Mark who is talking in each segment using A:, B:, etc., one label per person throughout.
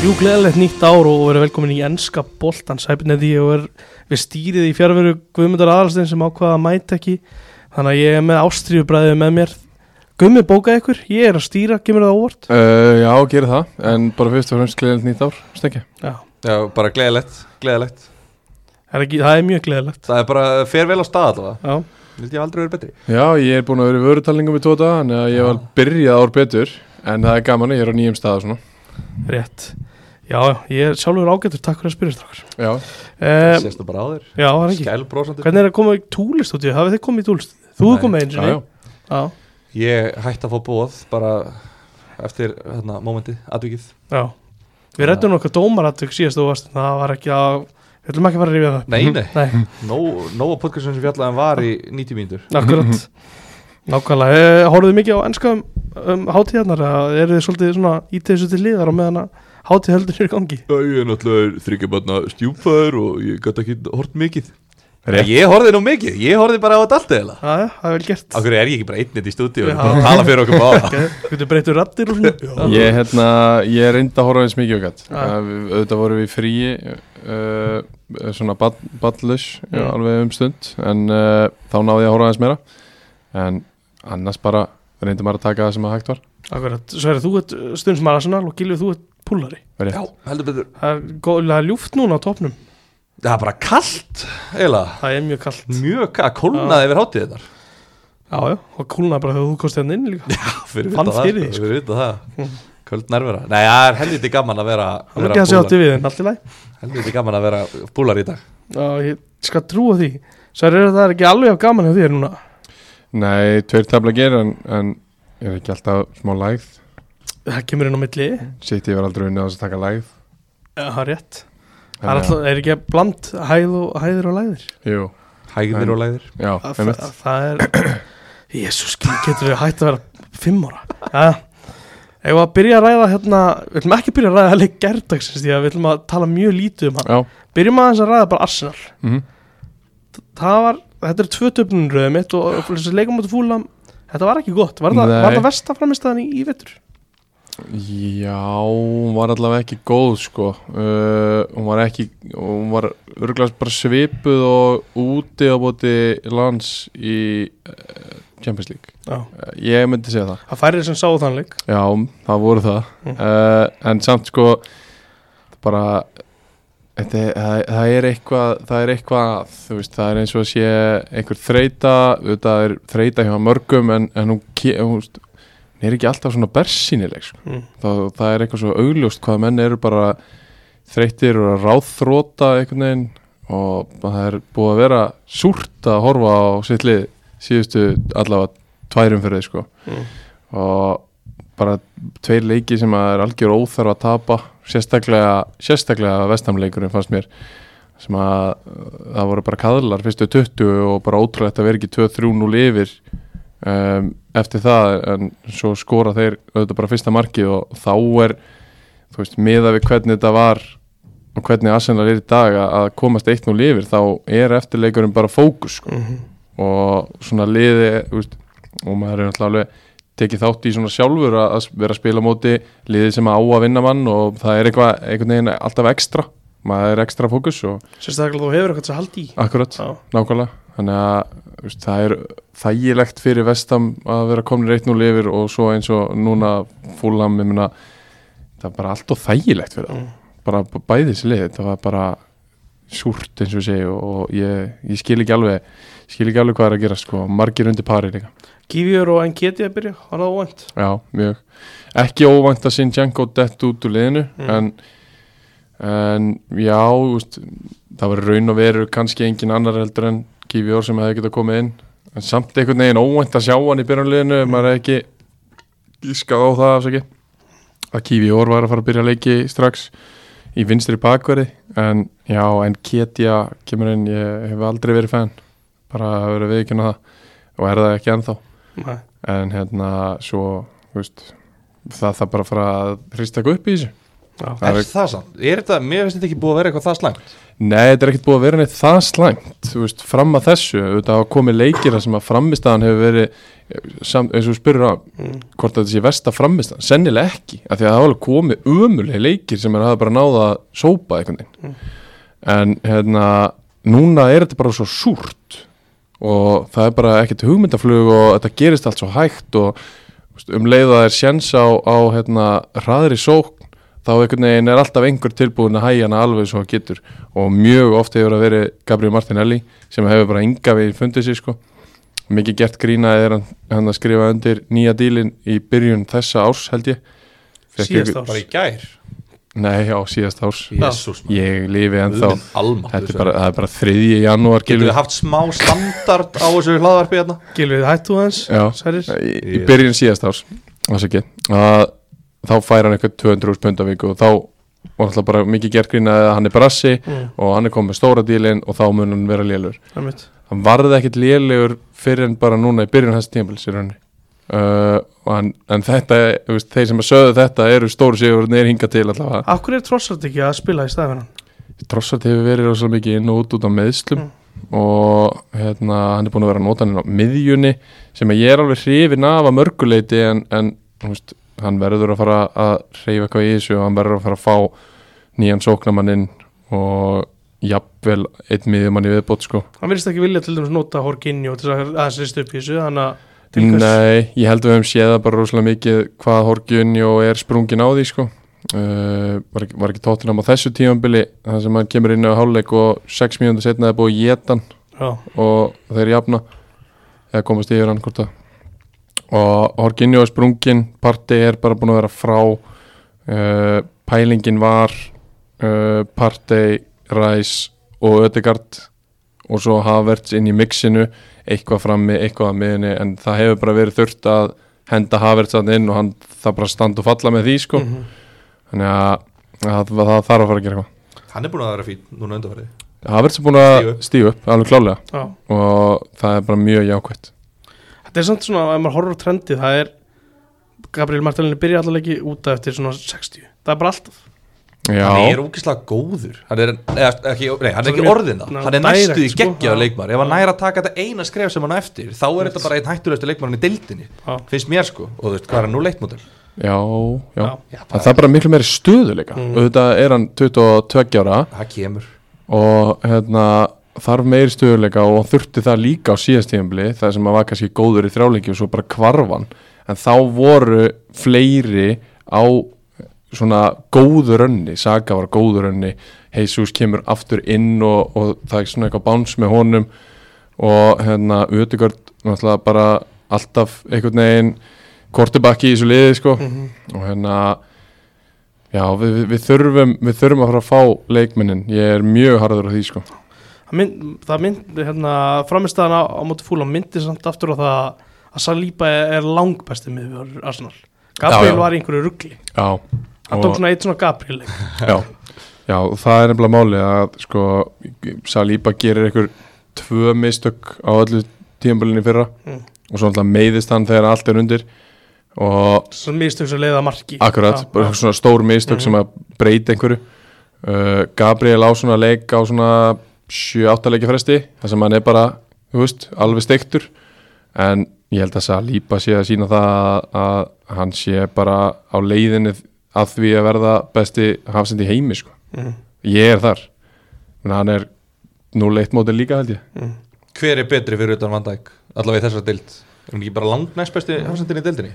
A: Jú, gleðilegt nýtt ár og verið velkomin í ennska boltan sæpinniði og er við stýrið í fjárveru Guðmundur Aðalstein sem ákvaða að mæta ekki þannig að ég er með ástríðubræðið með mér Guðmund bókaði ykkur, ég er að stýra, kemur það óvart
B: Uh, já, gera það, en bara fyrst og fremst gleðilegt nýtt ár, stekki.
A: Já,
C: Já, bara gleðilegt, gleðilegt
A: er ekki, það er mjög gleðilegt
C: Það er bara, fer vel á stað allavega
A: Já,
C: Vildi ég aldrei verið betri
B: Já, ég er búin að vera í vörutalningum í tóta, en ég var byrjað ár betur, en það er gaman, ég er á nýjum stað og svona.
A: rétt Já, ég er sjálfur ágættur, takk fyrir að spyrja strákar
B: Já,
A: um,
C: Sérstu bara á þér
A: Já, það er ekki
C: Skælbrósandi
A: Hvernig er að koma í túlist út í, hafið þið komið í túlist? Þú hefur
C: Nei.
A: komið einu
B: já, já.
A: sinni Já,
C: Ég hætti að fá bóð bara eftir hérna, mómentið, atvikið
A: já Við rættum okkar dómaratvik síðast og varst, það var ekki að, við ætlum ekki að fara að rifja það upp.
C: Nei, nei,
A: Nei,
C: nóg nóg af podcastum sem fjallaðan var í 90 mínútur
A: Akkurat Nákvæmlega, uh, hóruðu mikið á ennska um, um hátíðarnar eða eru þið svolítið svona ítið þessu til liðar á meðan að hátíð heldur er í gangi
C: Ég er náttúrulega þryggjabarna stjúpfæður og ég gæti ekki hort mikið
B: Rétt.
C: Ég horfði nú mikið, ég horfði bara á þetta allt eða
A: Jæja, Það er vel gert
C: Akkur er ég ekki bara einnit í stúdíu
A: Já.
C: og bara að tala fyrir okkur báða
A: Þú getur breytið rættir og svona Já.
B: Ég, hérna, ég reyndi að horfa eins mikið og gætt.
A: Já.
B: Auðvitað vorum við frí, uh, svona ballus,
A: Já.
B: alveg um stund, en uh, þá náði ég að horfa eins meira. En annars bara reyndi maður að taka það sem að hægt var.
A: Akkurat, Sverri, þú ert stunds með Arsenal og Gilvið, þú ert púlari
B: Rétt.
C: Já, heldur betur
A: Það er góðlega ljúft núna á topnum
C: Það er bara kallt, eiginlega
A: Það er mjög kallt
C: Mjög kallt, kólnaði yfir hátíðinar
A: Já, já, og kúlnaði bara þegar þú kostið hann inn líka
C: fyrir
A: Fann
C: utan það,
A: fyrir því,
C: sko, fyrir utan það Köld nærvera Nei, það er helviti gaman að vera,
A: Það er
C: vera
A: ekki að segja
C: búlar.
A: átti við en allt í lagi
C: Helviti gaman að vera búlar í dag
A: Já, ég skal trúa því Sverri, það er ekki alveg af gaman hjá þér núna
B: Nei, tveir tafla gerir, en, en er ekki alltaf smá lægð.
A: Það kemur inn á milli
B: City var aldrei unnið á þess að taka lægð.
A: Já, það er rétt Það er,
B: Þannig að-
A: alltaf, er ekki bland hæð og, hæðir og læðir
B: Jú,
C: Hægðir
B: En-
C: og læðir
B: já,
A: Það,
B: einmitt
A: það er Jésús, getur við hægt að vera fimm ára Já Ef að byrja að ræða hérna Við ætlum ekki að byrja að ræða leik gerðdagsins Því að við ætlum að tala mjög lítið um hann
B: Já,
A: Byrjum aðeins að ræða bara Arsenal
B: mhm,
A: Það var, þetta er tvö töfnun röðum mitt Og þessi leikum áttu fúlam Þetta var ekki gott, var það,
B: Nei.
A: var það versta framistæðan í, í vetur?
B: já, hún var allavega ekki góð sko uh, Hún var ekki, hún var örglast bara svipuð og úti á bóti lands í uh, Champions League
A: Já,
B: uh, Ég myndi segja það
A: það færið sem sáu þann leik
B: Já, það voru það
A: Mhm.
B: uh, En samt sko, bara, þetta, er- það, það er eitthvað, það er eitthvað, að, þú veist, það er eins og að sé einhver þreita Það er þreita hjá mörgum en, en hún, ke- hún, veist, hún er ekki alltaf svona bersýnileg sko
A: mm.
B: það, það er eitthvað svo augljóst hvað menn eru bara þreyttir og ráðþróta einhvern veginn og það er búið að vera súrt að horfa á sitt lið síðustu allavega tværum fyrir sko.
A: Mm.
B: og bara tveir leiki sem að er algjör óþarf að tapa sérstaklega, sérstaklega vestamleikurinn fannst mér sem að uh, það voru bara kaðlar fyrstu 20 og bara ótrúlegt að vera ekki 2-3-0 yfir um, eftir það en svo skora þeir auðvitað bara fyrsta markið og þá er þú veist, miða við hvernig þetta var og hvernig Arsenal er í dag að- að komast 1-0 yfir þá er eftirleikurinn bara fókus sko.
A: Mm -hmm.
B: og svona liði þú veist, og maður er náttúrulega alveg tekið þátt í svona sjálfur að að vera að spila á móti liði sem á að vinna mann og það er eitthvað, einhvern veginn alltaf ekstra maður er ekstra fókus og
A: Sérstaklega þú hefur eitthvað til að halda í
B: akkurat
A: Já,
B: Nákvæmlega, þannig að þú veist, það er þægilegt fyrir vestam að vera komin reitt nú lifir og svo eins og núna fúlam, ég meina það er bara allt og þægilegt fyrir það
A: Mm.
B: bara b- bæði þessi lið, það var bara súrt eins og ég segi og- og ég, ég skil ekki alveg skil ekki alveg hvað er að gera sko, margir undir pari líka
A: Gífjör og Enketi að byrja, var það óvænt
B: Já, mjög. Ekki óvænt að Sinchenko dett út úr liðinu,
A: Mm.
B: en, en já, úst, það var raun og veru kannski engin annar heldur en Kífjór sem hefði getað komið inn, en samt einhvern veginn óvænt að sjá hann í byrjanliðinu, mm. maður hefði ekki gískað á það, afsaki, að Kífjór var að fara að byrja leiki strax í vinstri bakveri, en já, en Ketja kemur inn, ég hef aldrei verið fenn, bara að vera viðkynna það, og er það ekki ennþá
A: Nei
B: en hérna svo þú veist, það þarf bara að fara að hrista eitthvað upp í þessu
A: Já.
B: Það
C: Er
B: er-
C: það samt? Er þetta, mér finnst þetta ekki búið að vera eitthvað það slæmt
B: Nei, þetta er ekkert búið að vera neitt það slæmt þú veist, fram að þessu, þetta hafa komið leikir þar sem að framistaðan hefur verið sam, eins og þú spyrir á
A: Mm.
B: hvort þetta sé versta framistaðan, sennilega ekki af því að það hafa alveg komið ömuleg leikir sem er að hafa bara náða að sópa einhvern veginn en hérna núna er þetta bara svo súrt og það er bara ekkert hugmyndaflug og þetta gerist allt svo hægt og þú veist, um leið að það er sjens á, á hérna, hraðri sókn þá einhvern veginn er alltaf einhver tilbúin að hægja hana alveg svo hann getur og mjög oft hefur það verið Gabriel Martinelli sem hefur bara enga við fundið sér sko mikið gert grína er hann, hann að skrifa undir nýja dílin í byrjun þessa árs held ég Fékk
A: Síðasta
B: ykkur-
A: árs.
C: Bara í gær
B: Nei, á síðasta árs
C: Jésús
B: Ég lifi ennþá
C: Alma
B: Þetta er bara, það er bara 3. janúar
C: Getur við haft smá standard á þessu hlaðvarpi hérna?
A: Gilvið, hættu aðeins
B: Já.
A: Særir
B: í, í byrjun síðast árs ásaki, að þá fær hann eitthvað 200 pund af viku og þá var alltaf bara mikið gert grínaði að hann er brassi
A: Mm.
B: og hann er komið með stóra dílin og þá mun hann vera lélur
A: einmitt.
B: hann varði ekkit lélegur fyrir en bara núna í byrjun hans tímpils í rauninni uh, og hann, en þetta þú veist, þeir sem að sögðu þetta eru stóru sigur er hingað til allavega
A: Af hverju er Trossard ekki að spila í staðin hann?
B: Trossart hefur verið rosalega mikið inn og út út á meðslum
A: Mm.
B: og hérna, hann er búin að vera notan inn á miðjunni sem að ég er alveg hrifin af að mörguleiti en, en þú veist, hann verður að fara að hreyfa eitthvað í þessu og hann verður að fara að fá nýjan sóknamann inn og jafnvel einn miðjumann í viðbót sko.
A: Hann virðist ekki vilja til dæmis nota Horginjó til þess að aðeins rist upp í þessu Þannig að til hvers-
B: Nei, ég held að við hefum séð það bara rosalega mikið hvað Horgjunni og er sprungin á því sko. uh, var, ekki, var ekki tóttinam á þessu tímanbili þar sem hann kemur inn á háluleik og 6 mínútur setna er búið að geta hann
A: Já,
B: og þeir jafna eða komast yfir hann hvort að og Horginjó er sprungin parti er bara búin að vera frá uh, pælingin var uh, parti ræs og ödegard og svo Havertz inn í mixinu eitthvað frammi, eitthvað að miðinni en það hefur bara verið þurft að henda Havertz hann inn og hann, það bara standa og falla með því sko
C: Mhm.
B: þannig að, að, að það þarf að fara að gera eitthvað
C: Hann er búin að vera fín núna undanfarið
B: Havertz er búin að
C: Stíga upp.
B: stíu upp alveg klálega
A: já
B: og það er bara mjög jákvætt
A: Þetta er samt svona, ef maður horfur á trendið Það er, Gabriel Martelinni byrja allavega ekki úta eftir svona 60 Það er bara alltaf
C: Hann
B: Já,
C: er ógislega góður Hann er, eða, ekki, nei,
A: Hann
C: hann er
A: er
C: ekki
A: mjög-
C: orðin það
A: Nei,
C: Hann er næstu því
A: direkt, sko.
C: geggjaður
A: Já.
C: leikmar Ef hann
A: Já.
C: næra að taka þetta eina skref sem hann á eftir Þá er þetta bara einn hættulegstu leikmarinn í deildinni
A: Já.
C: Finnst mér sko Og þú veist, hvað er hann nú leittmódel?
B: já, já.
A: Já.
C: Já,
B: En það er bara miklu meiri stöðuleika mm. Auðvitað er hann 22 ára
C: það kemur
B: og hérna, þarf meiri stöðuleika og þurfti það líka á síðastíðanbli það sem að var kannski góður í þráleiki og svo bara kvarfan en þá voru fleiri á svona góður önni Saga var góður önni Jesus kemur aftur inn og, og það er svona eitthvað báns með honum og hérna Utegard náttúrulega bara alltaf einhvern veginn kortibakki í þessu liði sko
A: Mhm.
B: og hérna já við, við, við þurfum við þurfum að fara að fá leikmennin ég er mjög harður á því sko
A: Það mynd, það mynd hérna, framistæðan á, á móti fúla myndi samt aftur á það að Saliba er, er langbæsti miðvörður Arsenal. Gabriel
B: Já, já.
A: var í einhverju ruggli.
B: já,
A: Hann
B: Og-
A: tók svona eitt svona Gabriel. leik.
B: já, já og það er nefnilega máli að sko Saliba gerir einhver tvö mistök á öllu tíðanbölinni fyrra
A: Mm.
B: og svo náttúrulega meiðist hann þegar allt er undir og
A: Svo mistök sem leiða marki.
B: Akkurat,
A: Já,
B: bara
A: já. Mhm.
B: svona stór mistök sem að breyta einhverju uh, Gabriel á svona leik á svona 7-8 leikja fresti þar sem hann er bara, þú veist, alveg steiktur en ég held að Saliba sé að sína það að- að hann sé bara á leiðinni að því að verða besti hafsend í heimi sko.
A: Mhm.
B: ég er þar en hann er nú leitt mótið líka held ég
A: mm.
C: Hver er betri fyrir utan Van Dijk? Allavega í þessar deild Er hann ekki bara langt næst besti hafsendin í deildinni?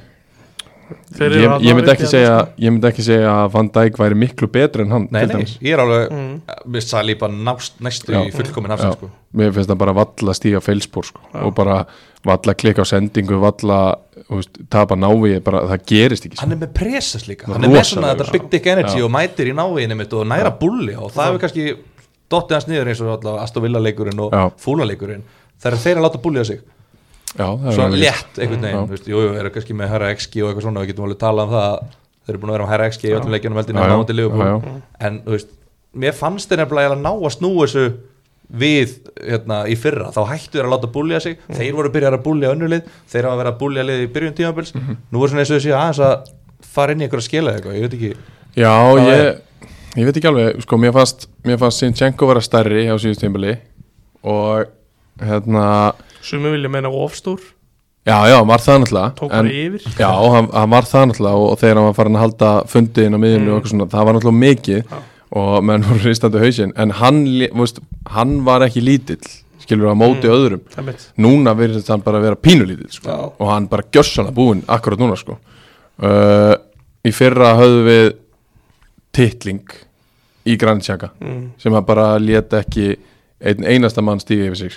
A: Þeir eru hérna,
B: ég,
A: þarna
B: ég myndi
A: uppi
B: ekki
A: að-
B: segja ég myndi ekki segja að Van Dijk væri miklu betri en hann
C: Nei,
B: til
C: nei,
B: dæmis.
C: ég er alveg
A: Mm.
C: Mér sæli bara nást næstu
B: Já.
C: í fullkomin
B: Já,
C: hafsend sko
B: mér finnst það bara valla stíga feilspór sko. og bara valla klikka á sendingu valla þú veist, tapa návi bara, það gerist ekki sko.
C: Hann er með presas líka,
B: Hann
C: hann
B: er
C: er með svona
B: rosalegur,
C: þetta big dick energy og mætir í náviðinu mitt og næra bulli og það hefur kannski dottið hans niður eins og allavega Aston Villa leikurinn og
B: Já.
C: Fúla leikurinn þegar þeir að láta bulli á sig,
B: Já, það er
C: svona
B: alveg-
C: létt einhvern veginn,
B: Já.
C: þú veist, jú, jú, eru kannski með herra XG og eitthvað svona, við getum alveg talað um það að þeir eru búin að vera með herra XG í öllum leikjunum
B: Já,
C: veldinu
B: já.
C: á móti
B: Já,
C: Liverpool, en þú veist, mér fannst þeir nefnilega eiginlega ná að snúa þessu við hérna, í fyrra, þá hættu þeir að láta búlja sig
B: Mhm.
C: þeir voru byrjar að búlja önnulið þeir
B: Mhm.
C: hafa verið að búlja lið í byrjun tímabils nú voru svona eins og þessi aðeins að fara inn í eitthvað að skila eitthvað, ég veit ekki
B: Já,
C: Hvað
B: ég, ég veit ekki alveg sko, mér fannst, mér fannst Sinchenko vera stærri á síðust tímbili og hérna,
A: Sumi vilja meina ofstór,
B: já, já, hann var það náttúrulega
A: tók
B: en-
A: bara yfir
B: Já, hann, hann var það náttúrulega og, og þegar hann var farin að halda fundiðin á miðjunni
A: Mm.
B: og eitthvað svona, það var náttúrulega mikið
A: Já.
B: og menn voru ristandi hausinn en hann, li- þú veist, hann var ekki lítill skilur að
A: Mm.
B: móti öðrum
A: Einmitt.
B: núna verðist hann bara að vera pínulítill sko.
C: Já.
B: og hann bara gjössan að búinn akkurat núna sko. uh, í fyrra höfðu við titling í Grandjaka
A: Mm.
B: sem hann bara lét ekki einn einasta mann stíga yfir sig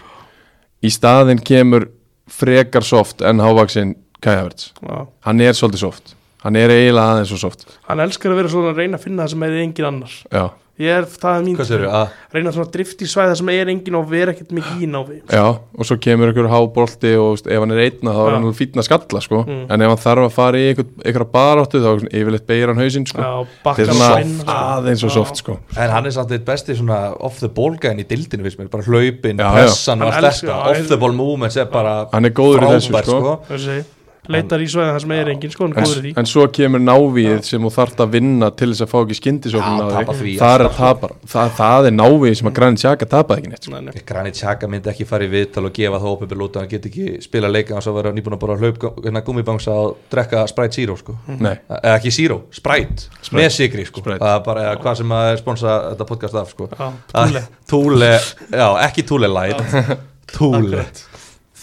B: í staðinn kemur frekar soft en hávaksinn Kæjaverts
A: Já.
B: hann er svolítið soft hann er eiginlega aðeins og soft
A: Hann elskar að vera svona að reyna að finna það sem er engin annars
B: já,
A: Ég er, það er mín
C: Hvað segirðu, að-
A: Reyna svona að drift í svæða sem er engin og vera ekkert mikið í návi
B: já, og svo kemur einhver hábolti og veist, ef hann er einna þá
A: Já.
B: er hann alveg fínn að skalla sko.
A: Mm.
B: en ef hann þarf að fara í einhver, einhver baráttu þá svona, yfirleitt beigir hann hausinn sko.
A: Já,
B: þetta
A: bakkar
B: er
A: og
B: svona
A: sveinn
B: aðeins og
A: Já.
B: soft sko.
C: En hann er samt eitt besti svona off the ball gæðin í dildinu finnst mér, bara hlaupin,
B: Já, já.
C: pressan og
A: Hann
C: allt
A: elskar-
C: þetta,
A: já,
C: off the ball movements er bara
B: hann er góður í þessu
C: frábær,
B: sko.
A: Hvað segir, Leitar í svæða það sem er engin sko, hann góður í
B: En,
A: því
B: en svo kemur návíð sem þú þarft að vinna til þess að fá ekki skyndisóknum
C: Já,
B: á
C: tapa því,
B: þig það,
C: alltaf,
B: tapa, það, það er návíð sem að Granit Xhaka tapaði ekki neitt sko.
A: Nei, nei.
C: Granit Xhaka myndi ekki fara í viðtal og gefa það opið út að hann geti ekki spila leika hans að vera nýbúin að bara hlaup hérna gummibangsa og drekka Sprite Zero sko
A: Mhm.
B: Nei,
C: eða ekki Zero, Sprite, með sigri sko
B: Sprite.
C: það er bara eða, hvað sem að er sponsa þetta podcast af sko
A: Já, Túle.
C: Að- Túle, já ekki Túle Light Túle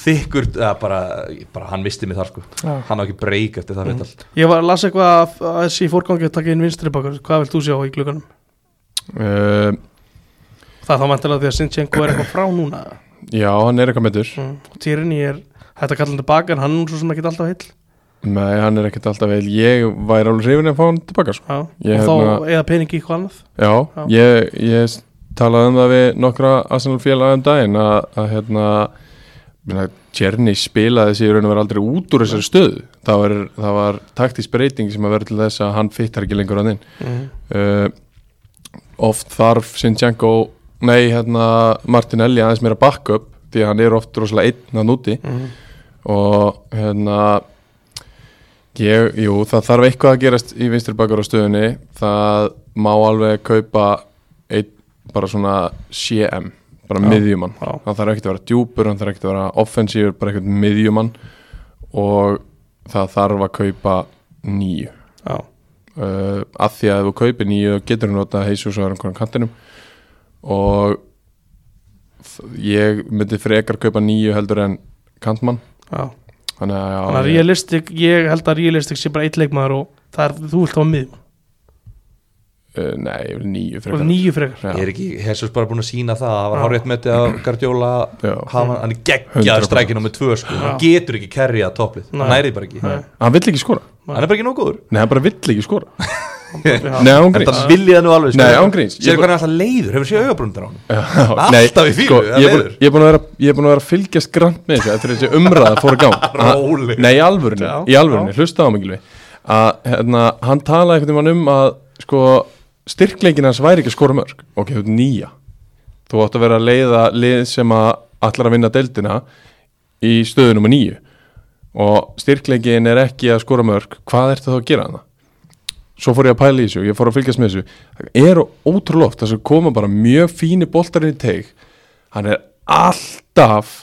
C: þykkur, eða bara, bara hann misti mig þar sko
A: Já. Mm.
C: hann á ekki breyk eftir það viðtal
A: Ég var að lasa eitthvað að að þessi í fórgangi að taka inn vinstri bakur, hvað vilt þú sjá í glugganum?
B: uh,
A: Það er þá mæntilega því að Sinchenko er eitthvað frá núna
B: já, hann er eitthvað meður
A: mm. Tyrinni er, þetta kallar hann tilbaka en hann er svo sem ekki alltaf heill
B: Nei, hann er ekkert alltaf vel Ég væri alveg hrifin að fá hann tilbaka sko.
A: Já.
B: Ég
A: og þá
B: hérna-
A: eða peningi í hvað annað
B: Já,
A: Já.
B: Ég, ég s- talaði um það við nokkra Arsenal félag um daginn að, að hérna minna, Tjerni spilaði sig í raun og verið aldrei út úr þessari stöðu það var, það var taktisk breyting sem að vera til þess að hann fittar ekki lengur að þinn
A: mm.
B: uh, Oft þarf Sinchenko Nei, hérna Martinelli aðeins meira backup því að hann er oft rosalega einn að núti
A: Mm.
B: og hérna ég, jú, það þarf eitthvað að gerast í vinstri bakar á stöðunni það má alveg kaupa eitt, bara svona CM, bara
A: Já.
B: miðjumann
A: Já.
B: það þarf ekkert að vera djúpur, það þarf ekkert að vera offensífur, bara ekkert miðjumann og það þarf að kaupa nýju
A: Já.
B: uh, að því að ef þú kaupir nýju þá getur hún notað heisu svo er einhverjum kantinum og þ- ég myndi frekar kaupa nýju heldur en kantmann
A: Já.
B: Þannig að, já,
A: Þannig að
B: ég-
A: realistik, ég held að realistik sé bara eitt leikmaður og það er, þú vilt hafa mið
B: Uh, nei, ég vil nýju
A: og
B: frekar
A: nýju frekar
B: Já.
C: er ekki Jesus bara búin að sína það það var
A: Já.
C: hárið metið að Guardiola
B: Já.
C: hafa, hann er
B: 100%.
C: geggjaður strækinu með tvö sko, hann
A: Já.
C: getur ekki kerrið að topplið,
A: Nei.
C: hann nærið bara ekki
A: Nei.
B: Hann vill ekki skora
C: hann er bara ekki nóg góður
B: Nei, hann bara vill ekki skora
A: Já.
B: Nei, án
C: en
B: gríns
C: það viljið það nú alveg
B: Nei, án gríns. Ég
C: sér
B: bara-
C: hvernig hann er alltaf leiður, hefur séð augabrundar á hann
B: Já,
C: Alltaf
B: nei,
C: í fílu,
B: sko,
C: það
B: ég er búinn-
C: leiður.
B: Ég er búinn að vera- ég er búin að vera að fylgjast grann með þessu Eftir þessi umræða fór að gá
C: Róleg.
B: Nei, í alvörunni,
A: Já,
B: í alvörunni, hlusta á mig Gylfi. að hérna, hann talaði einhvern veginn um að sko, styrkleikin hans væri ekki að skora mörg ok, þú ert nýja þú átt að vera að leiða lið sem að allar að vinna deildina í stöðu nummer nýju og styrkleikin er ekki að skora mörg hvað ertu þá að gera hana? svo fór ég að pæla í þessu, ég fór að fylgjast með þessu það eru ótrúlega oft þess að koma bara mjög fíni boltarinn í teig hann er alltaf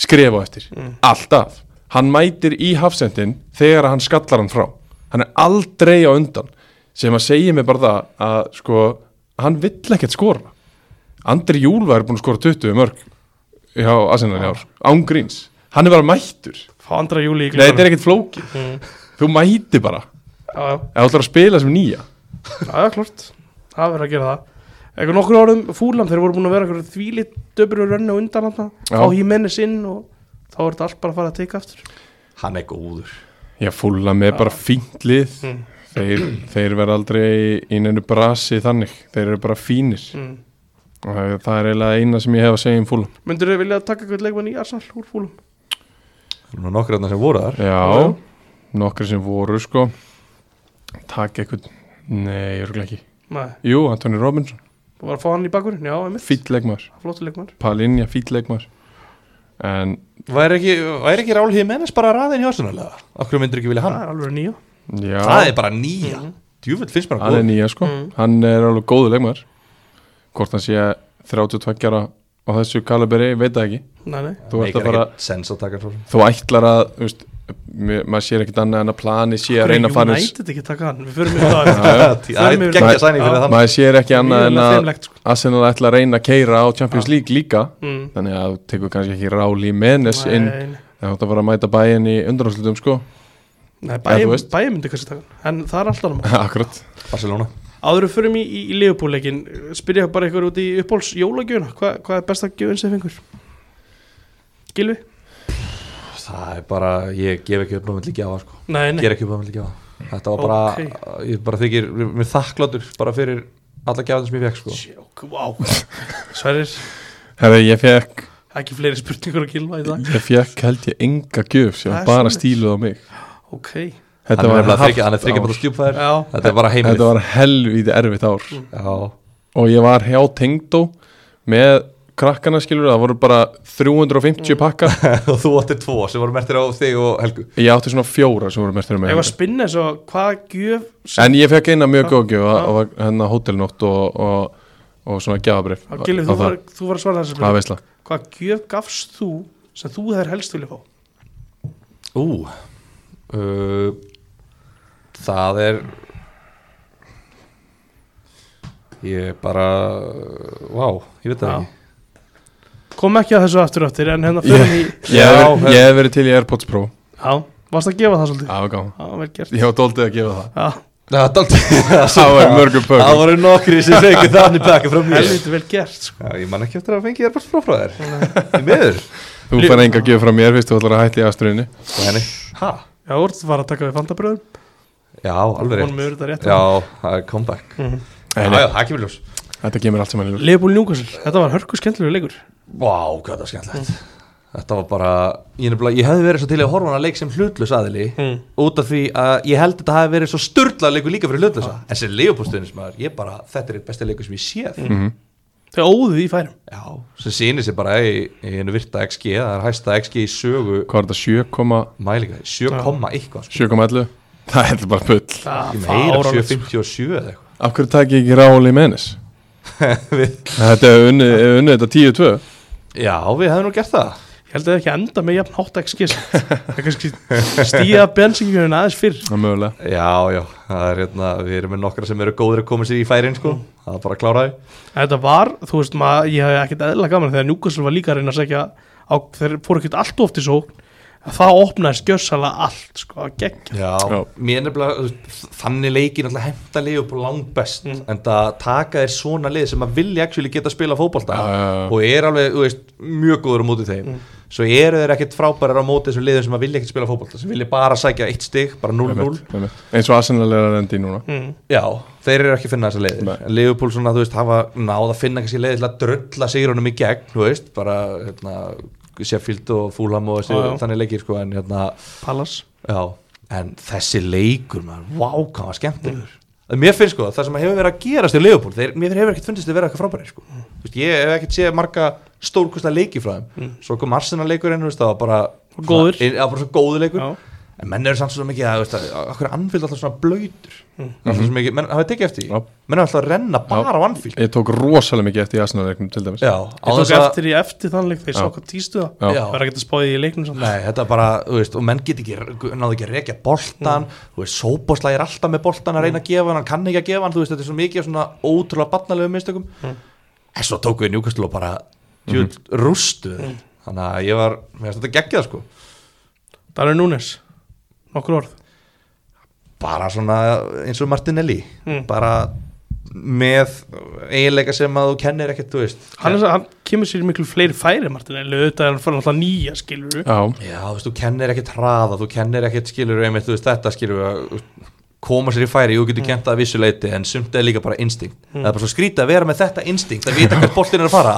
B: skref á eftir, alltaf hann mætir í hafsendin þegar hann skallar hann frá hann er aldrei á undan sem að segja mig bara það að sko, hann vill ekkert skora Andri Júlva er búin að skora 20 mörg hjá Arsenal í ár, ángríns hann er bara mættur,
A: Fá andra júli í
B: nei þetta
A: glugganum
B: er ekkert flókið þú mætir bara,
A: Já, já.
B: ef þú ætlar að spila sem nýja
A: Já, já, klart, það verður að gera það Eitthvað nokkur árum fúlam þeir voru búin að vera eitthvað þvílit döbrur rönni og undan hann
B: Já.
A: á Jimenez inn og þá er þetta allt bara að fara að teika aftur
C: hann er góður
B: Já, fúla með bara fínt lið
A: Mm.
B: þeir, þeir verða aldrei í neinu brasi þannig, þeir eru bara fínir
A: mm.
B: og það það er eiginlega eina sem ég hef að segja um fúla
A: Myndur þau vilja taka eitthvað leikmann í Arsenal úr fúlam?
C: Það eru nú nokkur þarna sem voru þar
B: Já, nokkri sem voru sko takk eitthvað Nei, ég ekki
A: Nei,
B: Jú, Anthony Robinson,
A: þú var að fá hann í bakurinn, já, einmitt
B: fýll leikmaður
A: Flottu leikmann
B: Palinja, fýll leikmaður En,
C: væri ekki, væri ekki Rálhíð Mennes bara raðin hjá sannlega okkur myndir ekki vilja hann,
A: Það er alveg nýja
B: já
C: það er bara nýja mm. djúvill finnst mér
B: hann
C: hann
B: er
C: góð
B: nýja sko
A: Mm.
B: hann er alveg góðu leikmaður hvort hann sé 32 ára á þessu kaliberi, ég veit það ekki
A: Nei, nei
B: þú ert að
C: Meikar
B: fara,
C: ekkert sens að taka hann svo sem.
B: þú ætlar að þú veist, mér- maður sér ekkert annað en að plani sé að reyna að fara eins
A: United ekki að taka hann Við förum yfir það eftir.
B: Já, já.
C: Það er
A: Förum yfir-
C: geggja sæning
A: Já.
C: fyrir þann
B: maður sér ekki annað en
A: Mjög
B: að
A: feimlegt, sko.
B: Arsenal ætla að reyna að keira á Champions League líka
A: Mm.
B: þannig að þú tekur kannski ekki ráli í mennes inn
A: Nei, nei.
B: en þú ætlar að fara að mæta bæinn í undanáslutum sko
A: Nei,
B: þú
A: bæja
B: veist.
A: bæja myndi kannski taka hann En það er alltaf hann
B: akkurat
C: Barcelona
A: Áður en við förum í, í, í Leopold-leikin Spyrja bara ykkur út í uppbóls jólagjöfuna Hva, Hvað er besta gjöfun sem fengur? Gilvi?
C: Það er bara, ég gef ekki upp námiðli gjáða sko.
A: Nei, nei
C: Ger ekki upp námiðli gjáða Þetta var bara, ég bara þykir Mér þakkláttur bara fyrir alla gjáðum sem ég fekk sko.
A: Sjók, vá Sverrir,
B: herri ég fekk
A: ekki fleiri spurningur að gilva í dag
B: ég fekk held ég enga gjöf sem
A: Það er
B: bara
A: svoleiðis.
B: stíluð á mig
A: Ok
C: Hann er nefnilega þriggja- hann er
B: hart
C: þryggja bara
B: ár.
C: stjúpfæður
A: Já,
C: Þetta er bara heimilið
B: þetta var helvíti erfitt ár
A: Mm.
C: Já,
B: og ég var hjá Tengdó með krakkana skilur það voru bara 350
A: Mm.
B: pakkar
C: og þú áttir tvo sem voru mertir á þig og Helgu
B: ég átti svona fjóra sem voru mertur
A: ef
B: með
A: að spinna svo Hvaða gjöf sem
B: en ég fekk eina mjög góð gjöf
A: Já.
B: og var hennar hótelnótt og, og, og svona gjafabrif
A: Á, Gilvi, þú, var, þú var að svara þessu
B: að
A: spurningu
B: veistla
A: Hvaða gjöf gafst þú sem þú þær helst vilja fá?
C: Ú uh, Það er Ég bara Vá, ég veit það
A: Já.
C: ekki
A: Kom ekki að þessu aftur aftur En hérna fyrir í
B: ég hef
C: Já,
A: hérna.
B: verið- ég hef verið til í Airpods Pro
A: Já, varst að gefa það svolítið
B: það var gáð
A: Já, vel gert
B: ég hef doldið að gefa það
A: Já,
C: Nei, Það daldi-
B: það var mörgum
C: Það
B: pökkum
C: voru nokkri sem fengið þannig pakka frá mér
A: helviti vel gert sko.
C: Já, Ég man ekki eftir að fengi þér bara frá frá þér Í miður
B: þú fær enga gjöf frá mér fyrst þú ætlar að hætti í aðsturinu
C: Og henni Hæ?
A: Já, þú ert var að taka við fandabröðum
C: Já, alveg
A: Hún
C: rétt
A: mjög þetta rétt Mhm.
C: Já, það er comeback Já, já, það kemur ljós
B: þetta kemur allt saman í ljós
A: Leifbúl Njúkarsl, þetta var hörku skemmtilegur leikur
C: Vá, hvað þetta er skemmtilegt Þetta var bara ég, nefnilega- ég hefði verið svo til í að horfa á hana leik sem hlutlus aðili
A: Mm.
C: Út af því að ég held að þetta hefði verið svo sturla leiku líka fyrir hlutlösa ah. En sem leifupústuðnismæður, ég bara, þetta er eitt besti leiku sem ég séð
A: Þau óðu í færum
C: Já, sem sýnir sér bara í, í einu virta XG Það er hæsta XG í sögu
B: hvað er þetta 7,1
C: mælinga 7, eitthvað sko.
B: 7,11 það er bara bull
C: Ég
A: Það
C: meira
A: fáránlegt, sko.
C: 7.57 eða eitthvað
B: af hverju takk ég ekki Ráli Menes
C: Við-
B: þetta er unnið unni þetta 10-2
C: Já, við hefðum nú gert það
A: Ég held að það ekki enda með jafn hátt XG samt. Það er kannski stíða bensingjörn aðeins fyrr
B: það er mögulega
C: Já, já, það er hérna, við erum með nokkra sem eru góðir að koma sér í færin sko Það er bara að klára því
A: En Þetta var, þú veist, maður, ég hef ekkert eðla gaman þegar Njúkarsl var líka að reyna að segja á, þeir fóru ekkert allt oft í sókn að það opnaðist gjössala allt sko, að gegja
C: Já,
B: Já.
C: mér nefnilega þú veist, þannig leikin alltaf hemta leiðup langt best
B: Mm.
C: en það taka þér svona leið sem að vilja actually geta að spila fótbolta
B: Já, já, Mm. já.
C: og er alveg, þú veist, mjög góður á móti þeim svo eru þeir ekkert frábærar á móti þessum leiðum sem að vilja ekkert spila fótbolta sem vilja bara sækja eitt stig, bara 0-0
B: Einmitt, einmitt. eins og Arsenal er að rendi núna
C: Já, þeir eru ekki að finna þessa leiðir
B: Nei.
C: en Leopold svona, þú veist, hafa náð að finna kannski leiðir til að drölla sigrunum í gegn þú veist, bara, hérna, Sheffield og Fulham og þessi,
A: Já, já.
C: þannig leikir sko, en hérna,
A: Pallas
C: Já, en þessi leikur maður, vá, hvað var skemmtilegur mm. Mér finnst sko, það sem hefur verið að gerast í Leopold, þeir, mér hefur ekkert fundist að vera eitthvað frábæri sko.
A: Mm.
C: Þú veist, Ég hef ekkert séð marga stórkvistlega leiki frá þeim Svo kom Arsenal leikur einu, það var bara
A: Mm. Og góður.
C: svona- Já, bara svo góður leikur
A: Já.
C: En menn eru samt svo mikið að, þú veist, að okkur anfild alltaf svona blöytur mm. Alltaf
A: Mm-hmm.
C: svo mikið, menn hafið tekið eftir því
B: Já.
C: Menn eru alltaf að renna bara á anfield
B: ég tók rosalega mikið eftir í Arsenal leiknum til dæmis
C: Já, á
A: Ég tók
C: þess að
A: eftir í eftir þannig þegar ég sá
B: Já.
A: hvað týstu það
B: Já.
C: Já.
A: Það var ekkert að spáði í leiknum samt
C: Nei, þetta er bara, þú veist, og menn get ekki náðu ekki að rekja boltan, þú veist, sóboslæg er alltaf með boltan að reyna að gefa hann hann kann ekki að gefa hann, þú veist, þetta er svo mikið af svona ótrúlega barnalegu mistökum en svo tóku við njúkastul og bara djúð rústu mm. þannig að ég var, mér finnst þetta geggjað sko
A: Darren Núnes, nokkur orð
C: bara svona eins og Martinelli
A: Mm.
C: bara með eiginleika sem að þú kennir ekkert, þú veist
A: hann, er, hann kemur sér í miklu fleiri færi Martin en auðvitað er hann fyrir alltaf nýja skilur
B: já
C: Já, þú veist, þú kennir ekkert hraða, þú kennir ekkert skilur einmitt, þú veist, þetta skilur að koma sér í færi, jú
A: Mm.
C: getur kent það að vissu leiti en sumt er líka bara instinkt það er bara svo skrítið að vera með þetta instinkt, að vita hvert boltin er að fara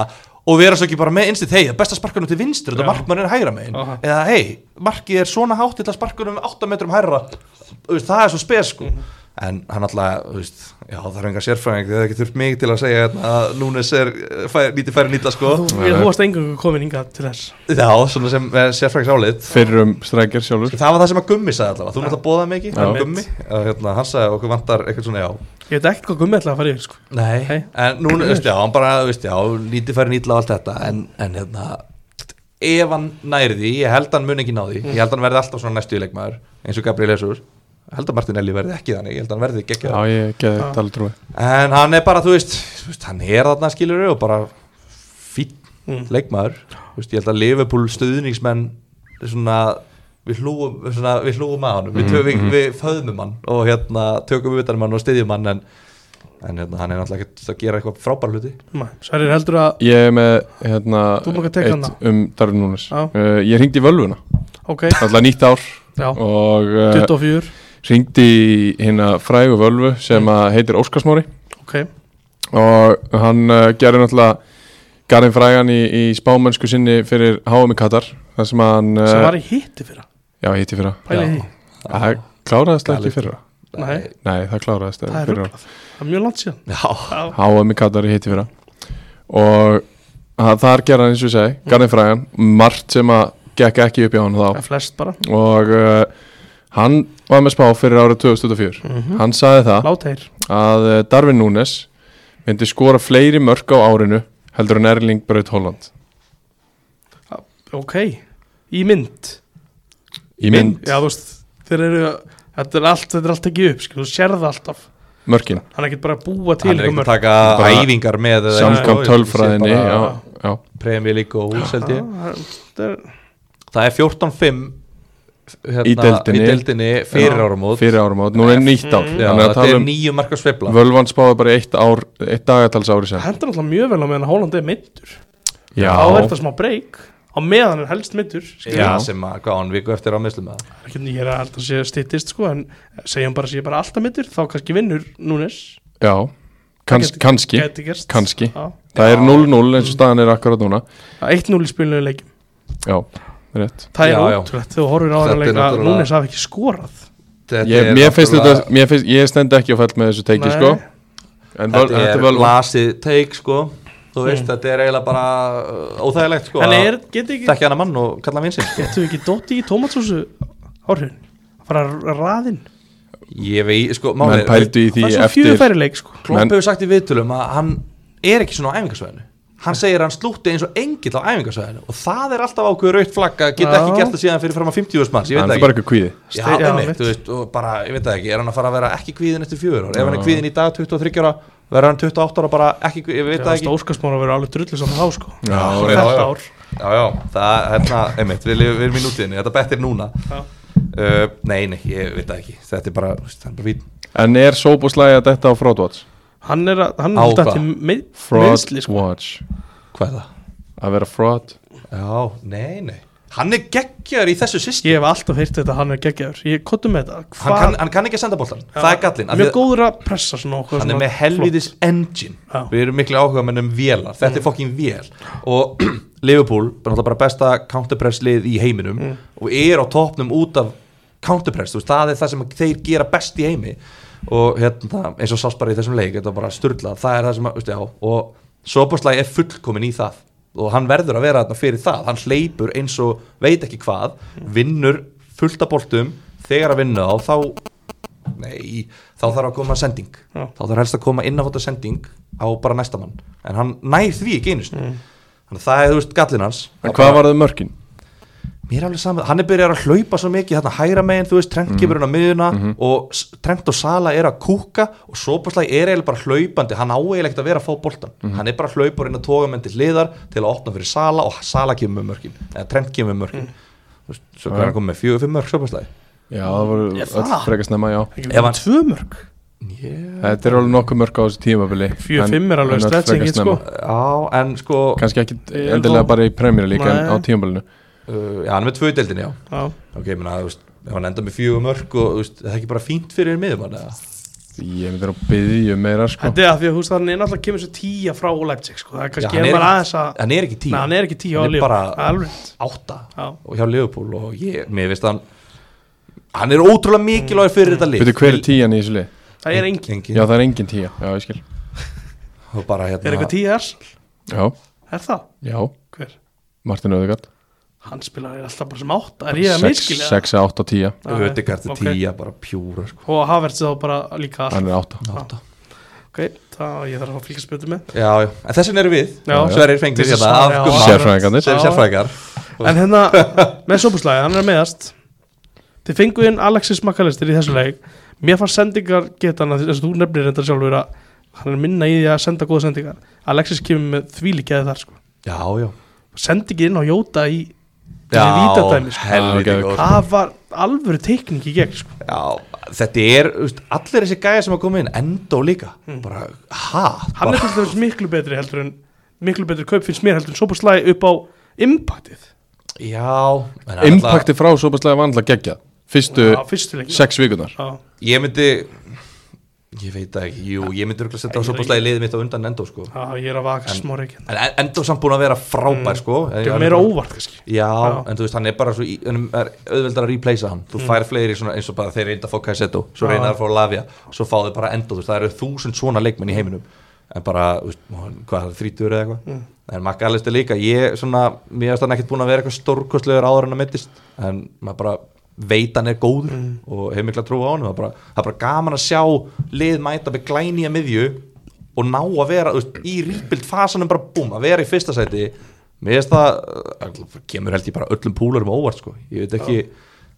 C: og vera svo ekki bara með instinkt hei, það er best að sparka nú til vinstri, þetta
A: Já.
C: markmann er hægra megin
A: Aha.
C: eða
A: Mm.
C: hei, markið er svona hátt til að sparka nú 8 metrum hærra Þú veist, það er svo spes sko en hann alltaf, þú veist, já það er enga sérfræðing það er ekki þurft mig til að segja hérna að Núnes er eh, fær, nýti færi nýta sko
A: Þú
B: Eh,
A: þú varst engangu komin hingað til þess
C: já, svona sem eh, sérfræðings álit
B: fyrir um strækjar sjálfur
C: það var það sem að Gummi sagði allavega, þú náttúrulega bóðaði mikið
B: Já.
C: Gummi, að, hérna, hann sagði okkur vantar eitthvað svona já,
A: Ég veit ekkert hvað gummi ætlaði að fara yfir sko
C: Nei,
A: Nei.
C: en núna, þú veist, já, hann bara, þú veist, já, lítið færi nýtla og allt þetta, en, en hérna, ef hann næri því, ég held hann mun ekki ná því, ég held hann verði alltaf svona næstu í leikmaður, eins og Gabriel Jesus, ég held að Martinelli verði ekki þannig, ég held hann verði
B: já
C: geggjað,
B: ég geði þetta alveg trúi
C: en hann er bara, þú veist, þú veist, hann er þarna skilur og bara fín
A: Mm.
C: leikmaður, þú veist, ég held að Liverpool stuðningsmenn, svona, við hlúum, svona, við hlúum að hann,
B: Mm,
C: við, tö- við, við föðmum hann og hérna tökum við utanum hann og styðjum hann, en, en hérna, hann er náttúrulega ekkert að gera eitthvað frábær hluti
A: Nei, Sverrir heldur að,
B: ég er með hérna
A: Þú mátt taka hana.
B: um Darwin Núnes
A: Já.
B: uh, ég ringdi í völvuna
A: ok,
B: alltaf nýtt ár
A: já,
B: og uh,
A: 24
B: ringdi í hérna frægu völvu sem að heitir Óskarsmári
A: Ok,
B: og hann uh, gerði náttúrulega Garðin Frægan í, í spámennsku sinni fyrir HM í Katar þar sem hann uh,
A: sem var í hitti fyrir
B: já hitti fyrir
A: Pæli
C: Já.
A: því,
B: það kláraðist
C: Galið.
B: ekki fyrir
A: nei,
B: nei það kláraðist
A: það er
B: fyrra.
A: rugglað Það er mjög langt síðan
C: Já,
B: HM í Katar í hitti fyrra og að, þar gerði hann eins og ég segi Garðin Frægan, margt sem að gekk ekki upp í hann
A: Það
B: þá
A: er flest bara,
B: og uh, hann var með spá fyrir árið 2004
A: Mhm.
B: hann sagði það
A: látægir
B: að eh, Darwin Núnes myndi skora fleiri mörk á árinu heldur en Erling Braut Holland
A: Ok, í mynd
B: í mynd
A: Já, þú veist, þeir eru Þetta er allt, þetta er allt ekki upp, skil, þú sérð alltaf
B: mörkin
A: Hann er ekki bara að búa til
C: hann er ekki
A: einhver
C: að taka
B: Bara
C: æfingar með eða
B: samkvæmt
C: eitthvað,
B: tölfræðinni
C: ég sé bara
B: já, já,
C: Premier League og hús held ég
A: mörk. Það Ah, er-
C: Það er 14-5 hérna,
B: Í deildinni.
C: í deildinni fyrir
B: Já.
C: áramót
B: fyrir árum átt, núna er nýtt ár
C: Mm. Já,
B: þannig að
C: þetta
B: tala
C: er
B: um
C: nýju marka sveifla
B: völvan spáði bara eitt, ár, eitt dagatals ári
A: Það
B: sem
A: hendur alltaf mjög vel á meðan Hóland er middur
B: já,
A: Þá er þetta smá breyk Á meðan er helst middur skilur.
C: Já,
B: Já.
C: sem að hvað hann viku eftir á meðslum með það
A: Það er ekki- Ég er að held að sé styttist sko En segjum bara að sé bara alltaf middur Þá kannski vinnur Núnes
B: já. Kans,
A: Gæti-
B: kannski,
A: Gæti gerst
B: kannski.
A: Já.
B: það er 0-0 eins og staðan er akkurat núna
A: Það er 1-0 í spilinu leikjum
B: já, rétt
A: Það er
C: Já, já.
A: ótrúlegt þegar þú horfir á
C: Þetta
A: það
C: er
A: leik að
C: náttúrulega-
A: Núnes hafi ekki skorað
C: Þetta
B: ég,
C: er
B: mér finnst
C: náttúrulega-
B: þetta, mér finnst, ég stend ekki á fæll með þessu teiki
A: Nei.
B: sko en völ-
C: Þetta
B: þetta
C: er
B: er völvan
C: lasið teik sko Þú veist, þetta er eiginlega bara uh, óþægilegt sko
A: En
C: að
A: Hmm. er, geti ekki
C: Þekkja hann að mann og kalla hann sko. vinsinn
A: Getur við ekki dotti í tómatsósu Horfin Að fara að raðin
C: Ég veit, sko,
B: menn
C: málið er-
B: pældu í því
A: Það er svo
B: eftir
A: fjögur færi leik sko
C: Klopp
B: Menn-
C: hefur sagt í viðtölum að hann er ekki svona á æfingarsvæðinu hann segir að hann slútti eins og engill á æfingarsvæðinu og það er alltaf ákveður raukt flagg að geta
A: Já.
C: ekki gert það síðan fyrir fram að 50 úrs manns ég
B: hann
C: veit
B: er
C: það
B: bara
C: ekki
B: ekki kvíði
C: Já,
A: Ste- já,
C: einmitt,
A: mitt.
C: þú veist, og bara, ég veit það ekki, er hann að fara að vera ekki kvíðin eftir fjögur ár, ef hann er kvíðin í dag 23 ára verður hann 28 ára bara ekki kvíðin, ég veit
A: Það
C: það
A: er
C: ekki
A: stóskasmóra að vera alveg drullu saman þá sko
B: Já,
C: já,
A: Þetta
C: já.
A: ár
C: Já, já, það, hérna, einmitt, við, lifum- við erum í nútíðinni, þetta bettir núna
A: Já.
C: uh, Nei, nei, ég veit það ekki, þetta er bara, þú veist, hann er bara fín
B: en er sóbúslægi að þetta á fraudwatch
A: Hann er að, hann
C: Á
A: er
C: hvað?
A: þetta með, meðsli sko
B: fraudwatch
C: Hvað er það?
B: að vera fraud
C: Já, nei, nei, hann er geggjar í þessu system
A: Ég hef alltaf heyrt þetta, hann er geggjaður Ég kottum með þetta
C: hann
A: Hva-
C: kann, hann kann ekki að senda boltan það er gallin
A: Mjög góður að pressa svona okkur
C: hann er með helvitis engine
A: Já. Mm.
C: við erum miklu áhuga með um vélar þetta er fokkin vél og Liverpool er náttúrulega bara besta counterpress lið í heiminum
A: Mm.
C: og er á topnum út af counterpress þú veist, það er það sem þeir gera best í heimi og hérna, eins og sást bara í þessum leik þetta var bara styrlað, það er það sem að, veist, já, og Soboslai er fullkomin í það og hann verður að vera þarna fyrir það hann hleypur eins og veit ekki hvað
A: Mm.
C: vinnur fullt af boltum þegar að vinna á, þá Nei, þá þarf að koma sending
A: Já.
C: Þá þarf helst að koma innafóta sending á bara næsta mann En hann nær því ekki einust mm. Þannig að það er, þú veist, gallin hans
B: en
C: Það
B: hvað
C: bara-
B: var það mörkin?
C: Mér er alveg saman, hann er byrjar að hlaupa svo mikið Þarna hægra megin, þú veist, Trent
B: Mhm.
C: kemur hann á miðuna Og S- Trent og Sala er að kúka Og Soposlæg er eiginlega bara hlaupandi Hann á eiginlega ekkert að vera að fá boltan
B: Mhm.
C: Hann er bara hlaupar inn að toga menn til hliðar Til að opna fyrir Sala og Sala kemur með mörkin Eða Trent kemur með mörkin Þú veist,
B: Já.
C: Svo er hann komið með fjögur, fimm mörk Soposlæg
B: já það voru
A: Ég það?
B: öll frekar snemma já
A: Ef hann tvö mörg
C: yeah.
B: Þetta er alveg nokkuð mörg á þessu tímabili
A: Fjögur,
B: en-
A: fimm er alveg
B: en öll
A: stretching
B: frekar
A: hit,
B: snemma.
A: sko.
C: Já, en sko
B: Kannski ekki
A: Ég
B: endilega
A: þó-
B: bara í premjör líka en
A: Nei.
B: á tímabilinu
C: uh, já, hann er með tvö í deildinni, já
A: Já,
C: ok, ég meina, þú veist, ef hann enda með fjögur mörg og þú veist, það er ekki bara fínt fyrir miðumann eða?
B: Ég myndi að byggja meira sko
A: þetta er að því að húst hann er náttúrulega kemur svo tíja frá Leipzig sko Það er
C: Já,
A: kannski
C: hann
A: er
C: er
A: bara
C: ekki-
A: aðeins að
C: hann er ekki tíu,
A: Nei, hann er ekki tíja á
C: Hann er
A: líf
C: bara-
A: Alveg rétt.
C: átta
A: Já.
C: og hjá Liverpool og ég, mér veist hann hann er ótrúlega mikilvæg fyrir þetta lið
B: Veitu hver er tíjan í þessu
A: Mm.
B: lið?
A: það er engin
C: engin.
B: Já, það er engin tíja, já, ég skil
C: og bara hérna
A: er eitthvað tíu ers,
B: Já,
A: er það
B: já,
A: hver,
B: Martin Öðegard
A: hann spilar alltaf bara sem átta er ég að miskilja
B: 6, 8, 10,
C: Ödegard er
A: Ok.
C: tíja bara pjúra sko.
A: og Havertz þá bara líka allt
B: hann er 8
C: Átta.
A: ok, það ég þarf að fylgjast betur með
C: já, já, en þessin eru við
A: Já.
C: Sverrir fengtir
A: Þessi
C: hérna
A: Sverrir,
C: af
A: já.
C: Gumma
A: Sverrir.
B: Sérfræðingarnir
C: sem
A: Já.
C: sérfræðingar
A: en hérna, með sópuslæði, hann er að meðast þið fengu inn Alexis Makalistir í þessu leik mér fannst sendingar geta hann þess að þú nefnir þetta sjálfur að hann er minna í því að senda góða sendingar Alexis kemur með þvílíkjaði þar sko.
C: já, já,
A: sendingir inn á Jóta í
C: já
A: þessi vítadæmi sko.
C: helviti
B: Já,
C: góð sko.
A: það var alvöru teikning í gegn sko.
C: já, þetta er, þú veist, allir þessi gæja sem að koma inn endó líka bara, ha,
A: Hmm. hann
C: bara,
A: er til dæmis miklu betri heldur en miklu betri kaup finnst mér heldur en sópuslæði upp á impactið
C: já en hann
B: Impacti frá sopaslega vandla geggja Fyrstu
A: á fyrstu leikin
B: 6 vikunar
A: Já.
C: náttúrulega- ég myndi ég veit það ekki, jú, ég myndi örugglega setja á
A: Ég-
C: sopaslega liðið mitt á undan endó sko
A: Já, ég er að vaka smá reikin
C: en En- endó samt búin að vera frábær sko En
A: Það
C: ég-
A: er Mm. meira óvart kannski
C: Já,
A: Já. Mm.
C: en þú veist, hann er bara svo í, hann er auðveldar að replacea hann þú fær fleiri svona, eins og bara þeir reynda að fá Kaiseto
A: Já.
C: svo reyna að fá Lavia, svo fá þau bara Endo þú veist, það eru þúsund svona leikmenn í heiminum en bara, þú veist, hann- hvað, þrítur eða eitthvað
A: Mm.
C: en Magga Alistair líka, ég svona mér finnst hann ekkert búin að vera eitthvað stórkostlegur áður en að mittist, en maður bara veit hann er góður
A: Mm.
C: og hefur mikla trú á hann það er bara, það er bara gaman að sjá lið mæta með glænýja miðju og ná að vera þú veist, í rýpild fasanum bara búm, að vera í fyrsta sæti mér finnst það, eh, kemur held ég bara öllum púlarum á óvart sko, ég veit ekki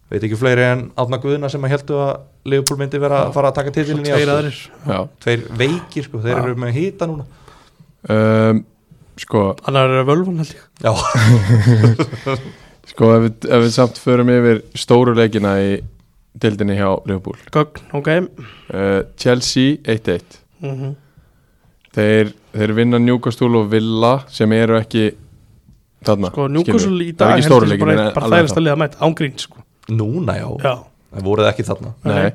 C: veit ekki fleiri en Átna Guðna sem að heldu að Leopold myndi vera að fara að taka titilin í ár,
A: Tveir
C: sko.
A: aðrir
B: Já
C: tveir veikir sko, þeir
B: Já.
C: eru með hýta núna
B: um, Sko,
A: Annar er að völvan held ég
C: já,
B: sko ef, við, ef við samt förum yfir stóru leikina í dildinni hjá Liverpool
A: Gögn, ok
B: uh, Chelsea 1-1
A: mm -hmm.
B: þeir, þeir vinna Newcastle og Villa sem eru ekki þarna
A: Sko,
B: skilur
A: Newcastle
B: við.
A: í
B: Það
A: dag
B: er ekki
A: held
B: stóru
A: ég
B: leikin
A: bara, bara þærist að liða mætt ángrín sko.
C: núna já,
A: Já,
C: en voruð ekki þarna
B: Nei,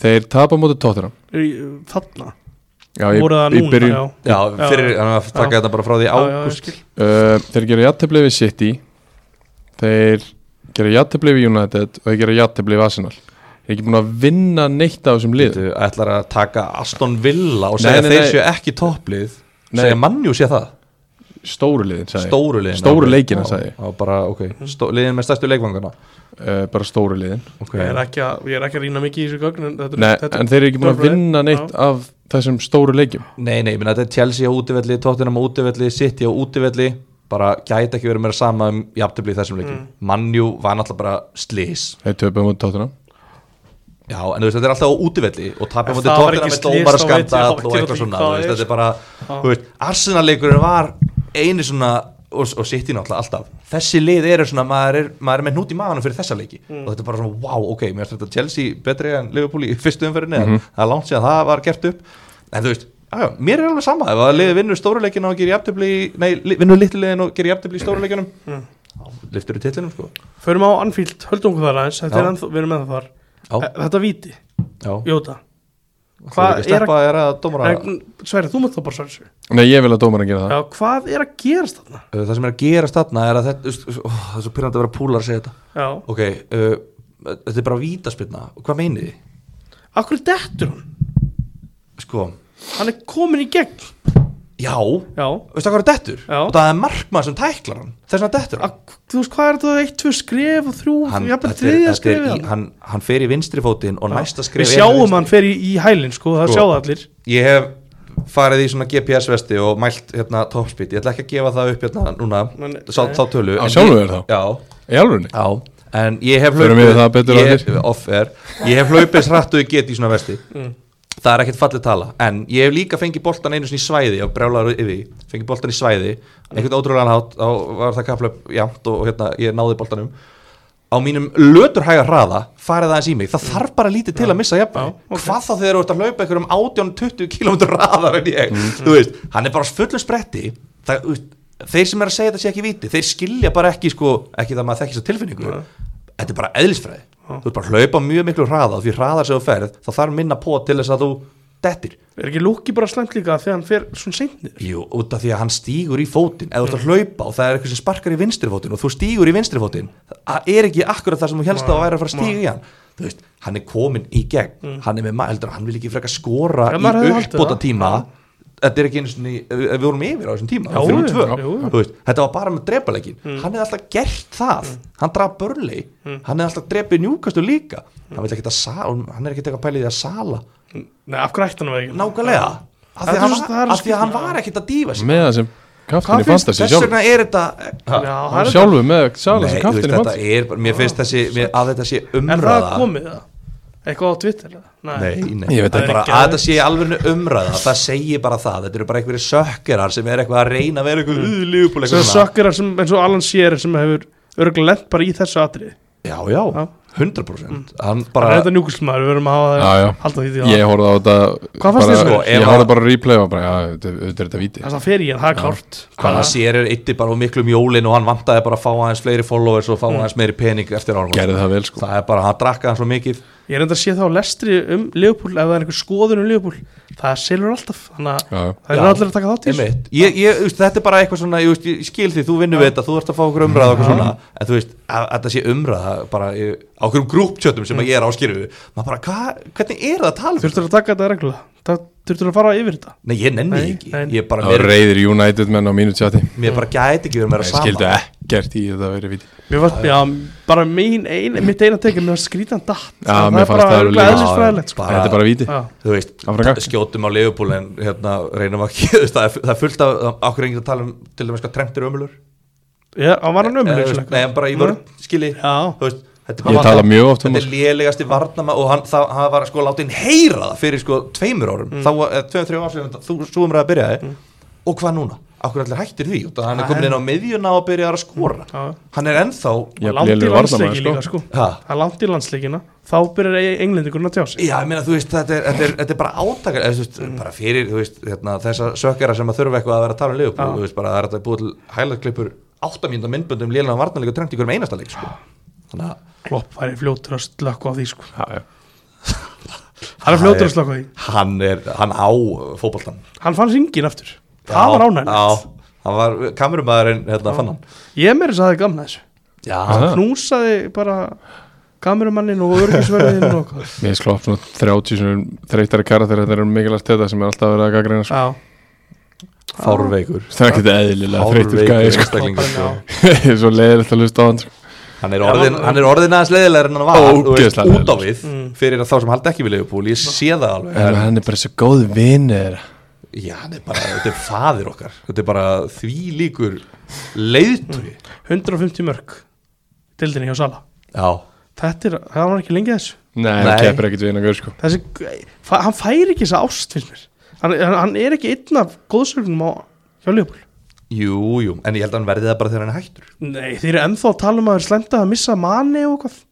B: þeir tapa móti Tottenham
A: í, þarna
B: Já,
A: Voru það núna,
B: byrjun-
A: já
C: já,
A: Já.
C: fyrir, þannig að taka
A: Já.
C: þetta bara frá því
A: Já, já, ég
C: ágúst
A: skil.
B: Uh, þeir gera jættefli við City þeir gera jættefli við United og þeir gera jættefli við Arsenal þeir er ekki búin að vinna neitt af þessum lið
C: Þú ætlar að taka Aston Villa og
B: Nei,
C: segja
B: nei,
C: þeir
B: nei.
C: séu ekki topplið
B: Nei.
C: segja mannjú sé það
B: stóru liðin sagði ég.
C: stóru liðin
B: stóru
C: alveg.
B: leikina
C: Já,
B: sagði ég.
C: já, bara, ok, Stó, liðin með stærstu leikvangana
B: uh, bara stóru liðin
C: okay.
A: Ég er ekki að, ég er ekki að rýna mikið í þessu gögn en þetta,
B: Nei,
A: þetta,
B: en þeir eru ekki búin að
A: stóru liðin,
B: vinna neitt
A: já.
B: af þessum stóru leikjum
C: nei, nei, ég meina, þetta er Chelsea á útivelli Tottenham á útivelli, City á útivelli bara gæti ekki verið meira sama um jafntöfli í þessum leikum, mm. mannjú var náttúrulega bara slís,
B: þeir töpum út tóttunum
C: já, en þú veist, þetta er alltaf á útivelli og
A: Ef
C: tapja mútið
A: það var ekki
C: Tottenham með
A: slys,
C: dómar
A: þá veit ég-
C: skandal
A: þá veit
C: og
A: ég
C: eitthvað
A: ekki
C: svona,
A: hvað
C: þú
A: það
C: veist,
A: er,
C: þetta er bara
A: Já.
C: þú veist, Arsenal-leikurinn var einu svona og, og City náttúrulega alltaf, þessi lið eru svona maður er, maður er með hnút í maðanum fyrir þessa leiki
A: Mm.
C: og þetta er bara svona, wow, ok, mér finnst þetta Chelsea betri en Liverpool í fyrstu umferðinni mm það er langt síðan það var gert upp en þú veist, já, mér er alveg sama ef að liði vinnur stóru leikinu og gerir jafntefli í- nei, li- vinnur litli liðin og gerir jafntefli í stóru leikinum mm. liftur í tillinum sko
A: Förum á Anfield, höldum okkur þar aðeins Þetta
C: Já.
A: er ennþá, við erum ennþá þar
C: Já.
A: Eh, Þetta víti,
C: já,
A: Jóta
C: hvað
A: Eh, Hvað er að,
C: er að dómara
A: Sverri, þú mátt þá bara svara þessu
B: Nei, ég vil að dómarinn gera það
A: Já, hvað er að gerast þarna?
C: Uh, það sem er að gera statna er að þetta ó, það er svo pyrrandi að vera púlar að segja þetta
A: Já,
C: ok, uh, þetta er bara vítaspilna hvað meinið þið?
A: akkur dettur hann?
C: sko,
A: Hann er komin í gegn
C: já,
A: Já,
C: veistu hvað er dettur?
A: Já.
C: og það er markmaður sem tæklar hann þess vegna dettur hann,
A: Ak- þú veist hvað er þetta eitt, tvö skref og þrjú,
C: hann,
A: jafnvel
C: þetta er-
A: þriðja
C: þetta er
A: skrefið
C: í- hann, hann fer í vinstri fótinn og næsta skref
A: við
C: er
A: sjáum
C: vinstri.
A: hann fer í, í hælinn sko, það
C: Sko.
A: sjáðu allir
C: ég hef farið í svona GPS vesti og mælt hérna topspeed, ég ætla ekki að gefa það upp hérna núna,
A: Nei,
C: sá,
A: nei.
C: þá tölu
B: Á
C: en
B: sjálfur
C: ég-
B: þér þá?
C: já,
B: Í alvörunni?
C: Já, en ég hef
B: Förum við það betur á
C: ég,
B: eftir?
C: off air, ég hef hlaupið srættu í geti í svona vesti Það er ekkert fallið tala En ég hef líka fengið boltan einu svona í svæði og brjálaður yfir, því, fengið boltan í svæði einhvern ótrúlegan hátt, þá var það kaplöp jamt og hérna, ég náði boltanum á mínum löturhæga hraða farið aðeins í mig, það þarf bara lítið til að missa jafnvægi,
A: Já, ok.
C: hvað þá þegar þú ert að hlaupa einhverjum 18-20 km hraðar en ég,
A: Mhm.
C: þú veist, hann er bara á fullu spretti, það, þú veist, þeir sem er að segja þetta sé ekki viti, þeir skilja bara ekki sko, ekki það maður þekkist að tilfinningu þetta er bara eðlisfræði, þú ert bara að hlaupa mjög miklu hraða, því hraðar sem þú ferð, þá þarf minna på til þess að þú dettir
A: Er ekki Lúki bara slæmt líka þegar hann fer svona seinniður?
C: Jú, út af því að hann stígur í fótinn eða þú ert að hlaupa og það er eitthvað sem sparkar í vinstri fótinn og þú stígur í vinstri fótinn það er ekki akkurat það sem þú helst að væri að fara að stíga í hann þú veist, hann er komin í gegn hann er með maður, heldur að hann vil ekki frekar skora
A: Ja, Mm. maður
C: í
A: hefði haldið
C: uppbóta
A: það.
C: tíma þetta er ekki einu sinni, ef ef við vorum yfir á þessum tíma
A: Já, Mm.
C: já, jú, tvö,
A: jú, jú.
C: Þú veist, þetta var bara með drepalegin hann hefði alltaf gert það,
A: Mm.
C: hann draf börli hann hefði alltaf drepið njúkastu líka
A: Mm.
C: hann, vill ekkit að sa- hann er ekki eitthvað pælið í að sala
A: Nei, af hverju ætti hann að vera ekki?
C: nákvæmlega, af
A: Það
C: því
A: er
C: að hann,
A: svo- það er
C: af því að hann
A: skrýtna.
C: var ekkit að dýfa sig
B: með það sem kaftin í
C: hvað finnst
B: fantasi
C: þess
B: sjálf
C: vegna er þetta
A: Já, það
B: hann
A: er
B: sjálfu með
C: Nei,
B: sjálf sem
C: þú veist,
B: kaftin í
C: þetta
B: fantasi
C: er, bara- mér finnst þessi mér, að þetta sé
A: Er það
C: umræða
A: komið það? Eitthvað á Twitter? eða?
C: Nei, nei,
B: Ég veit
C: það
A: ekki.
C: er bara,
A: Það er
C: að þetta sé alveg umræða það segir bara það, þetta eru bara einhverju sökkerar sem er eitthvað að reyna að vera eitthvað mm. lífbúl
A: Svo sökkirar sem, eins og Alan Shearer sem hefur örgulega lent bara í þessu atrið
C: já, já,
A: Já. Mm.
C: 100% hann
A: Það er
C: bara,
A: þetta njúkulsmaður, við verum að hafa það
B: Já, já.
A: halda því til það
B: ég horfði á þetta
A: Hvað fannst
B: bara-
A: þér sko?
B: ég
C: Ef
B: horfði
C: að-
B: bara á replay og bara, já, þetta er þetta er þetta víti
A: Það er það fer í hann, það er klárt
C: hvað hann sér er eitthi bara á miklu um jólin og hann vantaði bara að fá aðeins fleiri followers og fá
A: Mm.
C: aðeins meiri pening eftir árum
B: gerði það vel sko
C: það er bara, hann drakka hann svo mikið
A: Ég er enda að sé þá lestri um Leopold ef það er einhver skoðun um Leopold það selur alltaf, þannig að
B: Já, já.
A: það
C: Já.
A: er allir að taka þátt í þessu
C: Einmitt. ég, ég, þú veist, þetta er bara eitthvað svona ég, veist, ég skil því, þú vinnur við þetta, þú ert að fá okkur umræða og okkur svona, en þú veist, að, að þetta sé umræða bara í, á okkur grúptjötum sem að ég er á skilju, maður bara, hva, hvernig er það að tala um
A: Þurftur að taka þetta reglulega Það þurftur að fara yfir þetta
C: nei, ég nenni
A: Nei,
C: ekki,
A: nei.
C: ég bara
B: það var
C: mér,
B: reyðir United menn á mínu chati
C: mér bara gæti ekki verið meira
B: Ég
C: sama
B: skildi ekkert í þetta verið víti
A: Mér fannst, já, bara mín ein, mitt eina tekið, mér fannst skrítan datt
B: Já,
A: Það
B: mér
A: er
B: fannst
A: bara
B: það
A: örgulega
B: alveg-
A: eðlisfræðilegt sko.
C: Já,
B: þetta er bara víti
A: Já.
C: þú veist,
B: Áfram gakk.
C: skjótum á leifupúl en hérna reynum að ekki, þú veist, það er, það er fullt af okkur enginn að tala um, til dæmis, hvað trendir ömulur
A: Já, hann var hann
C: Eða,
A: ömurlegur
C: Eh,
A: sko.
C: þú veist,
A: svona
C: nei, en bara í vörn, skilji
A: Já.
C: Þú veist, þetta er
B: Ég
C: bara-
B: tala mjög oft um
C: þetta er lélegasti varnama og hann, það, hann var sko látið heyra það fyrir sko tveimur árum
A: Mm.
C: þá var eh, tveim, þreim árum þú svo umræða byrjaði og hvað núna? Akkur allir hættir því Út af að hann er
A: Það
C: komin
A: er-
C: inn á miðjuna og byrjar að skora
A: Já.
C: hann er ennþá
B: Jafn
A: Langt í
B: lélegur
A: landsleiki
B: varnarmaður,
A: líka sko
C: ha,
A: Það er langt í landsleikina Þá byrjar E- englendingurinn að tjá sig
C: já, ég meina, þú veist, þetta er, þetta er, þetta er bara átakar eða, þú veist,
A: Mm.
C: bara fyrir, þú veist, hérna, þessa sökkara sem að þurfa eitthvað að vera að tala um liðupúl
A: Já.
C: þú veist, bara það er þetta búið til hælarklippur áttamínda myndböndum lélega varnarleika trengt í hverjum einasta leik sko. þannig að
A: Klopp væri fljótur að slökka á því sko
B: Já, já.
A: Hann er fljótur að slökka á því
C: hann er, hann á fótboltan
A: Hann fann ringin aftur Það var ánægilegt
C: Já, hann var kamerumæðurinn hérna fann hann
A: Ég meiri að það er gamna þessu
C: Já,
B: Já.
A: Knúsaði bara kamerumannin og örgisverðin og hvað
B: Mér er slopp svona 30 sinum þreytari karakter þetta er mikilvægt þetta sem er alltaf verið að gaggrina sko.
A: Já,
C: fárveikur
B: Það er ekki eðlilega þreytur gæði
C: Fárveikur
B: sko.
C: einstaklingur sko.
B: Ég er svo leiðilegt að hlusta á hann sko.
C: Hann er orðin, hann er orðin aðeins leiðilegar en hann var
B: Ó,
C: þú veist,
B: ógeðslega
C: út á við fyrir að þá sem haldi ekki við leifupúl ég sé það alveg
B: En hann er bara svo góð vinnir
C: Já, hann er bara, þetta er faðir okkar þetta er bara því líkur leiðtúi
A: 150 mörg Dildinni hjá Sala
C: Já,
A: Þetta er, það var ekki lengi að þessu
B: Nei,
C: Nei.
B: hann keppir ekkert við hann að sko.
A: Þessi, fa- hann fær ekki þessa ást finnst mér Hann, hann- hann er ekki einn af góðsögnum á hjá Leopold
C: jú, jú en ég held að hann verði það bara þegar hann er hættur
A: Nei, þeir eru ennþá að tala um að þeir slemta að missa manni og hvað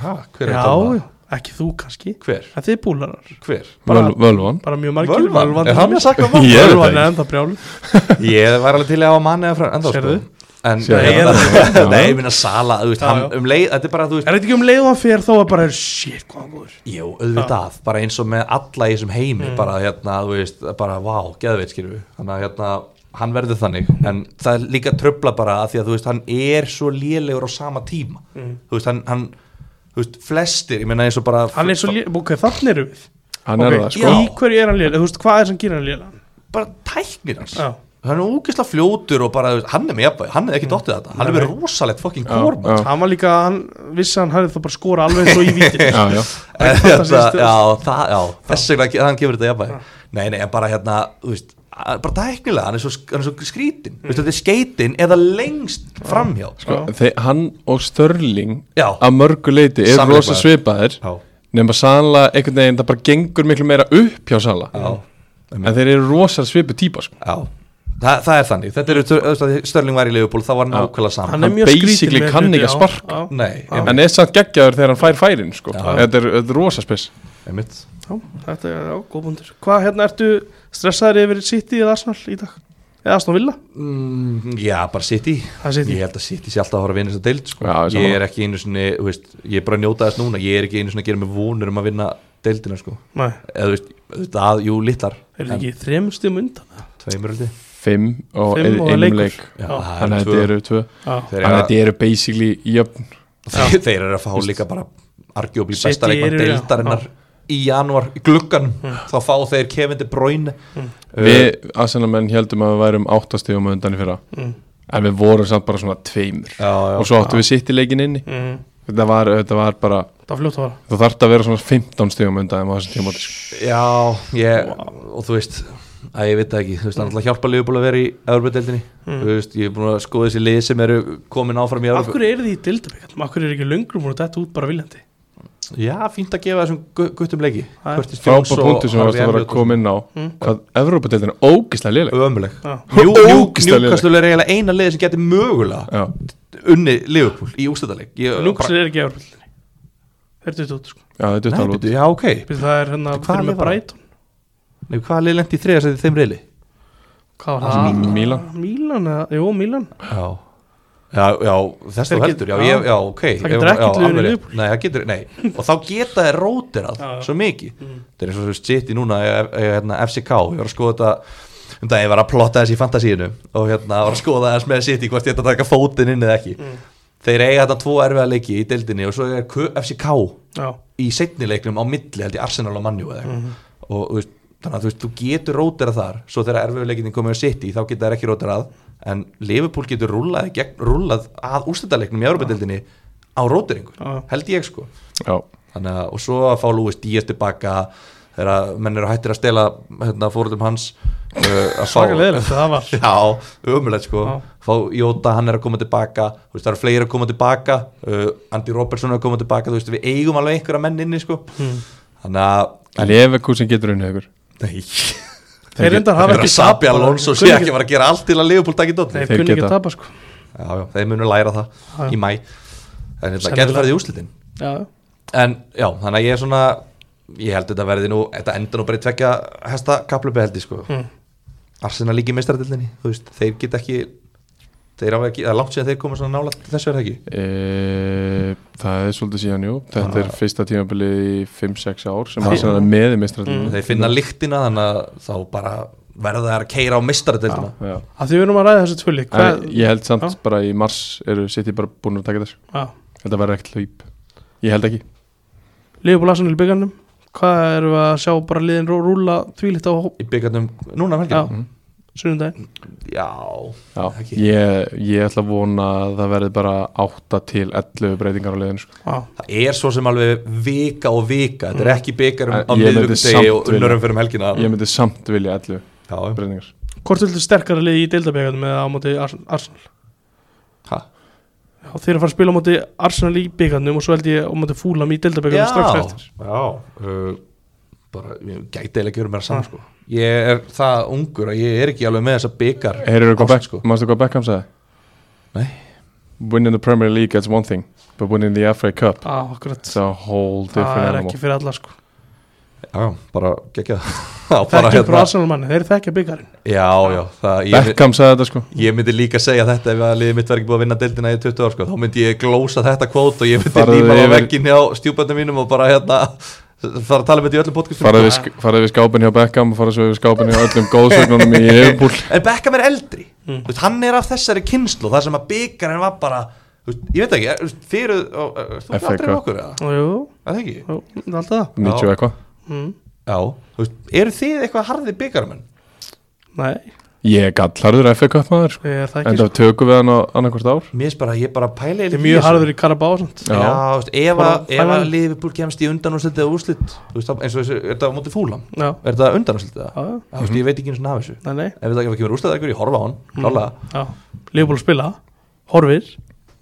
C: ha, Hver er
A: Já,
C: þetta?
A: já, ekki þú kannski
C: Hver?
A: En þið búlarar,
C: Hver?
A: Bara-
B: Völvan
A: bara mjög margir
C: Völvan?
A: Völvan
C: Er hann að sakka um hann?
B: Ég veit það
A: Völvan er
B: ekki.
A: enda brjál
C: Ég var alveg til að hafa manni eða frá ennþá sko
A: Sérðu?
C: En,
B: Sérðu?
C: Nei,
A: Nei,
C: ég- nei, ég minna Sala, þú veist,
A: Já,
C: hann
A: já.
C: um leið, þetta er bara, þú veist
A: Er þetta ekki um leið og hann fer þó að bara er shit hvað hann góður
C: Jú, auðvitað, bara eins og með alla í þessum heimi,
A: Mm.
C: bara hérna, þú veist, bara vá, geðveit, skilur við, þannig að hérna, hann verður þannig, en það er líka tröfla bara að því að, þú veist, hann er svo lélegur á sama tíma,
A: Mm.
C: þú veist, hann, hann, þú veist, flestir, ég meina eins og bara
A: Hann er svo léð, ok, þannig erum við
B: Hann er
A: Ok,
B: það, sko.
A: Í hverju er hann léð, þú veist hvað er sem gerir hann léð
C: bara tæknir hans,
A: Já.
C: hann er ógeðslega fljótur og bara, þú veist, hann er með jafnvæg, hann
A: Mm.
C: er ekki dottið þetta, hann er með rosalegt fucking korma,
B: Já.
A: Hann var líka, hann vissi að hann hafði þá bara skora alveg eins og í vítin
B: Já, já
A: Ekki
C: En
A: fantasi-
C: hérna, já, það, já, þess vegna ke- hann gefur þetta jafnvæg nei, nei, en bara hérna, þú veist a- bara tæknilega, hann er svo, hann er svo skrítin mm. þetta er skeitin eða lengst framhjá
B: sko, þe- Hann og Störling
C: Já.
B: að mörgu leiti er
C: Samlíkmaður.
B: rosa svipaðir
C: Já.
B: nema Sala einhvern veginn það bara gengur miklu meira upp hjá Sala
C: já,
B: en þeir eru rosa svipu típa sko.
C: já Þa, það er þannig, þetta eru þú veist, að Störling var í Leifupúl, það var nákvæmlega saman
A: Hann er
B: Hann
A: mjög
B: basically
A: skrítin með
B: kann
A: hluti,
B: ekki að
A: já,
B: sparka.
A: já.
C: nei,
B: en er samt geggjaður þegar hann fær færin sko.
C: Já.
B: þetta, er, þetta er rosa spes
C: einmitt
A: Já, þetta er já, góð búndur Hvað, hérna, ertu stressaður yfir City eða Arsenal í dag? Eða Arsenal Villa?
C: Mm, Já, bara City
A: Það er City.
C: Ég held að City sé alltaf að fara að vinna þess að deild sko.
B: Já, ég
C: Ég
B: sammála.
C: er ekki einu sinni, þú veist, ég er bara að njóta þess núna Ég er ekki einu sinni að gera mig vonur um að vinna deildina sko.
A: Nei,
C: eða þú veist, auðvitað, jú, litlar
A: Er það ekki þrem stíum undan?
C: tveimur held ég.
B: fimm og
A: Fimm
B: ein-
A: og
B: einum
A: leikur.
B: leik
C: Já,
A: Já.
C: það
B: þannig að
C: tvö.
B: þetta eru tvö
A: Já,
C: Þeir
B: þannig að
C: eru-
B: þetta eru basically jöfn
C: þeir, þeir eru að fá líka bara argjóbli
A: City
C: besta leikmann
A: eru-
C: deildarinnar í janúar, í glugganum
A: Mm.
C: þá fá þeir kefindi bróin
B: við aðsennamenn heldum að við værum áttastegum undan í fyrra
A: Mm.
B: en við vorum samt bara svona tveimur og svo áttum við sitt í leikin inni
A: mm,
B: þetta var, þetta var bara,
A: það var fljótt að vara
B: þú þarft að vera svona 15 stegum undan þeim á þessum sko. tíma
C: Já, ég, og þú veist að ég veit það ekki, þú veist, það er
A: Mm.
C: alltaf hjálpa Leopold að vera í Evropadeildinni, þú veist, ég er búin að skoða þessi lið sem eru komin áfram í
A: Af
C: Evropa
A: hverju eru þið í dildabíkarnum? Af hverju eru ekki löngrum og þetta út bara viljandi?
C: Já, fínt að gefa þessum gu- guttum leiki
A: Það er
C: Curtis Jones
B: frábár
C: og
B: punktu sem
C: Harvey
B: varst að vera
C: Elliott
B: að koma inn á
C: Hmm?
B: hvað Evrópadeildin er ógislega léleg
C: Ömuleg
A: Já.
B: Ógeðslega léleg.
C: Njúkastul er eiginlega eina liði sem getur mögulega
B: Já,
C: unni Leopold í ústæðarleik
A: Núksir er ekki árvöldinni Þeir eru út sko
B: já þetta er
C: Nei,
B: talað út
C: byrju, já, ok
A: Býtu, Það er hérna,
C: Hvað
A: þeir eru
C: lið
A: með
C: var það?
A: Brighton
C: Nei, Hvaða lið lendi í þriðasæti þeim reyli?
A: Hvað var
B: Það er
A: það?
B: Mí- Mílan.
A: Mílan, eða- jú, Mílan
C: Já Já, já, þess
A: Þeir
C: þú
A: get-
C: heldur, já,
A: já.
C: ég, já, ok
A: Það getur
C: Ef-
A: ekkert
C: já,
A: liðin í
C: alveg rétt.
A: Liverpool.
C: Nei, það getur, nei Og þá geta þeir rótirað
A: Já, Mm. já.
C: svo mikið Það er eins og þú sitt í núna eh, eh, hérna, FCK, ég var að skoða þetta um dag ég var að plotta þess í fantasíinu og hérna var að skoða þess með sitt í hvort ég ætti að taka fótinn inn eða ekki
A: Mm.
C: Þeir eiga þetta tvo erfiða leiki í deildinni og svo er K- FCK
A: Já,
C: í setni leiknum á milli held ég Arsenal og Manjú eða eitthvað
A: Mhm.
C: og þú veist, þannig að þú veist, þú getur rótera þar svo þegar erfiðleikinni komið á City þá geta þær ekki rótera að en Liverpool getur rúlað, gegn, rúlað að úrstættaleiknum í Európa-dildinni á róteringu,
A: Já.
C: held ég sko
B: Já,
C: þannig að, og svo að fá Lúis Díaz tilbaka þegar að menn eru hættir að stela hérna, fórhundum hans uh,
A: svaka leðilegt það var
C: Já, umulegt sko
A: Já.
C: Fá Jóta, hann er að koma tilbaka þú veist, Það eru fleiri að koma tilbaka uh, Andy Robertson er að koma tilbaka Þú veist, Við eigum alveg einhverja menn inni sko
A: Mm.
C: Þannig að
B: Leverkusen getur unnið ykkur
C: Nei,
A: Þeir reyndar hafa
C: þeir
A: ekki
C: að Sabi
A: tapað.
C: Alonso
A: Kunni
C: sé ekki að vera að gera allt til að Leopold takki dotni
A: Þeir
B: Þeir
A: kunni ekki
B: geta.
A: að tapa sko
C: Já, já, þeir munu læra það
A: Já.
C: í mæ En þetta
A: Sennilega.
C: getur farið í úslitin
A: Já,
C: En já, þannig að ég er svona Ég held þetta verði nú, þetta enda nú bara í tvekja Hesta kaplubi held ég sko
A: Mm.
C: Arsenal líki meistaradildinni, þú veist Þeir get ekki Þeir hafa ekki, það er langt síðan þeir koma svona nálægt Þessu er það ekki
B: e, Það er svolítið síðan, jú Þetta er fyrsta tímabilið í 5-6 ár sem
C: Ah. Já.
B: að er með í
C: Og
B: mistratinu
C: þeir finna lyktina þannig að þá bara verða það að keira á mistaradeildina
B: Já,
A: að því við erum að ræða þessu tvöli
B: en ég held samt
C: Ah.
A: Já.
B: bara í mars eru City bara búin að taka þess Þetta verður ekkert hlaup Ég held ekki
A: Leifbúl Arsenal í byggarnum Hvað erum við að sjá bara liðin rú- rúlla þvílitt á
C: í byggarnum núna um
A: Já,
C: helgina
A: sunnundaginn
C: já,
B: Já,
C: Ekki.
B: ég, ég ætla að vona að það verði bara 8 til 11 breytingar á liðinu sko.
A: Já,
C: það er svo sem alveg vika og vika þetta er ekki
B: En
C: byggarum á
B: ég myndi
C: miðvíkudegi
B: samt
C: og
B: vilja-
C: unnurum fyrir um helgina
B: Ég myndi samt vilja 11
C: já,
B: breytingar
A: hvort viltu sterkara liði í deildabíkarnum eða á móti Ars- Arsenal
C: ha,
A: Já, þeir eru að fara að spila á móti Arsenal í byggarnum og svo held ég á móti Fúlam í
C: já,
A: deildabíkarnum strax eftir
C: já uh, bara, ég gæti eiginlega ekki verið meira saman sko. ég er það ungur að ég er ekki alveg með þessa byggar
B: Heyrðu hvað
C: Ást,
B: Beck,
C: sko.
B: manstu hvað Beckham sagði?
C: Nei.
B: Winning the Premier League that's one thing but winning the FA Cup
A: Já, akkurat
B: it's a whole
A: Það
B: different
A: er
B: animal
A: ekki fyrir alla sko
C: já, bara geggja það
A: Þekkjum frá Arsenal manni, þeir þekkja byggarinn
C: hérna. já, já, það, ég,
B: Beckham sagði þetta sko
C: Ég myndi líka segja þetta ef að liðið mitt verði ekki búið að vinna deildina í 20 ár sko. þá myndi ég glósa þetta kvót og ég myndi
B: Farðu
C: líma á
B: yfir-
C: vegginni á stjúböndum mínum og bara hérna fara að tala með þetta í öllum podcastum sko.
B: Farðu við, sk- farðu við skápin hjá Beckham og farðu svo við skápin hjá öllum góðsögnunum í Liverpool
C: En Beckham er eldri mm. veist, hann er af þessari kynslu þar sem að byggarinn var bara þú veist, ég veit ekki, er- þú veist, fyrir og, er, þú veist
B: FA
C: aldrei með
B: Cup.
C: okkur eða?
A: Jú,
C: Er það ekki?
A: jú, það er alltaf það
B: 90 og eitthvað
A: mm.
C: Já, þú veist, eru þið eitthvað harði byggarmenn?
A: Nei,
B: Ég er gallarður FA Cup maður sko.
A: ég er það ekki
B: Enda tökum við hann á annarkvart ár
C: Mér er bara, ég bara pæla
A: Ég er mjög harður í Karabá samt
C: Já,
B: Já.
C: þú veist, ef
A: Bara
C: að- ef að
A: fælan-
C: Liverpool kemst í undan og slutið úrslit, þú veist, þá- eins og þessu, er þetta á móti fúlam?
A: Já,
C: Er þetta undan og slutið það?
A: já, já,
C: Já, veist, ég veit ekki eins og af þessu
A: nei, nei
C: ef það ekki kemur úrstæðarkur, ég horfa á hann
A: Mm.
C: klálega,
A: Já, Leifbúl spila, horfir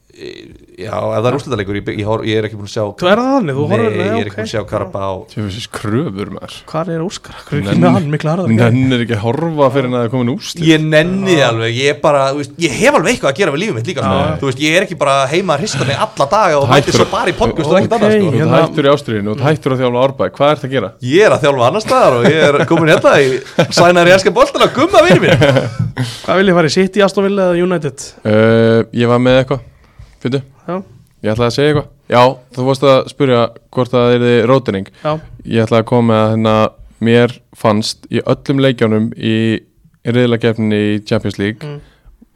C: já, ef það er úrstæðarleikur ég, ég, hor- ég er ekki búin að sjá
A: Þú er það þannig, þú horfir
C: Nei, ég er
A: Nei,
C: ekki búin að
A: ok.
C: sjá Karabá
B: Tjöfisins kröfur maður
A: Hvar er Óskar? Hver er ekki
B: Nenn-
A: með hann, miklu harðar gæi?
B: Nennir ekki að horfa fyrir en að það er komin úrslit
C: ég nenni því alveg, ég er bara þú veist, ég hef alveg eitthvað að gera við lífið mitt líka sko.
B: Já.
C: þú veist, ég er ekki bara heima að hrista mig alla daga og mæti
B: Hættur-
C: svo bara í podcast og ekkert
A: Ok.
C: annað
B: Þú
C: sko.
B: ert
A: Hérna-
B: hættur í ástriðinu, þú ert hættur að þjálfa árbæk Hvað ert að gera?
C: ég er að þjálfa annar staðar og ég er komin hérna í sænar í æskan boltan að gumma vinnu mín
A: Hvað vil ég fara í City, Aston Villa eða United?
B: Uh, ég var með eitthvað Fyndu,
A: Já,
B: ég ætlaði að segja eitthvað Já, þú vorst að spyrja hvort það er þið rótining
A: já,
B: Ég ætlaði að koma með að hérna mér fannst í öllum leikjónum í reyðlagefninni í Champions League
A: Mm.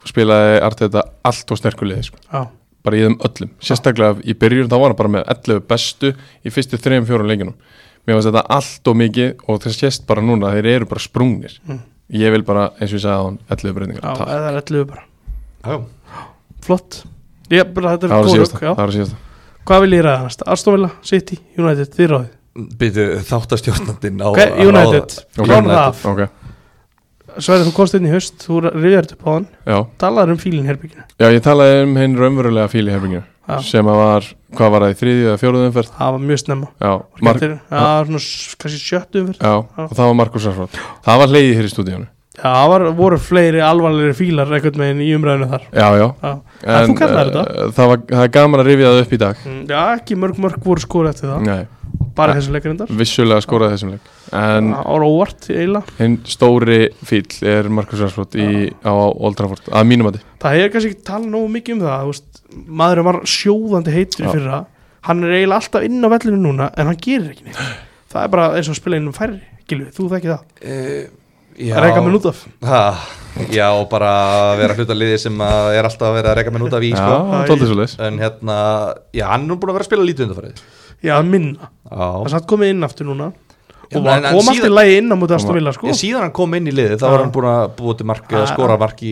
B: spilaði Arteta allt og sterkulegði sko.
A: Já,
B: bara í þeim öllum, sérstaklega í byrjun þá var hann bara með 11 bestu í fyrstu 3-4 leikunum, mér finnst þetta allt og mikið og þess sést bara núna að þeir eru bara sprungnir,
A: Mm.
B: ég vil bara eins og ég sagði á hann, 11
A: já,
B: breytingar Takk.
A: það er allu bara
C: Já, já.
A: Flott Ég, bara, þetta
B: það
A: er
B: var
A: góð
B: síðasta,
A: rök, já.
B: það var síðasta
A: Hvað vil ég ræða næst? Aston Villa, City, United, þið ráðið
C: Býtu þáttastjórnandinn á
A: Ok,
C: að
A: United,
B: Ok,
A: klárum það af
B: ok,
A: Sværi, þú komst inn í haust, þú rifjar þetta upp á hann
B: já
A: Talar um fílinn herbygginu
B: Já, ég talaði um hinn raunverulega fíli hefingju
A: Já.
B: sem að var, hvað var það í þriðju eða fjóruðu umferð
A: Það var mjög snemma
B: Já,
A: Var
B: Mar
A: ekki eftir- Já, svona s- kannski sjöttu umferð
B: já og það var Markus Raffrott Það var leiðið hér í stúdíónu
A: Já, það var, voru fleiri alvarlegri fílar einhvern veginn í umræðinu þar
B: Já, já
A: Já, En þú kallaðir
B: eh,
A: þetta?
B: Það var, það er gaman að rifja það upp í dag
A: Mm, já ekki mörg mörg voru skor eftir það
B: Nei,
A: Bara þessu leikrindar
B: vissulega skoraði þessum leik Mm. En
A: Það var óvart eiginlega
B: hinn stóri fíl er Markus Raffrott í, á Old Trafford að mínum að
A: Það hefur kannski ekki talað nógu mikið um það þú veist, Maðurinn var sjóðandi heitur í
B: Já.
A: fyrra Hann er eiginlega alltaf inn á vellinu núna En hann gerir ekki neitt Það er bara eins og að spila innum færri Gilvi, þú þekki það
C: Eh,
A: Það er eitthvað með nút af
C: Ha, já, og bara vera hluta liði sem að er alltaf að vera að reyka mér út af í
B: Já,
C: sko.
A: Æ.
B: tóldi svo leiðis
C: En hérna, já, hann er nú búin að vera að spila lítið undarfærið
A: Já, minna Það er
C: Já,
A: satt komið inn aftur núna Og
C: Já, en-
A: var,
C: en
A: kom allt í
C: síðan-
A: lagi inn á móti Aston Villa sko
C: ég, síðan hann kom inn í liðið þá
A: Já.
C: var hann búin að búa til mark eða
A: Já.
C: skora mark í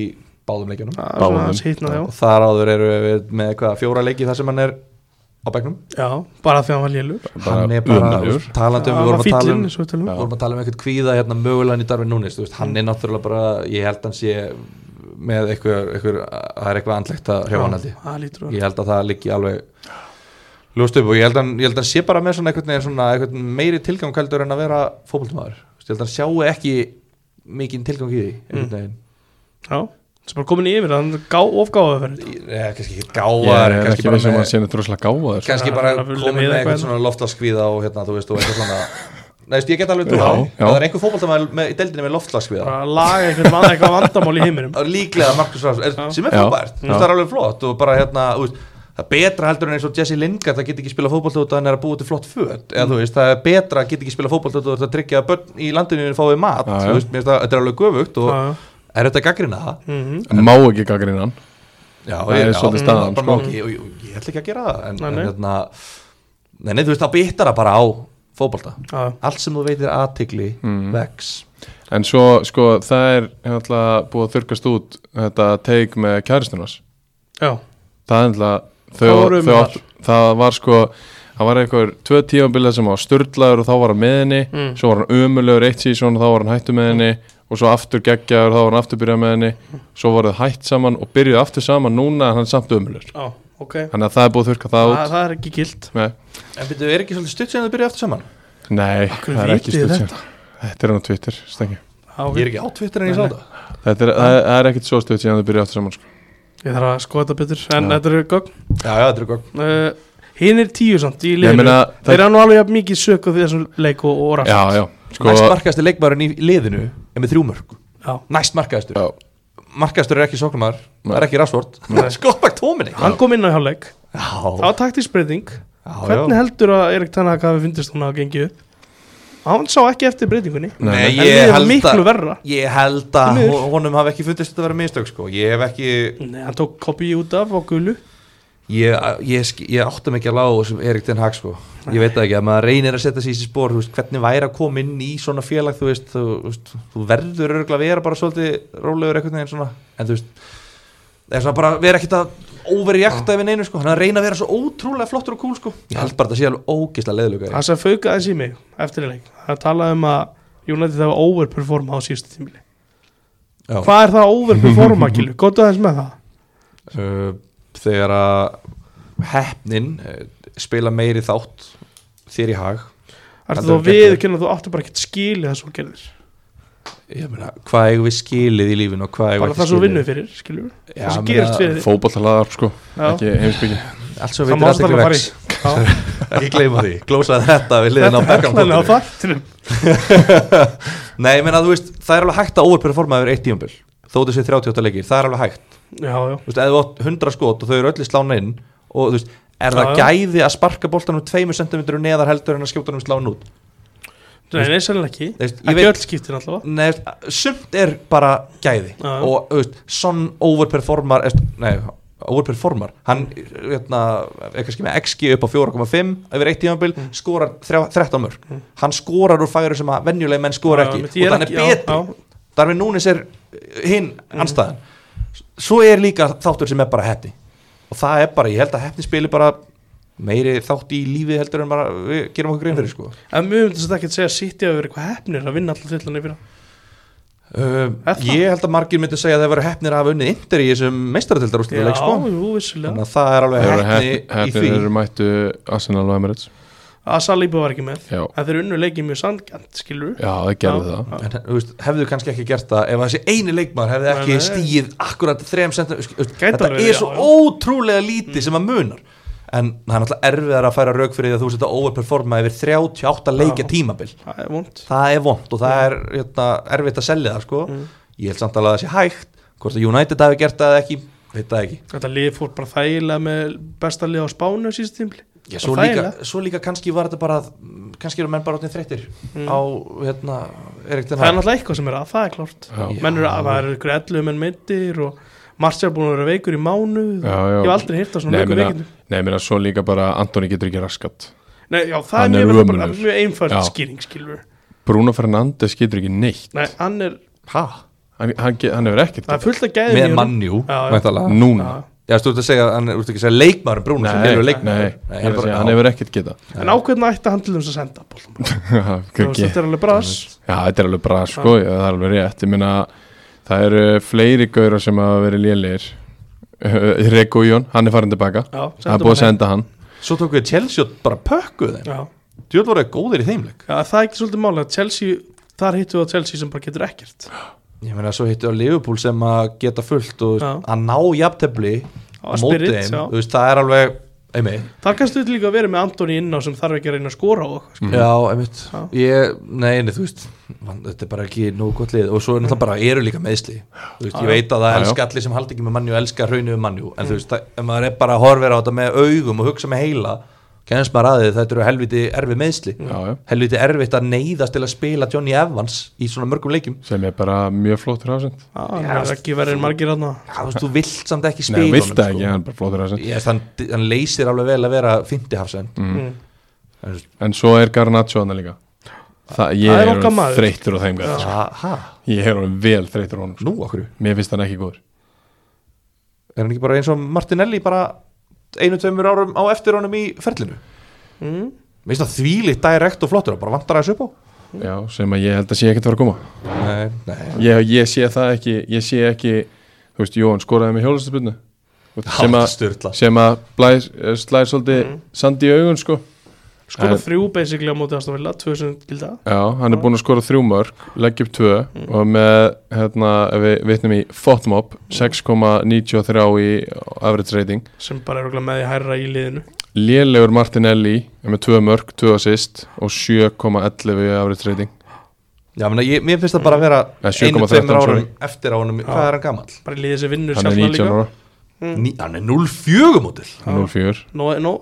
C: báðum leikjunum
A: Það er svona
B: Báðum.
A: hans hitna
C: Og þar áður eru við með hvað, fjóra leiki þar sem hann er á bekknum
A: Já, bara því að hann var lélur
C: Hann er bara,
B: ömurlegur.
C: talandi um, við vorum að tala um
A: um
B: Já.
C: Við vorum að tala um eitthvað kvíða hérna mögulegan í Darwin Núnes þú veist, hann er náttúrulega bara, ég held hann sé með eitthvað, eitthvað það er eitthvað andlegt að hrjá hann held ég
A: Það lítur að
C: ég held að það liggi alveg ljóst upp og ég held að, ég held að hann sé bara með svona einhvern, veginn svona einhvern meiri tilgang heldur en að vera fótboltmaður Þú veist, ég held að hann sjáu ekki mikinn tilgang í því einhvern veginn
A: Já, sem bara komin í yfir Hann gá, ofgáðu fyrir þetta
C: Ég- eh, kannski ekki
B: Ég
C: gáðar
B: er
C: kannski
B: ekki
C: bara,
B: veist um að
C: með,
B: hann sé neitt rosalega gáfaður sko.
C: kannski
A: Já,
C: bara
A: hann er að
C: komið
A: vilja
C: með
A: með
C: eitthvað
A: eitthvað.
C: svona loftlaskvíða og hérna þú veist og eitthvað svona Nei, veist, ég get alveg
B: Já,
C: trúið á því.
B: já.
C: Ef það er einhver fótboltamaður með- í deildinni með loftlaskvíða
A: Bara laga eitthvað, vanda, eitthvað vandamál í heiminum
C: það er líklega Markus Rásson sem er
B: Já.
C: frábært, þú veist, það er alveg flott og bara hérna, þú veist, það er betra heldur en eins og Jesse Lingard það get ekki spila fótbollt út að hann er að búa til flott föt
B: Mm.
C: eða þú veist, það er betra að get ekki spila fótbollt út að það tryggja að börn í landinu fái
B: Já,
C: mat
B: já.
C: þú veist, mér finnst það, þetta er alveg göfugt og
A: Já, já.
C: er þetta að gaggrina það?
A: Mhm.
B: Má ekki gaggrina hann
C: Já,
B: Það er svolítið staðan,
C: bara
B: sko.
C: má ekki, og, og, ég ætla ekki að gera það en,
A: Nei,
C: en
A: nei.
C: hérna, nei, nei, þú veist, það bitar það bara á fótbolta
A: Já,
C: allt sem þú veitir aðtigli
B: Mm.
C: vex
B: En svo, sko, það er hérna búið að þurkast út þetta teik með kæristunars.
A: já,
B: Það er hérna, þau,
A: Hvað voru um
B: þau
A: þar?
B: átt, það var sko, það var einhver tvö tímabilið sem var sturdlaður og þá var hann með henni,
A: Mm.
B: svo var hann umulögur eitt síðan og þá var hann hættu með henni og svo aftur geggjaður og þá var hann aftur byrjað með henni, svo voruð þau hætt saman og byrjuð aftur saman núna en hann er samt umulögur.
A: já, ok
B: Þannig að það er búið að þurka það
A: Það,
B: út.
A: það er ekki gilt
B: Nei,
C: en byrju, er ekki svolítið stutt sem þau byrja aftur saman?
B: Nei
A: hverju
B: það
A: vitið
B: er ekki
A: þið
B: stutt sem. Þetta er hann á Twitter, stengi.
A: Já, ok.
C: Ég er ekki átvittur en ég sá
A: Nei,
C: þetta
B: Þetta er,
A: Ah.
B: það er- það er ekkit svo stutt síðan þau byrjuð aftur saman, sko.
A: Ég þarf að skoða þetta betur En
B: Já.
A: þetta eru gögn
C: Já, já, þetta er gott
A: uh, Hinn er tíu samt í
B: Ég
A: liðinu
B: meina,
A: Þeir eru nú alveg jafn mikið sök á þessum leik og, og rast
B: Já, já, sko,
C: Næst markaðasti leikmaðurinn í liðinu er með þrjú mörg
A: Já.
C: Næst markaðastur
B: Já.
C: Markaðastur er ekki sóknumar,
B: Nei.
C: það er ekki rásvort Skoppak tóminni Já,
A: Hann kom inn á hjáleik Það
C: já,
A: var taktisbreyting Hvernig
C: já.
A: heldur að Erik Tanaka hafi fyndist hún að gengi upp? Hann sá ekki eftir breytingunni
C: Nei,
A: En liðið
C: ég
A: var
C: held
A: miklu
C: að
A: verra
C: Ég held
A: Því
C: að
A: miður.
C: hon- honum hafi ekki fundist þetta að vera mistök sko. Ég hef ekki
A: Nei, hann tók kopi út af og gulu
C: Ég, ég, sk- ég áttum ekki að lágu sem Erik Den Hag sko. Ég veit það ekki að maður reynir að setja sér í þessi spór veist, Hvernig væri að koma inn í svona félag Þú veist, þú, þú, veist, þú verður örgulega að vera bara svolítið rólegur einhvern veginn svona En þú veist, það er svona bara vera ekkert að overreakta yfir neinu sko hann er að reyna að vera svo ótrúlega flottur og cool sko ég held bara að það sé alveg ógeðslega leiðlöka
A: Það sem faukaði þessi í mig eftir í leik Það talaði um að United hafa overperforma á síðustu tímili
C: Já.
A: Hvað er það að overperforma, Gilvi? Góttu aðeins með það
C: uh, þegar að hefnin uh, spila meiri þátt þér í hag
A: Ertu
C: Heldur
A: þú
C: þú
A: að við kynna þú áttu bara ekkert skilið það svo gerðir
C: ég meina, hvað eigum við skilið í lífinu og hvað eigum
A: Bara
C: við ekki
A: það svo
C: skilið
A: vinnu fyrir, skiljum við
C: Já,
A: Það sem
C: meina,
A: gerist fyrir þig.
B: fótballalaðar sko,
A: Já.
B: ekki heimsbyggi
C: allt svo
A: Það
C: veitir
A: má
C: að
A: alltaf fara
C: það
A: í
C: vex
A: Já,
C: ekki gleyma því, glósaði þetta við liðin á
A: Þetta er
C: Beckham
A: allan á
C: fótunum.
A: þættinum
C: nei, ég meina, þú veist, það er alveg hægt að overperforma yfir eitt tíumbil þó þessi 38 leikir, það er alveg hægt
A: Já, já,
C: þú veist, ef þú átt 100 skot og þau eru öll í slána inn og þú veist, er
A: Já,
C: það
A: já.
C: gæði að sparka boltanum 2 cm neðar heldur en að skjóta hann um slán út
A: Nei, nei, sannlega ekki
C: Þú veist, ég
A: Ekki
C: veit-
A: öll skiptir alltaf
C: Nei, sumt er bara gæði
A: Já, já.
C: og þú veist, Son overperformar eða, nei, overperformar hann, hérna, eitthvað skimja XG upp á 4,5 yfir eitt tímabil skorar þrjá- 13 mörg hann skorar úr færi sem að venjulegi menn skora ekki og þannig er betri Darvin Núnes er eh, hinn anstæðan svo er líka þáttur sem er bara hefni og það er bara, ég held að hefni spili bara meiri þátt í lífi heldur en bara við gerum okkur grein fyrir sko
A: En mjög myndi þetta ekki að segja að City hafi verið eitthvað hefnir að vinna alltaf þillan yfir
C: Um,
A: Er það?
C: ég held að margir myndi segja að þeir voru hefnir að hafa unnið Inter í þessum meistaratildarúslu
A: Já,
C: sko.
A: jú, vissulega
C: þannig að það er alveg
B: Þeir eru
C: hefni
B: hepp-
C: í
B: heppnir
C: því
B: eru mættu Arsenal og Emirates
A: Að Saliba var ekki með
B: Já,
A: En þeir unnu leikið mjög sangjönd, skilur
B: já það gerði
A: Já.
B: það
C: en þú veist, hefðu kannski ekki gert það ef þessi eini leikmaður hefði
A: Nei,
C: ekki
A: nei.
C: stíð akkurat þrejum sentum
A: Gæti
C: þetta
A: alveg verið,
C: er svo
A: já, já.
C: ótrúlega lítið sem að munar en það er náttúrulega erfiðar að færa rauk fyrir því að þú setja overperforma yfir 38 leikja
A: Já.
C: tímabil
A: Það er vond
C: það er vond og það er hérna, erfitt að selja það sko. ég held samt alveg að það sé hægt hvort að United hafi gert það eða ekki veit það ekki
A: Þetta lið fór bara þægilega með besta lið á Spánu síðust tímli
C: Já, svo, líka, svo líka kannski var þetta bara mm, kannski eru menn bara orðin þreyttir á hérna, Erik
A: Það
C: Ten
A: er
C: Hag
A: náttúrulega eitthvað sem er að, það er klárt
B: Já,
A: Menn eru að, það eru ykkur 11 menn meittir og Martial búin að vera veikur í mánu
B: Já, já.
A: Ég hef aldrei hýrt á svona
B: Nei,
A: veikum
B: meina-
A: veikindum
B: Nei, mér að svo líka bara Antoni getur ekki raskat
A: Nei, já, það
B: Hann
A: er
B: er
A: mjög, bara,
B: ömurlegur.
A: mjög einfært
B: Já.
A: skýring, skilur
B: Bruno Fernandes getur ekki neitt
A: Nei, hann er,
C: Hæ?
B: Hann, hann, ge- hann hefur ekkert
A: það er fullt að gæði
C: Með mannjú,
A: Já, já.
C: væntalega
B: núna
C: Já, þú ert að segja, hann er ert ekki að segja leikmaður Brúnu sem
B: Nei,
C: eru
B: nei,
C: leikmaður
B: ég er að segja, hann hefur ekkert geta
A: En ákveðna ætti hann til þess að senda boltan bara. Þú veist,
B: Kukki.
A: Þetta er alveg bras
B: Já, þetta er alveg bra sko, já, það er alveg rétt Ég meina, það eru fleiri gauðra sem hafa verið lélir Rekko Jón, hann er farin tilbaka
A: Já,
B: Það er búið að senda hann
C: Svo tók við Chelsea og bara pökkuð þeim
A: Já,
C: Djöld voru þeir góðir í þeimleik
A: Já, það er ekki svolítið máli að Chelsea Þar hittu við á Chelsea sem bara getur ekkert
C: Ég meina, svo hittu á Liverpool sem að geta fullt og
A: Já.
C: að ná jafntefli á
A: Já,
C: móti
A: spirit,
C: þeim,
A: já.
C: þú veist, það er alveg einmitt,
A: Þar kannstu við líka að vera með Antoni inn á sem þarf ekki að reyna að skora á okkur
B: Mhm.
A: sko.
C: já, einmitt
A: Já.
C: ég, nei, nei, þú veist man, þetta er bara ekki nógu gott lið og svo er náttúrulega bara eru líka meðsli, þú veist,
A: Mm. Já, Mm.
C: ég veit að það
B: já.
C: elska allir sem haldi ekki með mannjú, elska rauninu með mannjú, en þú veist, það- ef maður er bara að horfa á þetta með augum og hugsa með heila kennst maður að þið, þetta eru helviti erfi meðsli
A: Mm.
B: Já, já,
C: helviti erfitt að neyðast til að spila Johnny Evans í svona mörgum leikjum
B: sem er bara mjög flottur ásend
A: Já, hann er ekki verið en margir aðna
C: Já, þú veist, þú vilt samt ekki
B: Nei,
C: spila
B: hann vilt það ekki, hann er bara flottur ásend
C: Yes, hann, hann leysir alveg vel að vera 50 hafsend
A: mm.
B: En svo er Garnaccio hann líka Það, ég
A: Það er
B: er
A: okkar
B: orðinn
A: maður.
B: þreyttur á þeim gæði sko.
C: Aha,
B: Ég er orðin vel þreyttur á honum sko.
C: nú okkur
B: Mér finnst hann ekki góður
C: Er hann ekki bara eins og Martinelli bara einu, tveimur árum á eftir honum í ferlinu?
A: Mm.
C: Mér finnst það þvílitt direkt og flottur og bara vantar aðeins upp á?
B: Já, sem að ég held að sé ekkert að fara að koma
C: Nei, nei.
B: ég, ég sé það ekki Ég sé ekki, þú veist, Jón skoraði með hjólastabunni sem,
C: Há,
B: að-
C: styrla.
B: sem að blæs, eh, slær svolítið
A: Mm.
B: sandi í augun sko
A: Skora
B: En-
A: þrjú basically á móti aðstofilla Tvö sem gilda
B: Já, hann er
A: Mm.
B: búinn að skora þrjú mörg, leggja upp tvö og með, hérna, ef við vitnum í FOTMOB, 6,93 í average rating
A: Sem bara er örugglega með því hærra í liðinu
B: Lélegur Martinelli er með tvö mörg, tvö assist og 7,11 í average rating
C: Já, mena, ég, mér finnst það bara að vera
B: Eða
C: einu,
B: 7,13,
C: tveimur árum
B: sorry.
C: eftir á honum. Hvað er hann gammal?
A: Bara í liði sem vinnur
B: Hann er
A: sjálfna
B: 19
A: líka
B: ára,
C: Ný, hann er 0,4 mótil.
A: Já.
B: 0,4
A: nó, nó,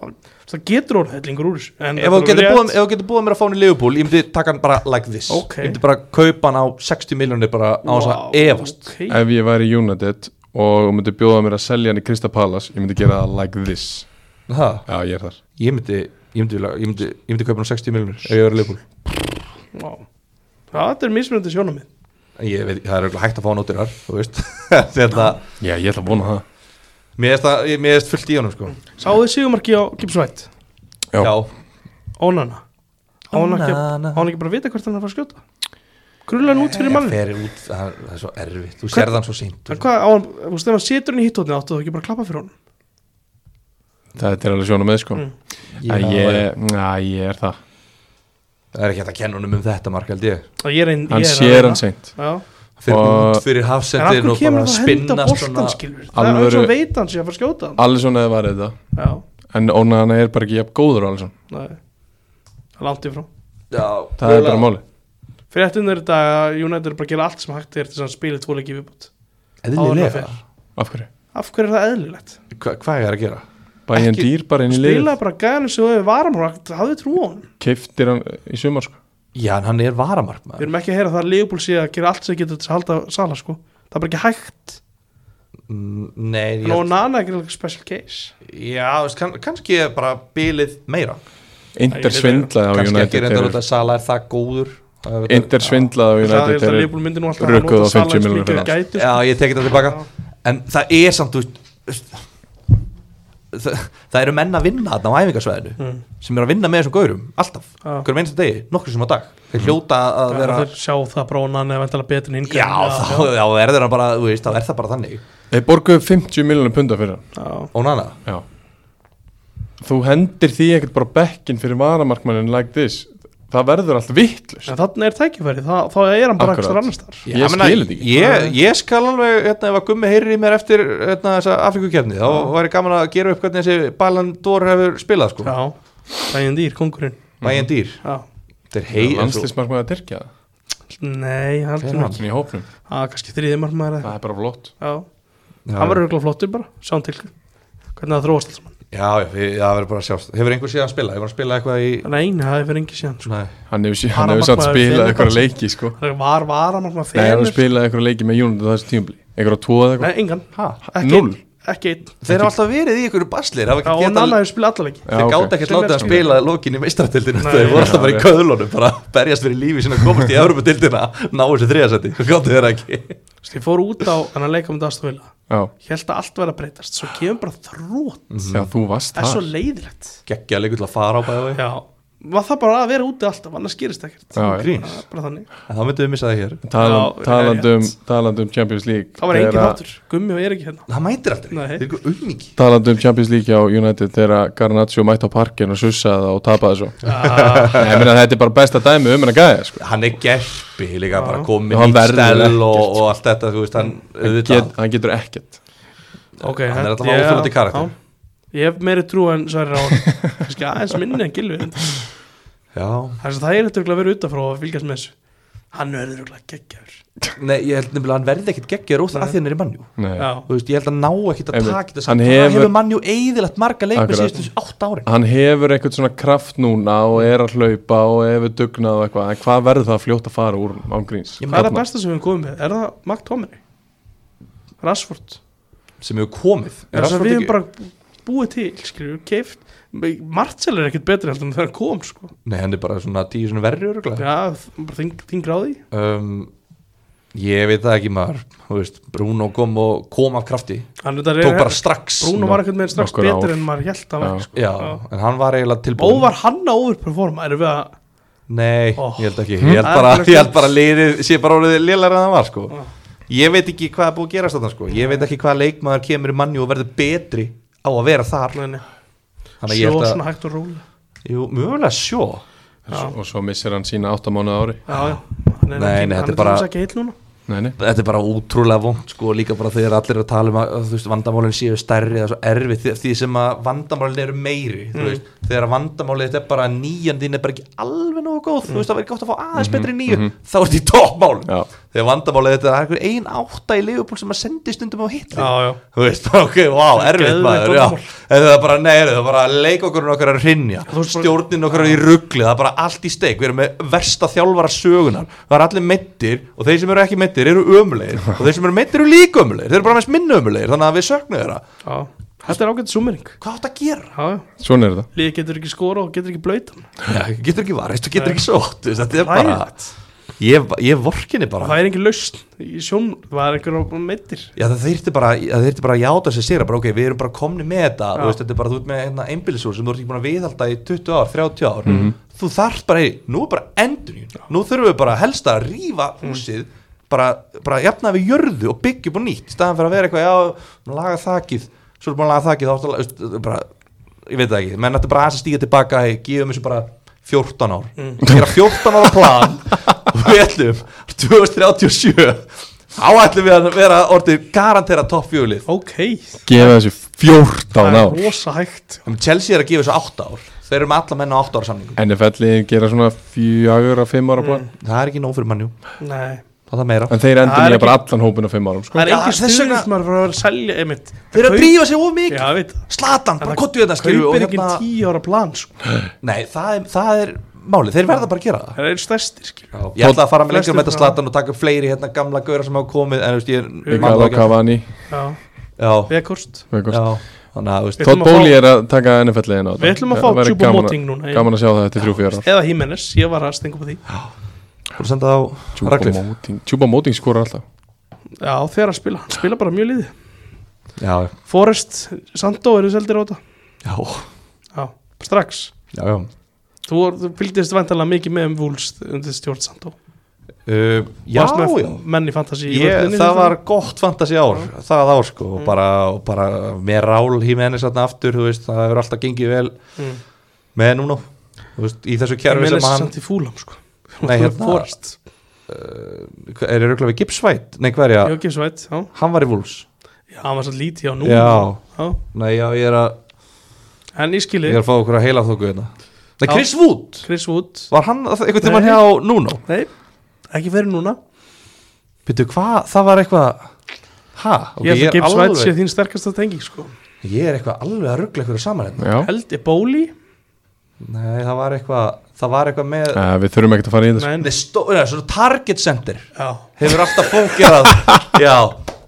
A: Það getur orðið hellingur úr þessu en þetta
C: Ef þú
A: er
C: getur
A: rétt.
C: búið- ef þú getur búið mér að fá hann í Leopold, ég myndi taka hann bara like this.
A: Ok.
C: Ég myndi bara kaupa hann á 60 miljónir bara á þess
A: Vá,
C: að efast.
A: ok.
B: Ef ég væri United og myndi bjóða mér að selja hann í Krista Palace, ég myndi gera það like this
C: Ha,
B: Já, ég er þar
C: ég myndi, ég myndi, vilja- ég myndi, ég myndi kaupa hann á 60 miljónir ef ég verið Leopold.
A: Já, Já, þetta er mismunandi sjónamið
C: Ég veit, það er örugglega hægt að fá hann út í þar, þú veist. Þetta,
B: Já, ég ætla að vona það
C: mér finnst það- mér finnst fullt í honum, sko.
A: Sáðu þið sigumarki á Gipsvætt
B: Já.
C: Já,
A: Ónana Á hann ekki, á
C: Onana.
A: hann ekki bara að vita hvert hann er að fara að skjóta Grunlega hann út fyrir
C: Það
A: manni
C: fer út, það það er svo erfitt Þú
A: Hvern-
C: sérð hann svo seint
A: En hvað, á hann, þú veist, ef hann setur hann í hittótni áttu þú ekki bara að klappa fyrir honum
B: Þetta er alveg sjóna með sko
A: Mm.
B: Já, ég, já, ég er það
C: Það er ekki hægt að kenna honum um þetta mark held ég
A: Og ég er ein,
B: Hann
A: ég er að
B: sér
A: reyna.
B: hann seint
A: Já,
C: Fyrir
B: Og-
C: út fyrir
A: en af
C: hafsendin
A: hverju
C: og
A: kemur
C: bara
A: hann að henda
C: spinna
A: boltan
C: svona
A: skilur Það er eins og
B: Alvöru-
A: veit hann sé að fara að skjóta hann
B: Allison hefði varðið þetta
A: Já,
B: En Onana er bara ekki jafn góður á Alisson
A: nei Það er langt í frá
C: Já,
B: Það er bara máli
A: Fyrir eftir þetta að United er bara að gera allt sem hægt er til að spila tvo leiki í viðbútt
C: Eðlilega
A: Áður
B: Af hverju?
A: Af hverju er það eðlilegt?
C: Hva, Hvað er að gera?
B: Bæði hann
A: Ekki-
B: dýr bara inn í liðið
A: Spila bara gæðan sem þú hefur varam og hafði trú á hann
B: Keiftir hann í sumar sko
C: já, en hann er varamark
A: Við erum ekki að heyra það að Leopold sé að gera allt sem getur til að halda sala sko Það er bara ekki hægt
C: Mm, Nei,
A: En
C: ég,
A: Onana er ekki special case
C: já, þú veist, kann, kannski er bara bilið meira
B: Inter svindlaði á
C: kannski
B: United
C: ekki reyndar út
B: þegar-
C: að Sala er það góður
B: Inter
A: Það er
B: svindlaði á United
A: það að
B: þegar-
A: Leopold myndi nú alltaf
B: rukkuð á 50
A: eins
B: milljónir
A: mikið og
B: pund.
A: gæti
C: Já, ég tekið það tilbaka En það er samt, þú veist það, það eru menn að vinna þarna á æfingarsvæðinu
A: Mm.
C: sem eru að vinna með þessum gaurum, alltaf
A: Já.
C: hverjum einstu degi, nokkur sem á dag þeir hljóta að
A: Já,
C: vera
A: Þeir sjá það brónan eða vantala betur en
C: Já, þá, þá er það bara, þú veist, þá er það bara þannig
B: Þeir borguðu 50 miljonum punda fyrir hann
A: þá
C: Ónana,
B: Já Þú hendir því ekkert bara bekkin fyrir varamarkmannin like this Það verður allt vittlust
A: En þannig er tækifæri, þá, þá er hann bara
B: Akkurat.
A: ekstra annars þar
B: Ég skil þetta ekki.
C: ég, ég skal alveg, hérna, ef að gummi heyrir í mér eftir hérna, þessa Afrikukefni, þá væri gaman að gera upp hvernig þessi Balan Dór hefur spilað, sko,
A: Já, bæjum dýr, kongurinn
C: Bæjan Dýr
A: Já,
C: Þetta er hei, eins og-
B: Landslismarkmann að Tyrkja
A: nei, hann
C: Hver er
A: er
C: hann?
A: ekki
B: Þannig í hópnum
A: Já, kannski þriði margmaður
B: Það
A: eða
B: er bara flott
A: Já,
C: Já.
A: hann verður örugglega flottur bara, sjáum til Hvernig það þróast alls mann
C: Já, já, við- það verður bara að sjást Hefur einhver síðan að spila? Hefur hann spilað eitthvað í
A: Nei, nei, það er fyrir engi síðan sko.
C: Nei,
B: Hann hefur sé- hann hefur
A: Varamarkmaður
B: samt spilað
A: Fenerbahce.
B: eitthvað leiki sko
A: Það var, var hann margmaður
B: Nei, hann hefur
A: fyrir
B: spilað eitthvað leiki með United á þessu tímabli Eitthvað tvo eða
A: Nei, engan,
C: ha?
A: ekki
B: Núll?
A: einn, Ekki einn
C: Þeir eru alltaf verið í einhverju baslir
A: Já, og Nanna hefur spilað alla leiki
B: Já,
C: Þeir
B: ok.
C: gátt ekkert látið að
A: Sem er-
C: spila lokin í meistaratildinu
A: Nei.
C: Þeir voru alltaf bara í
B: Já,
C: köðlunum bara að berjast fyrir lífi sinna komast í Evropatildina ná þessu þriðasæti, hvað gáttu þeir ekki
A: Þú veist, Ég fór út á hennar leika um dagstofila
B: Já,
A: Ég held að allt verið að breytast Svo kemur bara þrótt
B: já þú varst
A: Það er svo
B: Mhm. það
A: leiðilegt
C: Gekkja leikur til að fara á bæði
A: Já, var það bara að vera úti alltaf Annars gerist ekkert
B: Já, já.
C: Grís,
A: Það er bara þannig
C: En þá myndum við missa það hér
A: Já,
B: Talan- Talandum
A: rétt.
B: talandum um Champions League
A: Það var engin
B: þegar-
A: þáttur Gummi og er ekki hérna
C: Það mætir aldrei,
A: Nei.
C: þeir eru ykkur ummingi
B: Talandum um Champions League á United þegar Garnaccio mætti á parkin og sussaði það og tapaði svo
A: Já,
B: Nei, ég meina þetta er bara besta dæmi um hennar gæði sko.
C: Hann er gerpi líka, bara
B: Já,
C: komið
B: hann
C: í
B: verður
C: stel
B: ekkert,
C: og, og allt þetta, þú veist, hann
B: Get,
C: auðvitað,
B: hann getur ekkert
A: ok
C: Hann er alltaf
A: ég-
C: óþolandi karakter.
A: já. Ég hef meiri trú en Sverri Rá Kannski aðeins minni en Gilvi Þess
C: Já,
A: að það er þetta örugglega að vera utafrá og fylgjast með þessu Hann verður örugglega geggjaður
C: nei, ég held nefnilega að hann verði ekkert geggja róþar að því hann er í mannjú
B: Nei.
A: Já,
C: þú veist, ég held að ná ekkit að
B: Einmitt.
C: taka þetta
B: Hann
C: samt, hefur,
B: hefur-
C: hefur mannjú eðilegt marga leikmenn
B: Akkurat.
C: síðustu átt árin
B: hann hefur eitthvað svona kraft núna og er að hlaupa og hefur dugnað og eitthvað en hvað verður það fljótt að fara úr án gríns Hérna.
C: Ég
A: hvað er það
B: Þarna.
A: besta sem við erum komið með? Er það Mark Tomri? Rashford?
C: sem hefur komið
A: Er það
C: Rashford
A: við
C: ekki-
A: hefum bara búið til, skilju, keift Marcel er ekkert betri heldur en þegar hann kom sko.
C: Nei, hann er bara svona tíu svona verri öruglega
A: Já, bara þing, þing ráði
C: um, Ég veit það ekki maður Þú veist, Bruno kom og kom af krafti
A: Hann er
C: Tók bara strax
A: Bruno var ekkert með strax
B: nokkur ár.
A: betri en maður held að
B: Já.
A: vera sko.
C: Já, en hann var eiginlega tilbúin
A: Og var hann að overperforma, erum við að
C: Nei,
A: Oh.
C: ég held ekki Ég held
A: Það er
C: bara,
A: alveg
C: ég held bara liðið sé bara orðið lélæra en það var sko
A: Já.
C: Ég veit ekki hvað er búið að gerast þarna sko Ég veit ekki hvað leikmaður kemur í manni og verður betri á að vera þar
A: Nei, nei.
C: Þannig að ég
A: sjó
C: held að,
A: svona hægt og róla
C: jú, mögulega sjó
A: Já.
B: og svo missir hann sína 8 mánuð ári
A: Já, já, hann er
C: Nei,
A: ekki,
C: nei,
A: hann
C: þetta er
A: er
C: bara-
A: bara... ekki heill núna
B: nei, nei.
C: þetta er bara útrúlega vond sko, líka bara þegar allir eru að tala um að þú veist, vandamálin séu stærri eða svo erfið því, því sem að vandamálin eru meiri
B: Mm.
C: þú veist, þegar að vandamálin þetta er bara að nýjan þín er bara ekki alveg nógu góð þú veist það verður gott að fá aðeins betri nýju þá er þetta í toppmálin
B: Mhm, Já.
C: þegar vandamálin þetta er einhver ein átta í leifupól sem að sendi stundum á hitli
A: Já, já.
C: þú veist, ok, wow, erfið
A: Geðveikt
C: maður já.
A: vandamál.
C: en það er bara, nei, það er bara leik okkur okkar að rinja,
A: þú veist bara-
C: stjórnin okkar er í ruggli, það er bara allt í steik, við erum með versta þjálfara sögunar, það er allir meittir og þeir sem eru ekki meittir eru ömulegir og þeir sem eru meittir eru líka ömulegir, þeir eru bara mest minna ömulegir þannig að við söknum þeirra,
A: Já, þetta er ágætt summering
C: hvað átt að gera?
A: Já, já,
B: svona er það
A: liðið getur ekki skora og getur ekki blöytan
C: Já, getur ekki varist og getur ekki sótt þú veist, þetta er bara,
A: Hræðilegt.
C: ég, ég vorkinni bara
A: Það er engin lausn í sjón Það er einhver á meittir
C: Já, það þyrfti bara, það þyrfti bara að játa sér sigra bara, ok, við erum bara komni með þetta
A: Já.
C: þú veist, þetta er bara, þú ert með einna einbýlisúr sem þú ert ekki búin að viðhalda í 20 ár, 30 ár þú þarft bara, hey, nú er bara endur nú þurfum við bara helst að rífa húsið bara, bara jafna við jörðu og byggja upp og nýtt, í staðan fyrir að vera eitthvað já, laga þakið, svo er búin að laga þakið þá ertu að laga- veist, þetta er bara, ég veit það ekki menn þetta er bara aðeins að stíga tilbaka, hey, gefum þessu bara 14 ár,
A: Mm.
C: gera 14 ára plan og við ætlum 2037 þá ætlum við að vera orðið garantera topp fjólið
A: Ok,
B: gefa þessu
C: Oh,
B: 14
A: það
B: ár
A: er rosa hægt
C: um Chelsea er að gefa þessu 8 ár þeir eru með alla menn á 8 ára samningum
B: NFL-liðin gera svona 4-5 ára plan
C: það er ekki nóg fyrir mannjú,
A: Nei
C: það er það meira
B: en þeir endur
A: Mm. Það er
B: nýja bara allan hópin á 5 árum sko.
A: Það er
C: Já,
A: engin
C: þess vegna-
A: stuðnismar fyrir að vera að selja einmitt
C: þeir eru að
A: Kaup-
C: drífa sér of
A: Já, ég
C: mikið
A: hérna- veit það.
C: Slatan,
A: En
C: bara hérna,
A: það
C: kottu þetta skilju
A: Kaupir ekki tíu ára plan sko.
C: nei, það er, það er máli, þeir verða bara að gera það
A: Það er stærstir skil
C: Ég ætla að fara með
A: Flestir
C: lengur með þetta
A: bara-
C: slatan og taka upp fleiri hérna gamla gauðra sem hafa komið en þú veist ég
B: Líka
C: það
B: alveg Cavani
A: Já,
C: Já,
A: vekkort
C: já, þannig að þú veist
A: Við ætlum
B: Todd
A: að fá-
B: Bóli er að taka NFL-legin á þetta
A: Við ætlum að
B: Það
A: fá
B: væri
A: Júbo
B: gaman að-
A: Moting núna í-
B: Gaman að sjá það eftir þrjú fjör
A: Eða Hímenes, ég var að stinga på því
C: Þú senda það á Raglif
B: ár Júbo Moting skorar alltaf
A: Já, þegar að spila, hann spila bara mjög liði
C: Já,
A: Forrest, Sandó eru seldir á þetta
C: já,
A: Já, strax
C: já, já.
A: Þú, var- þú fylgdist vantalega mikið með um Vúls undir stjórn Sandó
C: Uh, já,
A: Varst með
C: já.
A: menn í Mm. fantasi
C: Ég, það var gott fantasi ár það ár sko, og bara, og bara með rál hímenni satna aftur þú veist, það hefur alltaf gengið vel
A: Mm.
C: með núna þú veist, í þessu kjærfi
A: Hímenes
C: sem hann
A: samt í fúlam sko
C: Nei, hérna-
A: Forrest,
C: er í röglega við Gipsvætt, nei hverja,
A: ég ekki svætt Já,
C: hann var í Vúls
A: Já, hann var svo lítið á nú
C: Já.
A: Já.
C: nei já, ég er að,
A: En ég skilji,
C: ég er að fá okkur að heila þóku hérna nei,
A: Já.
C: Chris Wood,
A: Chris Wood
C: var hann einhvern tímann
A: Nei.
C: hjá Nuno
A: Nei, ekki verið núna
C: Býttu, hvað, það var eitthvað Hæ, ok,
A: Ég held að
C: ég er
A: Gibbs White sé
C: alveg
A: þín sterkasta tengi sko.
C: Ég er eitthvað alveg að ruggla ykkur saman hérna
B: Já,
A: Held ég bóli
C: Nei, það var eitthvað, það var eitthvað með
B: Eh, við þurfum ekkert að fara í þetta sko.
A: Nei,
C: Nei, stó, nei, svona target center
A: já
C: Hefur alltaf fókerað Já,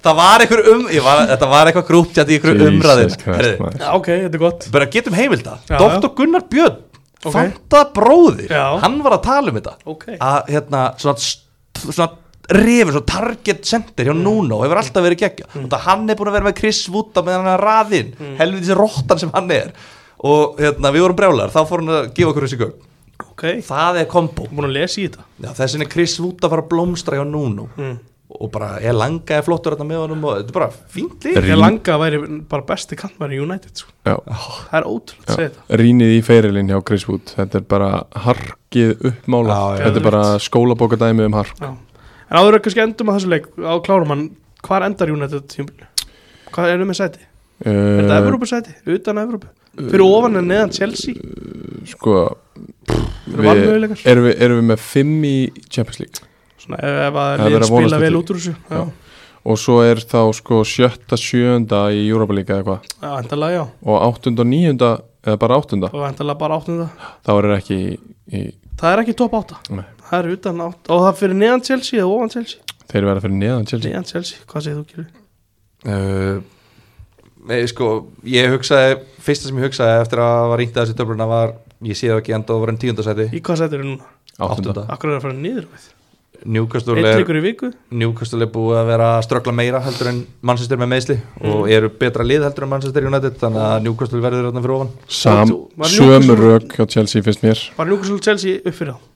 C: það var eitthvað um ég var, Þetta var eitthvað grúptjátt í eitthvað
B: Jesus
C: umræðin
B: Christ,
C: Herðu,
B: maður.
A: Já, ok, þetta er gott
C: Bara getum heimilda
A: Já,
C: Doktor Gunnar Björn
A: Ok.
C: Fanta bróðir
A: Já.
C: Hann var að tala um þetta
A: Ok,
C: Að hérna, svona, st- svona Rifur, svona target
A: Mm.
C: center hjá Nuno Hefur alltaf verið geggja mm. Þetta hann er búin að vera með Chris Wood á meðan hann er raðinn mm. Helviti rottan sem hann er Og hérna, við vorum brjálar Þá fór hann að gefa okkur þessi gögn
A: ok Ég
C: Það er kombo
A: er búin að lesa í þetta
C: Já, þess vegna er Chris Wood að fara að blómstra hjá Nuno
A: Mm.
C: og bara er langaði flottur þarna með honum og þetta er bara fínt líf
A: Ég
B: Rín-
A: langa að væri bara besti kantmæri í United sko.
B: Já.
A: Það er ótrúlega að segja þetta
B: Rýnið í ferilinn hjá Chris Wood Þetta er bara harkið uppmála
C: Já, já.
B: Þetta er bara skólabókadæmi um hark
A: já. En áður að kannski endum að þessu leik á klárum hann, hvar endar United tímbil? Hvað erum við með sæti? Er þetta
B: uh,
A: Evrópu sæti? Utan Evrópu?
B: eh,
A: Fyrir ofan en neðan Chelsea?
B: Sko
A: Eru valmöguleikar?
B: við, erum, við, erum við með fimm í Champions League
A: Svona ef, ef að
B: Það er verið
A: liðin
B: að vonast
A: spila vel
B: eftir
A: út úr þessu Já,
B: Já. Og svo er þá sko sjötta, sjöunda í Europa League eða eitthvað
A: já endalega já
B: Og áttunda og níunda, eða bara áttunda
A: Og endalega bara áttunda
B: Þá er ekki í, í
A: Það er ekki top átta
B: nei,
A: Það er utan átta Og það fyrir neðan Chelsea eða ofan Chelsea?
B: Þeir verða fyrir neðan Chelsea
A: Neðan Chelsea, hvað segir þú Kjölu?
C: uh, Nei, sko, ég hugsaði fyrsta sem ég hugsaði eftir að var rínt að þessu töfluna var ég sé það ekki enda og var enn tíundasæti
A: Í hvað sæti eru núna?
B: Áttunda
A: Akkur er það að fara niður við?
C: Newcastle
A: Eitt
C: er,
A: leikur í viku?
C: Newcastle er búið að vera að ströggla meira heldur en Manchester með meðsli og eru betra lið heldur en Manchester United þannig að Newcastle verður þarna fyrir ofan
B: Sam,
A: Þú- var
B: sömu
A: Newcastle-
B: rök hjá Chelsea finnst mér
A: Var Newcastle og Chelsea upp fyrir þá?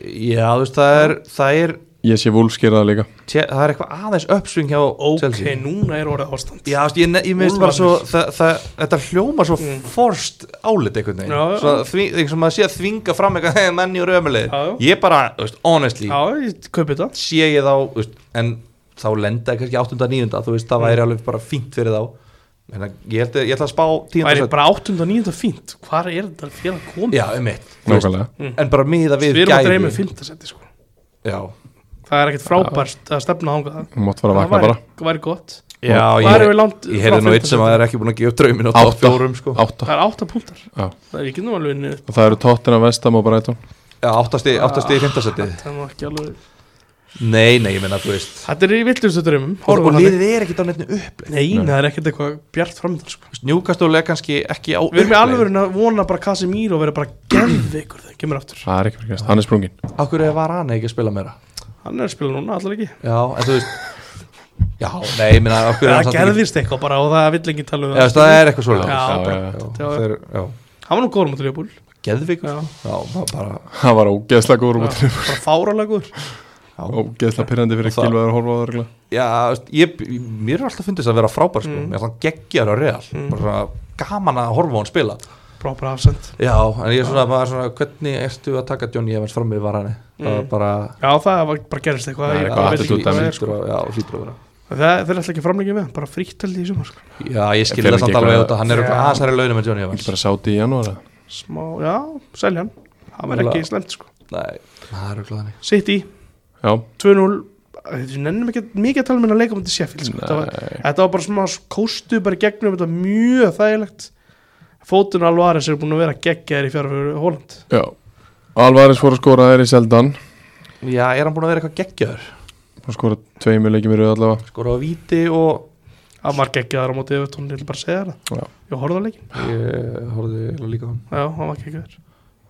C: Já, þú veist, það er, það er,
B: Ég sé Wolves gera það líka
C: það er eitthvað aðeins uppsving hjá
A: Ok,
C: Chelsea
A: núna er orðið ástand
C: Já, þú veist, ég, ne- ég minnst bara svo
A: Úlfarnir.
C: það, það, þetta hljóma svo
A: Mm.
C: forst álit einhvern veginn
A: Já, já.
C: Svo að því, eins og maður sé að þvinga fram eitthvað "Hey, menni úr ömulegir
A: Já, já.
C: ég bara, þú veist, honestly
A: Já, ég kaupi þetta
C: sé ég þá, þú veist, en þá lenda ég kannski 8. 9. þú veist, það
A: Mm.
C: væri alveg bara fínt fyrir þá en ég held að, ég ætla að spá 10.
A: Væri
C: sæti.
A: bara áttunda og nýjunda fínt Hvar er þetta fyrir að koma?
C: Já, um mitt
B: Nákvæmlega
C: En bara miða við
A: Við erum að
C: gæði.
A: dreyma um fymta sæti sko
C: Já,
A: Það er ekkert frábært að stefna ánga það
B: Hún mátt fara að
A: Það
B: vakna
A: væri,
B: bara
A: væri gott
C: já
A: Hvað
C: ég,
A: erum við langt
C: ég
A: frá
C: heyrði nú eitt
A: fimmta
C: sem
A: sæti?
C: að er ekki búin að gefa upp draumin á top
B: Átta.
C: 4 sko.
B: Átta
A: Það er átta punktar
B: Já.
A: Það er ekki nú alveg inni
B: Og það eru tóttina vestam og Brighton
C: Já, 8. stig 8. stig í 5.
B: Ah.
C: setið
A: Það er nú ekki alveg
C: Nei, nei, ég menna, þú veist
A: Þetta er í villustu drömmum
C: Og, og liðið er ekkert á neittinu uppleið
A: Nei, það er ekkert eitthvað bjart framöndan sko.
C: Newcastle er kannski ekki á
A: Við erum í
C: uppleið.
A: alveg að vona bara Casemiro og vera bara geðveikur þegar hann kemur aftur
B: Það er ekki fyrir gæst, hann er sprungin
C: Af hverju var hann ekki að spila meira?
A: Hann er að spila núna allar ekki
C: Já, en þú veist Já, nei, ég minna, af hverju er
A: Það
C: hann samt
A: gerðist eitthvað bara og það vill ekki tala um
C: Já, veist, það er eitthvað
A: Já,
C: svolítið
A: bara-
B: já.
A: já.
C: þeir, já
A: Hann var nú góður mútið Leopold
C: Geðvíkur
A: Já.
C: Já, það bara
B: Hann var ógeðslega góður út
A: Bara fáralega góður
B: Ógeðslega pyrrandi fyrir
C: Það-
B: Gilvaður að horfa á það örugglega.
C: Já, þú veist, ég, mér er alltaf fundist að vera frábær sko Mér er alltaf geggjar á real Bara svona gaman að horfa á hann spila
A: Proper afsend
C: Já, en ég er svona, maður er svona Hvernig ertu að taka Johnny Evans fram yfir varani? Það var bara
A: Já, það var bara gerðist eitthvað
B: Það er
A: ég
B: eitthvað
A: bara veit
B: attitude
A: ekki hvað
B: dæmi.
A: það er, sko.
C: Já, hlýtur að vera
A: Það- Þeir ætla ekki að framleika með hann, bara fríktaldi í sumar sko.
C: Já, ég skil
B: Fer
C: það
B: ekki
C: samt alveg
B: eitthvað-
C: út að hann er
A: Já.
C: aðsæri launum en Johnny
B: Ekki
C: Evans
B: bara sáti í janúar eða?
A: Smá, já, selja hann Það var ekki
C: Mögulega.
A: slemt sko
C: Nei, það er auðvitað þannig
A: Sitt í
B: Já,
A: 2-0 Þetta nennum ekki mikið að tala með að leika um þetta Sheffield sko. þetta, var, þetta var bara smá kóstu bara í gegnum, þetta var mjög þægilegt Fótun Alvarez er búin að vera geggjaðir í fjárfjörðu Holland
B: já Alvarez fór að skora þeirri seldan
C: Já, er hann búin að vera eitthvað geggjaður
B: og skora tveimur leikjum í rauð allavega
C: Skora á víti og
A: að maður geggjaðar á móti yfir tónin, ég vil bara segja það
B: Já.
A: ég horfði á leikin,
C: Ég horfði eiginlega líka á hann
A: já, hann var geggjaðar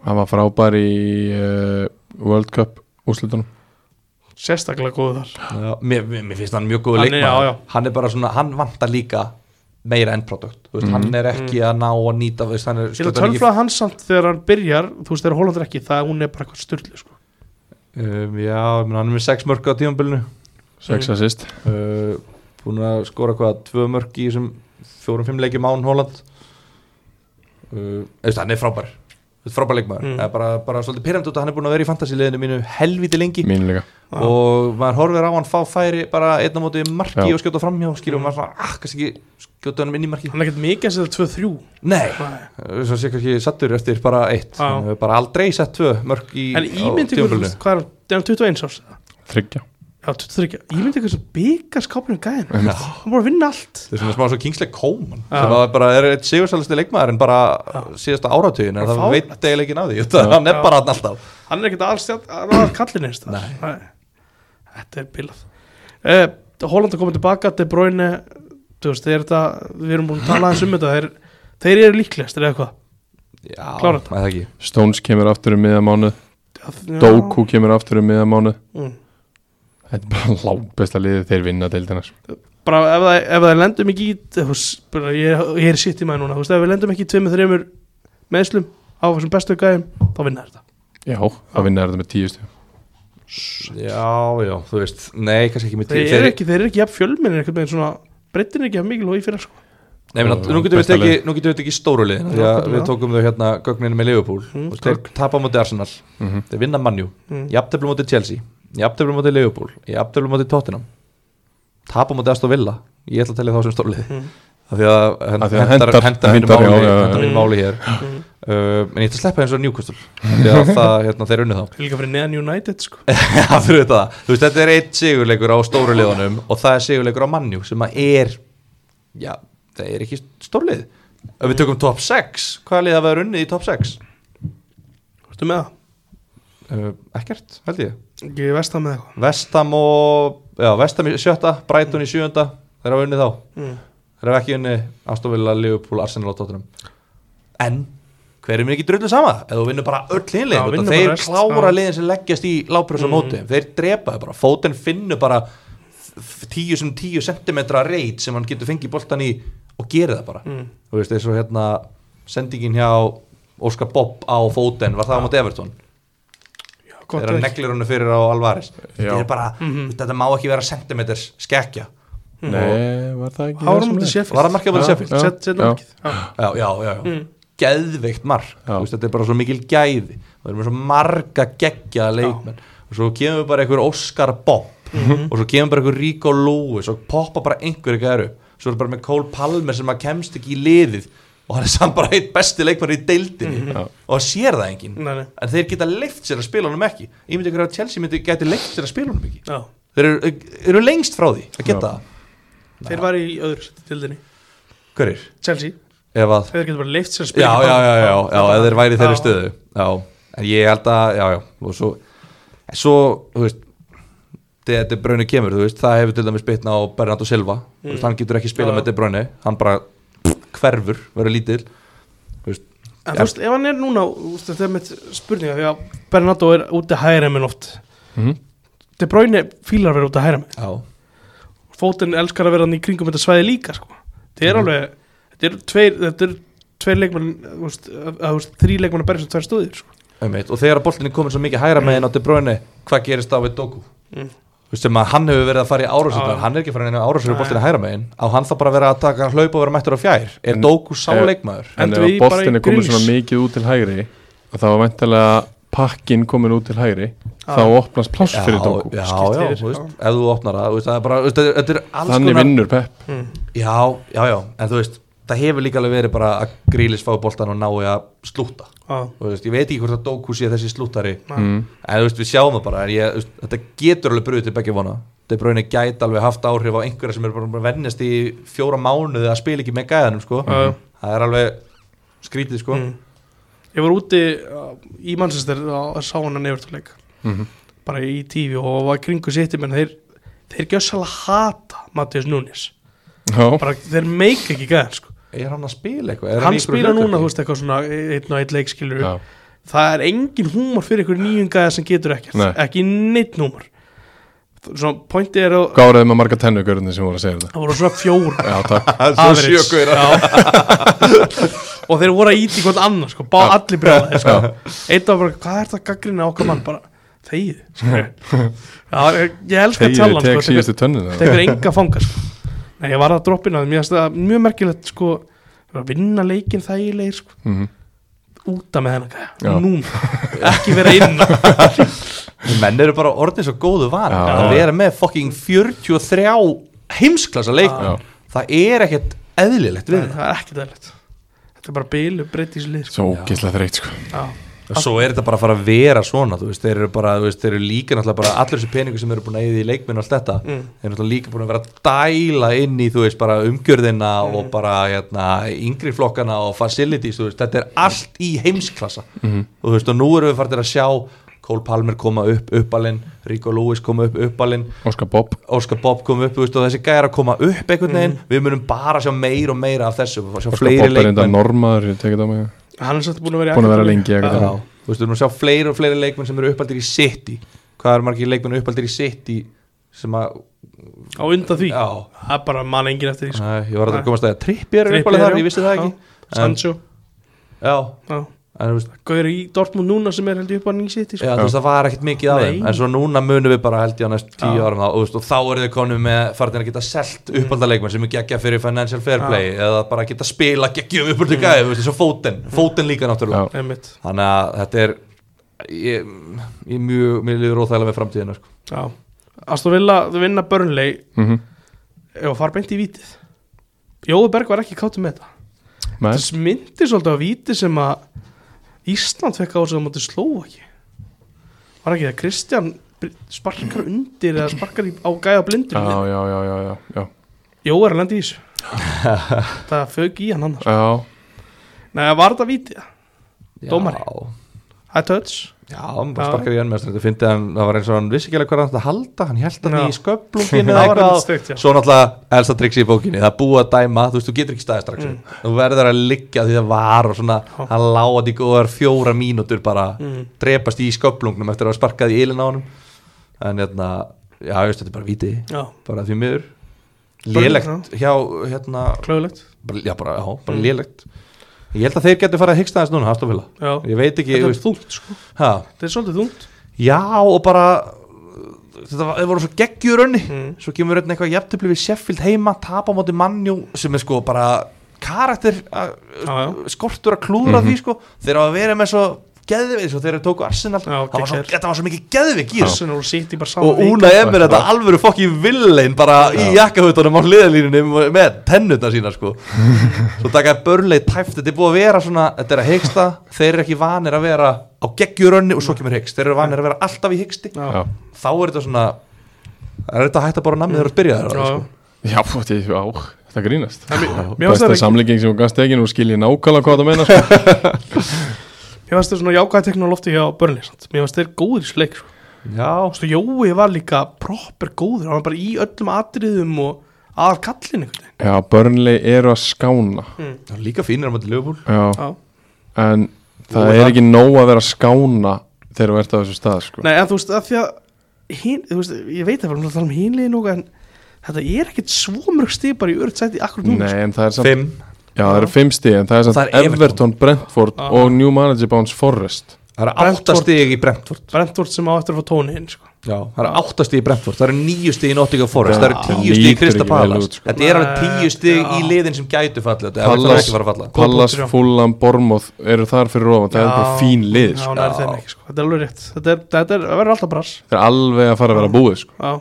B: hann var frábær í uh, World Cup úrslutunum
A: sérstaklega góður þar
C: já, mér, mér, mér finnst hann mjög góð
A: Hann er-
C: leikmaður
A: já, já.
C: Hann er bara svona, hann vantar líka meira endprodukt Þú veist, Hann er ekki að ná að nýta þú veist, hann er,
A: ég vil
C: skjóta hann ekki-
A: tölfla hans samt þegar hann byrjar þú veist þegar Holland er ekki, það hún er bara eitthvað styrli sko.
C: um, Já, ég meina, hann er með sex mörg á tímabilinu
B: sex
A: Mm.
B: assist
C: uh, Búin að skora hvað tvö mörg í þessum fjórum-fimm leikjum án Holland uh, Eftir, Hann er frábær Þú veist, frábær leikmaður
A: Mm.
C: Það er bara, bara svolítið pyrrandi út að hann er búin að vera í fantasíliðinu mínu helviti lengi
B: mínu líka
A: Já.
C: og maður horfir á hann fá færi bara einn á móti marki
B: Já.
C: og skjóta framhjá skilur og maður svona, ah, kannski ekki skjóta hann inn í marki
A: hann er ekkert mikið að setja 2-3
C: nei, svo sé kannski sattur eftir bara eitt,
A: Já.
C: hann hefur bara aldrei sett tvö mörk í
A: en ímyndi ykkur, þú veist, hvað er hann er hann 21 árs eða?
B: þryggja
A: já, 23, ímyndi ykkur sem byggar skápinu gæðin hann er bara að vinna allt
C: það er svona smá svo Kingsley Coman
A: Já.
C: sem að bara er eitt sigursælusti leikmaður en bara síðasta áratugin en
A: Bara
C: það
A: fáránlegt.
C: veit eiginlega ekki náði það, hann er
A: Já.
C: bara hann alltaf
A: hann er ekkert aðalstjarn- aðal kallin einst
C: Nei.
A: þetta er bilað uh, Holland er komið tilbaka De Bruyne þú veist, þeir, þetta, við erum búin að tala aðeins um þetta þeir, þeir eru líklegast eða eitthvað
C: já,
A: Klára þetta.
C: maður það ekki
B: Stones kemur aftur um miðamánu
A: Já,
B: Doku kemur aftur um miðamánu
A: mm.
B: þetta er bara lágbesta liðið þeir vinna deildina sko.
A: bara ef það, ef það lendum ekki í þú veist, bara, ég, ég er sitt í maður núna þú veist, ef við lendum ekki í tveimur þreimur meðslum á þessum bestu gæðum þá vinna þeir þetta
B: já, það vinna þetta með tíu stjórn
C: já, já, þú veist, nei, kannski ekki með
A: þeir,
C: tíu
A: eru ekki, þeir eru ekki jafn fjölmennir einhvern veginn svona breytin er ekki jafn mikil og í fyrra sko.
C: Nei, menn,
B: Já,
C: nú getum við
B: besta
C: tekið, nú getum við tekið stóru liðin því að
A: Já,
C: við
A: já.
C: tókum þau hérna gögninu með Liverpool
A: Mm,
C: og þeir tapa á móti Arsenal þeir vinna Manju,
A: Mm.
C: jafnteflu á móti Chelsea jafnteflu á móti Liverpool, jafnteflu á móti Tottenham tapa á móti Aston Villa ég ætla að telja þá sem stóru liði
A: Mm.
C: af því að hen-
B: Af því að
C: hendar
B: hentar-
C: hendar henni
B: hendar,
C: máli,
B: já, já, já.
C: hendar henni
A: Mm.
C: máli hér
A: Mm.
C: uh, en ég ætla að sleppa eins og Newcastle því að það, hérna, þeir unni þá
A: líka fyrir neðan United sko.
C: Já, fyrir þetta það. Þú veist, þetta er eitt sigurleikur á stóru liðunum og það er sigurleikur á mannjú sem að er, já, það er ekki stórlið. Ef við tökum top 6, hvaða lið hafa verið unnið í top 6?
A: Ertu með það?
C: Uh, ekkert, held ég.
A: Ég veist það með eitthvað
C: Vestam og, já, Vestam í sjötta, Brighton í sjöunda, þeir hafa unnið þá.
A: mm.
C: Þeir hafa ekki unnið Astovilla, Liverpool, Arsenal og Tottenham. En, hver er mér ekki drullu sama? Ef þú vinnur bara öll
A: Já,
C: hinlegin,
A: vinnur bara
C: þeir
A: rest,
C: klára
A: já.
C: liðin sem leggjast í lábrjósa mm. móti, þeir drepa þau bara, fótinn finnur bara f- tíu sem tíu sentimetra reit sem hann getur fengið boltan í og gerir það bara.
A: Mm.
C: Þú veist, eins og hérna sendingin hjá Óskar Bob á fótinn, var það á móti Everton?
A: Já,
C: Gott
A: gott Mhm.
C: þegar hann
A: veit.
C: neglir hann fyrir á Alvarez.
B: Já.
C: Þetta er bara, þetta má ekki vera centimeters skekkja.
A: Hm.
B: nei, var það ekki
A: Hárum
B: þessum
A: átti
B: leik?
A: Sheffield
C: Var það markið á móti
A: Já,
C: Sheffield?
A: já, set- setna
B: Já.
A: markið, já.
C: já, já, já, já. geðveikt mark
B: Já.
C: Þú veist, þetta er bara svo mikil gæði það er með svo marga geggjaða leikmenn og svo kemur bara einhver Oscar Bob og svo kemur bara einhver Rico Lewis og poppa bara einhver ekki eru svo er bara með Cole Palmer sem að kemst ekki í liðið og hann er samt bara eitt besti leikmenn í deildinni
B: Já.
C: og það sér það enginn
A: Nei, nei.
C: en þeir geta leift sér að spila honum ekki ég myndi ykkur að Chelsea myndi geti leift sér að spila honum ekki
A: Já.
C: þeir eru, eru lengst frá því að geta
B: Já.
C: það
A: Þeir var í öðru seti tildinni
C: hverjir?
A: Chelsea,
C: ef að
A: þeir getur bara leift sér að spila
C: já, já, já, já, já,
A: Þetta-
C: ef þeir væri í þeirri
A: Já.
C: stöðu já, en ég held að, já, já og svo, en svo, þú veist þegar De Bruyne kemur, þú veist það hefur til dæmis bitna á Bernardo Silva þú veist, hann getur ekki
A: Mm.
C: spila
A: Já, já.
C: með De Bruyne hann bara hverfur, verður lítill þú veist,
A: En þú veist, ef hann er núna, þú veist, þetta er mitt spurninga Því að Bernardo er úti hægri minn oft
B: Mhm.
A: De Bruyne fílar að vera úti hægri minn
C: já,
A: Fótinn elskar að vera hann í kringum þetta svæði líka sko. Þetta er alveg Þetta er tveir, þetta er tveir leikmann þú veist, að- að, þú veist, Þrý leikmann að berja sem tveir stöðir sko.
C: einmitt, og þegar boltin er komin svo mikið hægra með en á De Bruyne, hvað gerist þá við Doku
A: Mm.
C: Þú veist sem að hann hefur verið að fara
A: Já,
C: í árásöndar,
A: já.
C: hann er ekki farin að árásöndar
A: Nei.
C: bóltina hæra megin, á hann þá bara að vera að taka hlaup og vera mættur á fjær, er
B: En-
C: Doku sá
B: Eh,
C: leikmaður?
B: en
A: Endum
B: ef
A: við
B: að
A: bara í
B: boltin er komin
A: grills?
B: svona mikið út til hægri og það var veintilega pakkin komin út til hægri
A: Já.
B: þá opnast pláss fyrir Doku
C: já,
A: Skipt
C: já,
A: yfir,
C: þú veist,
A: já.
C: ef þú opnar það, þú veist, það er bara, þú veist, þetta er- þetta er alls
B: þannig vinnur Pep
A: mm.
C: Já, já, já, en þú veist, það hefur líka alveg verið bara að grílis fá boltan og nái að slúta
A: á,
C: Þú veist, ég veit ekki hvort að Doku sé þessi slútari
B: mm.
C: En þú veist, við sjáum það bara, en ég, þú veist, þetta getur alveg brúið til begge vona De Bruyne gæti alveg haft áhrif á einhverja sem er bara búin að vennist í fjóra mánuði að spila ekki með gæðanum, sko
A: Já, já.
C: Það er alveg skrítið, sko
A: Mm. ég var úti uh, í mannsistir og sá hann að nefurtuleik
B: Mhm.
A: bara í tífi og var kringu sitt menn þeir, þeir gjössalega hata Matías Núnes
B: Já,
A: bara, þeir meika ekki gæðan sko.
C: er hann að spila eitthvað? Er
A: hann
C: í einhverju
A: spila núna þú
C: hlutverki?
A: veist eitthvað svona einn og einn leikskilur
B: já,
A: það er engin húmor fyrir ykkur nýjungaða sem getur ekkert
B: Nei.
A: ekki neitt húmor svona pointi er að
B: gáraði með marga tennugörðin sem voru að segja þetta
A: það voru svona fjóra
B: Já, takk,
C: Það er
A: Average.
C: svo sjökur
A: og þeir voru að íti hvort annað sko, bá allir brjálaði sko. eitt var bara, hvað er það gaggrina okkar mann bara, þegið sko. já, ég elska
B: þegar ég
C: um,
A: tjallan
B: tek
A: sko,
B: síðustu tönnin
A: tekur, tekur enga fanga sko. Nei, ég var að droppina, mér finnst það mjög merkilegt sko, þeir voru að vinna leikinn þægilegir sko,
B: Mhm.
A: úta með hennar
B: Já.
A: gæja, núna ekki vera inn
C: Menn eru bara orðið svo góðu van
B: Já.
C: að vera með fucking 43 heimsklassa
B: Já.
C: leikmenn það er ekkert eðlilegt við
A: það er ekki dæðilegt þetta er bara bílu, breytið sér lið sko.
B: Svo ógeðslega þreytt sko
A: Já.
C: það Svo er þetta bara að fara að vera svona þú veist, þeir eru bara, þú veist, þeir eru líka náttúrulega bara allir þessi peningur sem eru búin að eyða í leikmenn og allt þetta
A: Mm.
C: þeir eru náttúrulega líka búin að vera að dæla inn í, þú veist, bara umgjörðina og bara, hérna, yngri flokkana og facilities, þú veist, þetta er allt í heimsklassa,
B: Mhm.
C: og þú veist, og nú erum við fartir að sjá Cole Palmer koma upp uppalinn, Rico Lewis koma upp uppalinn
B: Óskar Bob
C: Óskar Bob kom upp þú veist, og þessi gæjar að koma upp einhvern veginn við munum bara sjá meir og meira af þessu og sjá
B: Óskar
C: fleiri
B: Bob er enda
C: leikmenn
B: normaður, ég tekið það mig
A: hann er svolítið búin að vera í
B: Búin að vera
A: akademíu.
B: lengi ég
C: Já, þú veist, við munum sjá fleiri og fleiri leikmenn sem eru uppaldir í City hvað eru margir leikmenn uppaldir í City sem að,
A: á undan því,
C: já
A: það er bara mann engin eftir því sko.
C: Æ, ég var að það komast að það trippir er
A: Trippier,
C: uppaldir þar,
A: já.
C: ég vissi það ekki En-
A: Sancho,
C: já,
A: já Sko.
C: en þú veist,
A: Gauður í Dortmund núna sem er held ég upp á sko. nýjum sitt
C: já, þú veist það var ekkert mikið af
A: Nei.
C: þeim en svo núna munum við bara held ég á næst tíu árum þá, og, þú veist, og þá eru þau konum með farin að geta selt
A: Mm.
C: uppaldarleikmenn sem er geggja fyrir financial fair play eða bara geta spila geggjum uppaldir gæði, þú veist, eins og fóten
A: Mm.
C: fóten líka
B: Já.
C: náttúrulega
A: Einmitt,
C: þannig að þetta er ég, ég mjög, mér liður óþægilega með framtíðina sko.
A: já Aston Villa, þau vinna Burnley
B: Mhm.
A: ef að fara beint í vítið Jói Berg var ekki káttu með þetta
B: Nei,
A: Það smyndi svolítið á víti sem að Ísland fekk á sig á móti Slóvaki Var ekki það Kristján br- sparkar undir eða sparkar í- á gæða
B: já,
A: blindur
B: já, já, já, já, já.
A: Jói er að lenda í þessu Það fög í hann annars
B: já.
A: Nei, var þetta vítið?
C: Já.
A: Dómari. Það er touch
C: Já, hann
A: Já.
C: bara sparkar í hann með þetta fyndi hann, það var eins og hann vissi ekki alveg hvað hann ætlaði að halda hann held að
A: Já.
C: því í sköplungin eða
A: Það var einmitt
C: eitthvað
A: steikt, já.
C: svo náttúrulega elsta triks í bókinni, það er búið að dæma þú veist, þú getur ekki staðið strax þú verður að liggja því það var og svona
A: Mm. Já. Mm.
C: hann láði í góðar fjóra mínútur bara drepast í sköplungnum eftir að hafa sparkað í ilin á honum en hérna, já, ég veist, þetta er bara víti
A: Já,
C: bara því miður
A: Bara
C: lélegt hjá, hérna,
A: klöðulegt
C: bara, já, bara, já,
A: Mm.
C: bara lélegt ég held að þeir getur farið að hyggsta þess núna, Aston Villa
A: Já,
C: ég veit ekki,
A: þetta
C: þú
A: er
C: veist,
A: þungt sko
C: ha,
A: Þetta er svolítið þungt
C: já og bara þetta var, þeir voru svo geggjur önni
A: Mm.
C: svo kemur einn eitthvað jafntöfli við Sheffield heima tapa á móti mannjú sem er sko bara karakter að,
A: Já, Mhm. já.
C: skortur að klúra því sko þeir hafa verið með svo geðvik svo þeir eru tóku Arsenal
A: Já,
C: það var svo,
A: geggjaðir.
C: þetta var svo mikið geðvik í þessu
A: Arsenal og City bara saman
C: og Una Emir þetta alvöru fokki villein bara í jakkahutunum á hliðalínunum með tennutna sína sko svo takaði börnleik tæft þetta er búið að vera svona, þetta er að hyggsta þeir eru ekki vanir að vera á geggjurönni og svo kemur hyggst, þeir eru vanir að vera alltaf í hyggsti
A: Já,
B: já.
C: þá er þetta svona er þetta að hætta bara namnið þegar þú byrjaði þeirra
A: já,
C: sko.
B: Já, þetta er- já, þetta grínast
A: Já, mér- mér fannst það
B: Besta
A: ekki-
B: samlíking sem hún gafst ekki Nú skil ég nákvæmlega hvað það meina sko.
A: Mér finnst það svona jákvæða tekna á lofti hjá Burnley samt. Mér finnst þeir góðir í sleik sko.
C: já,
A: Þú veist, Jói var líka proper góður Hann var bara í öllum atriðum og aðal kallin einhvern veginn
B: Já, Burnley eru að skána
C: það er líka fínir á mæti Liverpool
B: Já,
A: Já.
B: en það
C: Og
B: er
C: það-
B: ekki nóg að vera að skána Þegar þú ert á þessu stað sko.
A: Nei, en þú veist, að því að hin, þú veist, Ég veit það, við erum að tala um hinliðin og en þetta er ekkit svo mörg stig bara í öðru sæti akkur núna
B: Nei, en það er samt
C: fimm,
B: Já, það eru fimm stíð, en það er samt
C: Það er
B: Everton, Brentford
A: Ah.
B: og New Manager Bounce Forest
C: það eru
A: Brentford.
C: áttastig í Brentford
A: sko. Brentford sem á eftir að fá tóni inn sko.
C: já, það eru áttastig í Brentford, það eru níu stig í Nottingham Forest, það eru
B: Já.
C: tíu stig í
B: Lítur
C: Krista
B: ekki vel út,
C: Palace
B: sko.
C: þetta er alveg tíu stig í
A: Já.
C: liðin sem gætu fallið þetta er
B: Palace,
C: ekki að fara að falla
B: Pallas,
A: punktur, já.
B: Fulham, Bormoth eru þar fyrir ofan, það er bara
A: Já.
B: fín lið
A: Já,
B: sko.
A: það er þeim ekki, sko. Þetta er alveg rétt Þetta, er, þetta er, verður alltaf brass
B: það er alveg að fara að vera búið sko.
A: Já,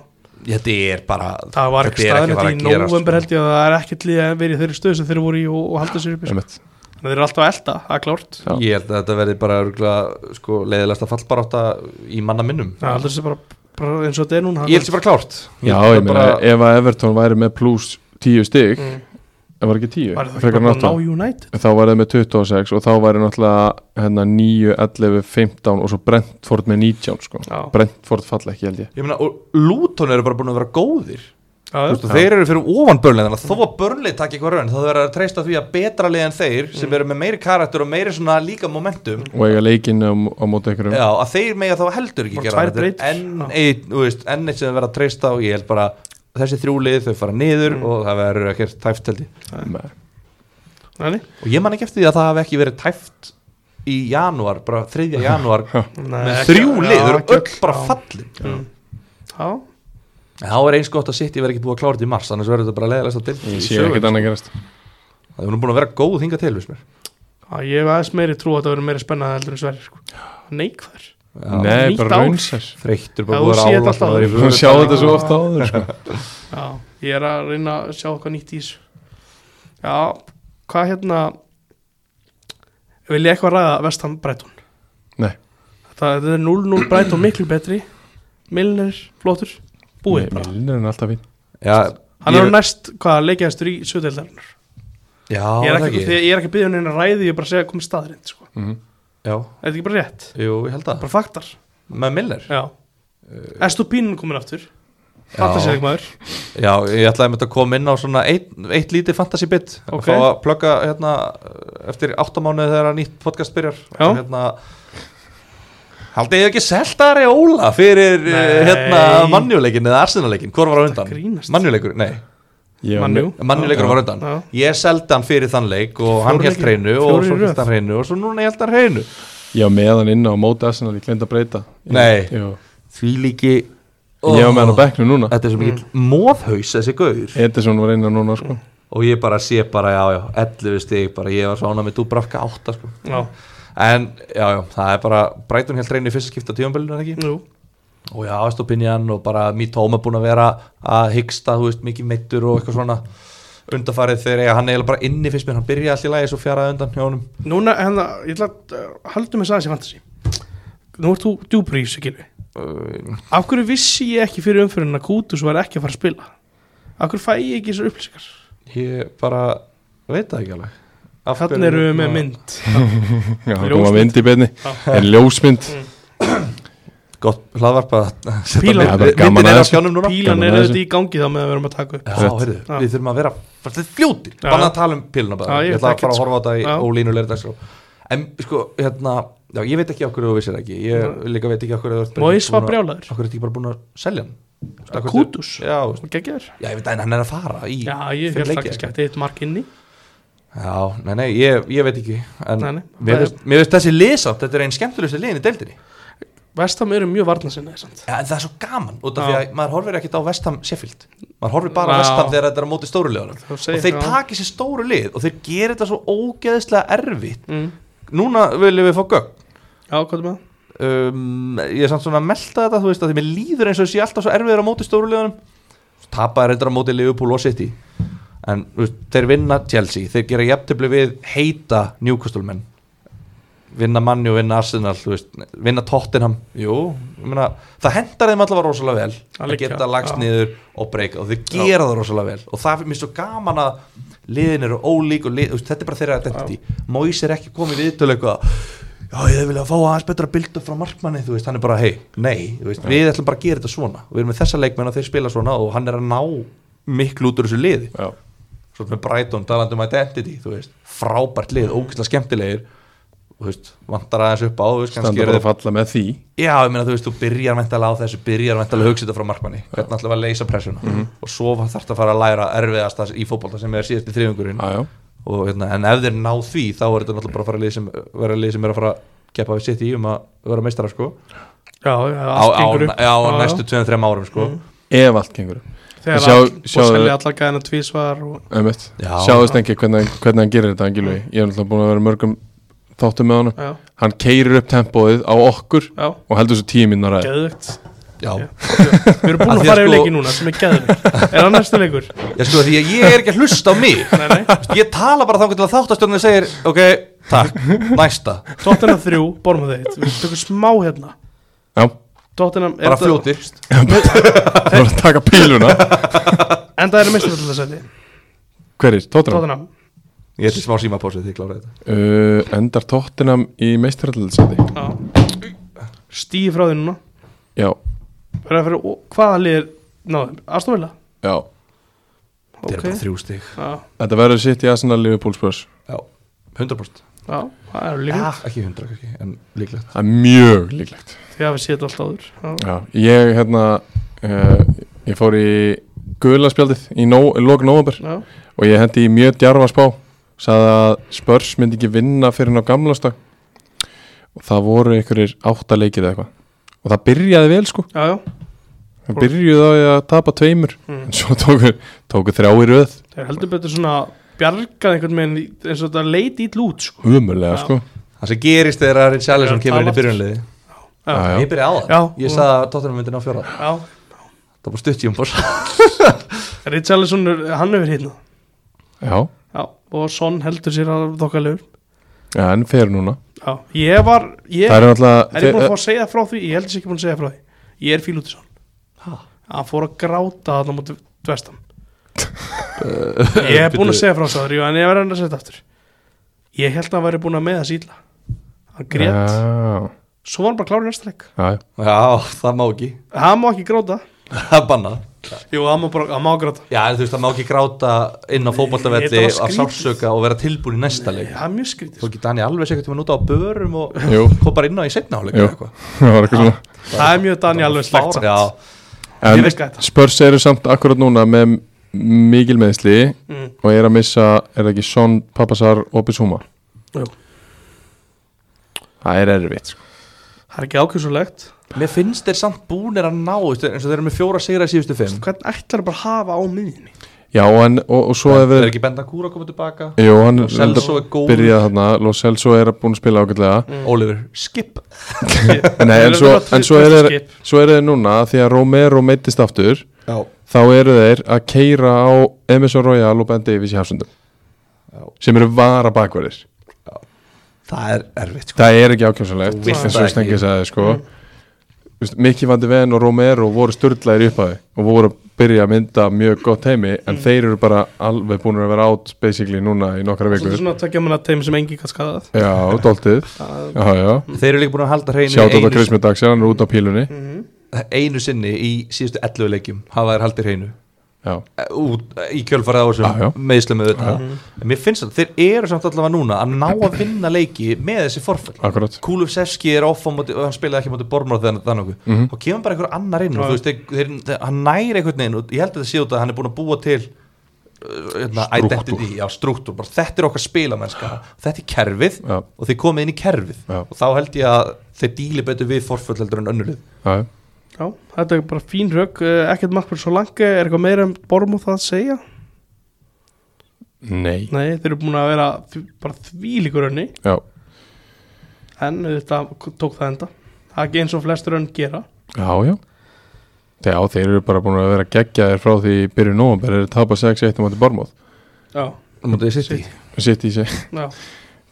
C: þetta er bara
A: það var ekki
C: þetta er
A: staðin
C: að fara
A: þetta
C: að
A: í
C: gerast,
A: november
C: sko.
A: held ég að það er ekkert liðið að verið þeirri stöð sem þeir voru í og, og halda sér upp sko.
B: Einmitt.
A: Þannig að þeir eru alltaf að elda, það er klárt
B: Já.
C: ég held að þetta verði bara örugglega, sko, leiðilegast að fallbarátta í manna minnum
A: Það heldur þessi bara, bara eins og þetta er núna
C: ég held sér bara klárt
B: Já,
C: held
B: ég meina,
C: bara,
B: ef að Everton væri með pluss tíu stig
A: Mm.
B: það var ekki 10
A: Var það
B: frekar
A: ekki
B: en
A: bara búin
B: 8.
A: að ná United?
B: þá var það með 26 og þá var það náttúrulega hérna, 9, 11, 15 og svo Brentford með 19 sko.
A: Já.
B: Brentford falla ekki held ég
C: Ég meina, og Luton eru bara búin að vera góðir
A: Já,
C: Þú
A: já.
C: veist, og þeir eru fyrir ofan börnlið þannig að þó að börnlið takk eitthvað raun þá þau verður að treysta því að betra lið en þeir
A: Mm.
C: sem eru með meiri karakter og meiri svona líka momentum
B: og eiga leikinn á, á móti ykkur
C: já, að þeir mega þá heldur ekki
A: Bara
C: gera
A: tvær
C: þetta.
A: breytur.
C: enn eitt, þú veist, enn eitt sem þau verður að treysta og ég held bara þessi þrjú lið þau fara niður
A: Mm.
C: og það verður ekkert tæft held ég
A: Nei,
C: og ég man ekki eftir því að það hafi ekki verið tæft í janúar, bara 3. janúar
A: nei,
C: með
A: ekki-
C: þrjú
A: já,
C: lið, þau eru
A: ekki
C: öll bara
A: já.
C: fallin
A: Mm. Já,
C: en þá er eins gott að sitt ég verð ekki búið að klára þetta í mars annars verður þetta bara leðilegst að
B: ég sé ekkert annað gerast
C: það er nú búin að vera góð hinga til við mér
A: já, ég hef aðeins meiri trú að það verður meiri spennað heldur en sverri sko. Neikvar
C: Já.
B: nei,
A: Nýtt
B: bara
A: ár.
B: raunsess
C: Þreyttur
A: Já,
C: bara
A: þú
C: búið
A: séð
C: að
A: þetta alltaf.
C: ála
B: Þú sjá þetta svo ofta áður sko.
A: Já, ég er að reyna að sjá eitthvað nýtt í þessu Já, hvað hérna Vil ég eitthvað ræða Vestham Breitón?
B: Nei.
A: Þetta þetta er 0-0 Breitón miklu betri Milner, flottur, búið bara
B: Milner er alltaf fín
C: Já,
A: Hann
C: ég-
A: er á næst, hvað, leikjastur í sögdeildarinnar
C: já,
A: ég, er
C: það
A: ekki- ég er ekki að byggja henni að ræði Ég er bara að segja komið staðrind sko.
C: Já,
A: Er Þetta ekki bara rétt,
C: jú, ég held að
A: bara faktar
C: Með Milner
A: Já Estupín komin aftur Fantasíðik maður
C: Já, ég ætlaði með þetta að koma inn á svona eitt, eitt lítið fantasy bit
A: Ok.
C: og fá að plugga hérna eftir áttamánuði þegar að nýtt podcast byrjar
A: Já.
C: En hérna, Haldið ég ekki seltari Óla fyrir Nei.
A: Nei.
C: hérna mannjuleikin eða arsinalekin, hvor var á
A: Þetta
C: undan?
A: grínast.
C: Mannjuleikur, nei,
B: Ég var
A: Mannjú
B: með-
C: mannjuleikur var á undan
A: Já.
C: Ég seldi hann fyrir þann leik og hann
A: Fjórir
C: held
A: leikir-
C: hreinu og
A: fjórir í
C: svo
A: röð.
C: held hann hreinu og svo núna held hann hreinu
B: ég var með hann inn á móti Arsenal ég glemt að breyta Ég-
C: Nei.
B: Jú.
C: Því líki
B: ég var með hann á bekknu núna
C: Þetta er svo mikill mm. móðhaus þessi gaur
B: Edison var einu núna sko.
C: Og ég bara sé bara, já, já, 11 stig bara, Ég var svona með dúbrafka 8 sko.
A: Já,
C: En, já, já, það er bara Breitun helt reyni í fyrsta skipta tíumbelinu ekki?
A: nú
C: Og já, Astopinjan og bara Mít Hóma búin að vera að hyggsta Þú veist, mikið meittur og eitthvað svona Undarfarið þegar ég, hann eiginlega bara inni fyrst mér Hann byrjaði allir lagi svo fjaraði undan hjá honum
A: Núna, hérna, ég ætla að uh, haldum þess aðeins í fantasy Nú ert þú djúpur í þessu gilvi
C: Uh,
A: Af hverju vissi ég ekki fyrir umfyrirna að Kútus var ekki að fara að spila? Af hverju fæ ég ekki þessar upplýsingar?
C: Ég bara veit það ekki alveg Af
A: Þannig
C: hverju-
A: erum við með mynd
B: já,
A: Ljósmynd. Mm.
B: koma mynd í beinni en ljósmynd
C: Gott hlaðvarp að setja
A: Pílan.
C: mynd-
A: Það er
B: bara gaman
C: myndin er á
B: aðeins.
C: skjánum núna
A: Pílan
B: Gaman
A: er
B: að
A: auðvitað í gangi þá með að við erum að taka upp
C: Já,
B: Rétt.
C: heyrðu,
A: Já.
C: við þurfum að vera bara þetta er fljótir,
A: Já.
C: bara að tala um píluna bara,
A: Já, ég
C: ég,
A: veit
C: ætla að
A: ekkert, sko.
C: fara að horfa á þetta í
A: Já.
C: ólínu leirdags en sko, hérna já, ég veit ekki okkur þú vissir það ekki ég líka veit ekki okkur
A: Moyes var brjálaður.
C: okkur er ekki bara búin að selja hann Þú veist, af hverju-
A: Kútus,
C: já, þú veist,
A: og geggjör
C: já, ég veit að hann er að fara í
A: Já, ég
C: fimm
A: held
C: leiki.
A: faktisk ekki eitt mark inni
C: já, nei, nei, ég, ég veit ekki en
A: Nei, nei.
C: mér veist- mér veist þessi liðsátt, þetta er einn skemmtilegstu liðin í deildinni
A: Vestam eru mjög varnasinni samt.
C: Já, en það er svo gaman út af
A: Já.
C: því að maður horfir ekkert á Vestham Sheffield maður horfir bara
A: Já.
C: á Vestham þegar þetta er á móti stóru liðunum
A: Það
C: og
A: segir-
C: þeir
A: já.
C: taki sér stóru lið og þeir gerir þetta svo ógeðslega erfitt
A: Mm.
C: núna viljum við fá gögn
A: Já, hvað er með það?
C: um, ég er samt svona að melta þetta þú veist að því mér líður eins og sé alltaf svo erfiður á móti stóru liðunum tapaði reyndar á móti Liverpool og City en þú veist, þeir vinna Chelsea þeir gera jafntöfli við heita Newcastle menn vinna manni og vinna Arsenal þú veist, vinna Tottenham Jú, ég meina, það hendar þeim allavega rosalega vel
A: Að
C: að
A: liggja,
C: geta lagst
A: já.
C: niður og breyka og þeir gera það rosalega vel og það er mér svo gaman að liðin eru ólík og lið, þú veist, þetta er bara þeirra identity Mois er ekki komið við til eitthvað já ég vilja fá aðeins betra bildu frá markmanni þú veist, hann er bara hei, nei þú veist, við ætlum bara að gera þetta svona við erum með þessa leikmenn og þeir spila svona og hann er að ná miklu út úr þessu liði
B: já.
C: svo með Brighton, talandi um identity þú veist, frábært lið, ógeðslega skemmtilegir þú veist, vantar aðeins upp á þú veist, kannski
B: standa
C: eru
B: bara að
C: þeir
B: falla með því
C: já, ég meina, þú veist, þú byrjar væntalega á þessu byrjar væntalega að hugsa þetta frá markmanni hvernig ætlum við að leysa pressuna
B: Mhm.
C: og svo þarf þetta að fara að læra erfiðast það í fótbolta sem er síðast í þriðungurinn
B: já, já.
C: og, hérna, en ef þeir ná því, þá er þetta náttúrulega bara að fara að lið sem, vera lið sem er að fara að gefa við sitt í um að vera meistara sko.
A: Já, já,
C: á,
A: allt
C: á,
A: gengur upp Mm.
C: já, á næstu 2-3 árum sko.
B: ef allt gengur
A: Þegar
B: Sjá-
A: all-
B: sjá-
A: og selja allar gæðina tvísvar og
B: Einmitt.
C: Já.
B: sjáðist ekki hvernig, hvernig hann gerir þetta hann Gylfi. ég er náttúrulega búin að vera í mörgum þáttum með honum
A: Já,
B: hann keirir upp tempóið á okkur
A: já,
B: og heldur svo tíu mínúna ræði
A: geðvögt
C: já,
A: Já. Við erum búin
C: Af
A: að
C: því að
A: fara yfir
C: sko-
A: leiki núna sem er geðvögt Er hann næsta leikur?
C: já sko, því að ég er ekki að hlusta á mig
A: Nei, nei
C: ég tala bara þangar til að þáttastjórnir segir ok, takk, næsta
A: Tottenham 3, Bormað 1 Við tökum smá hérna
B: já,
A: Tottenham
C: bara fljótir
B: þú voru að taka píluna
A: En það er meistaröldarsæti
B: Hver er? Tottenham?
A: Tottenham
C: Ég ætti smá símapósið því ég klára þetta
B: Uh, endar Tottenham í meistarallaldsæti
A: Stíði frá því núna
B: Já,
A: Bara fyrir, ó, Hvaða lið er náðum? Astonvilla?
B: já
C: Þetta er bara þrjú stig
A: Já,
B: Þetta verður sitt í Arsenal Liverpool Spurs
C: Já, 100%
A: já, það eru líka
C: Já, ekki 100 kannski, en líklegt
B: Það er mjög líklegt
A: Því að við séum þetta alltaf áður Já.
B: Já, ég hérna uh, Ég fór í gula spjaldið í nó, lok november
A: Já,
B: og ég hendi í mjög djarfa spá sagði að Spurs myndi ekki vinna fyrir hann á gamlastag og það voru einhverjir áttaleikið eða eitthvað og það byrjaði vel sko
A: já, já,
B: það byrjuði á því að tapa tveimur
A: Mm.
B: en svo tóku, tóku þrjá í röð
A: þeir heldur betur svona bjargað einhvern veginn í- eins og þetta leit ítl út sko.
B: umurlega
A: Já.
B: sko
C: Það sem gerist þegar að Richarlison
A: Já,
C: kemur inn í
A: talað.
C: byrjunliði
B: Já, já.
C: Ég byrja á það
A: Já.
C: Ég sagði að Tottenham myndi ná fjóra
A: Já,
C: Það var stutt í um umbors
A: Richarlison, er- hann hefur hérna
B: Já,
A: Já, og Son heldur sér að þokkalegur
B: já en fer núna
A: Já, ég var ég,
B: Það
A: er,
B: er náttúrulega
A: ég búin að fá
B: þeir-
A: að segja frá því? Ég heldur sér ekki búin að segja frá því Ég er fíl út í Son Hann fór að gráta þarna múti vestam Ég er búin að segja frá þessu áður, jú, en ég verður að segja þetta aftur Ég held að hann væri búin að með það síla Hann grét,
B: Já,
A: svo var hann bara klárið næsta leik
B: já, já.
C: Já, það má ekki
A: Hann má ekki gráta
C: Það er bannað
A: Jú, hann má, bara, hann má gráta
C: Já, en þú veist, það má ekki gráta inn á fótballtavelli
A: Þetta var
C: af
A: skrítið.
C: sársöka og vera tilbúin í næsta leik
A: Það er mjög skrítið sko.
C: Þú ekki Dani alveg segjum tíma út á börum og
B: Jú.
C: kom bara inn á í setna áleik
B: Jú. Það var eitthvað svona
A: Það er mjög Daniel alveg slegt samt.
C: Já,
A: Ég
B: En
A: veist þetta.
B: Spurs eru samt akkurat núna með mikil meðsli
A: Mm.
B: og er að missa, er það ekki Son, Pappasar og Bissúma?
A: Jú.
B: Það er erfitt sko.
A: Það er ekki ákjössulegt
C: Mér finnst þeir samt búnir að ná þú veist, eins og þeir eru með fjóra sigra í síðustu fimm
A: Hvernig ætlar bara að hafa á miðinni?
B: Já, en, og, og svo
C: Það
B: hefur
C: er ekki benda kúra að koma tilbaka
B: Jú, hann
C: Lo Celso er góður.
B: byrjaði þarna Lo Celso er búin að spila ágætlega
A: Mm.
C: Oliver, skip
B: Nei, en svo, en svo eru þeir
A: um skip.
B: svo eru þeir núna, því að Romero meittist aftur
C: Já,
B: þá eru þeir að keira á Emerson Royal og Ben Davies í hafsundum
C: Já.
B: sem eru vara bakverðir
C: það er erfitt sko.
B: það er ekki ákjámsanlegt
C: Þú vilt
B: eins
C: það
B: og
C: ekki.
B: Stengi sagði sko mm. Mikki Vandi Ven og Romero voru sturdlæðir upphafi og voru að byrja að mynda mjög gott heimi en
C: Mm.
B: þeir eru bara alveg búin að vera átt basically núna í nokkra
A: Svolítið
B: vikur
A: svona að tekja manna teim sem engi kannski skadað
B: Já, dóltið Já, já,
C: Þeir eru líka búin að halda hreinu
B: sjátt á þetta
C: einu,
B: Krismi Dags hann er út á pílunni
C: einu sinni í síðustu 11 leikjum hafa þeir haldið hreinu
B: Já,
C: Eh, út eh, í kjölfarið á
B: Já, já.
C: þessum meðslum auðvitað En Mér finnst það, þeir eru samt allavega núna að ná að vinna leiki með þessi forfell
B: akkurat
C: Kulusevski er off á móti, og hann spilaði ekki á móti Bormóð þannig þannig mm
B: Mhm.
C: og kemur bara einhver annar inn og
A: Já.
C: þú veist, þeir, þeir, þeir, hann næri einhvern veginn og ég held að það sé út að hann er búin að búa til uh, hérna,
B: Strúktúr.
C: identity, já, struktúr bara, þetta er okkar spilamennska, þetta er kerfið
B: Já,
C: og þeir komið inn í kerfið
B: Já.
C: og þá held ég að þeir díli betur við forföll heldur en önnulið
B: já, já.
A: Já, þetta er bara fín rögg eh, Ekkert markmann svo langi Er eitthvað meira um Bormúð það að segja?
B: Nei
A: Nei, þeir eru búin að vera því, bara þvílíkur önni
B: Já,
A: En þetta tók það enda Það er ekki eins og flestur önn gera
B: já, já Já, þeir eru bara búin að vera geggjaðir frá því í byrjun nóum, þeir eru tapað 6-1 á móti Bormóð
A: Já,
C: Mótið City
B: Sitt í sig
A: já,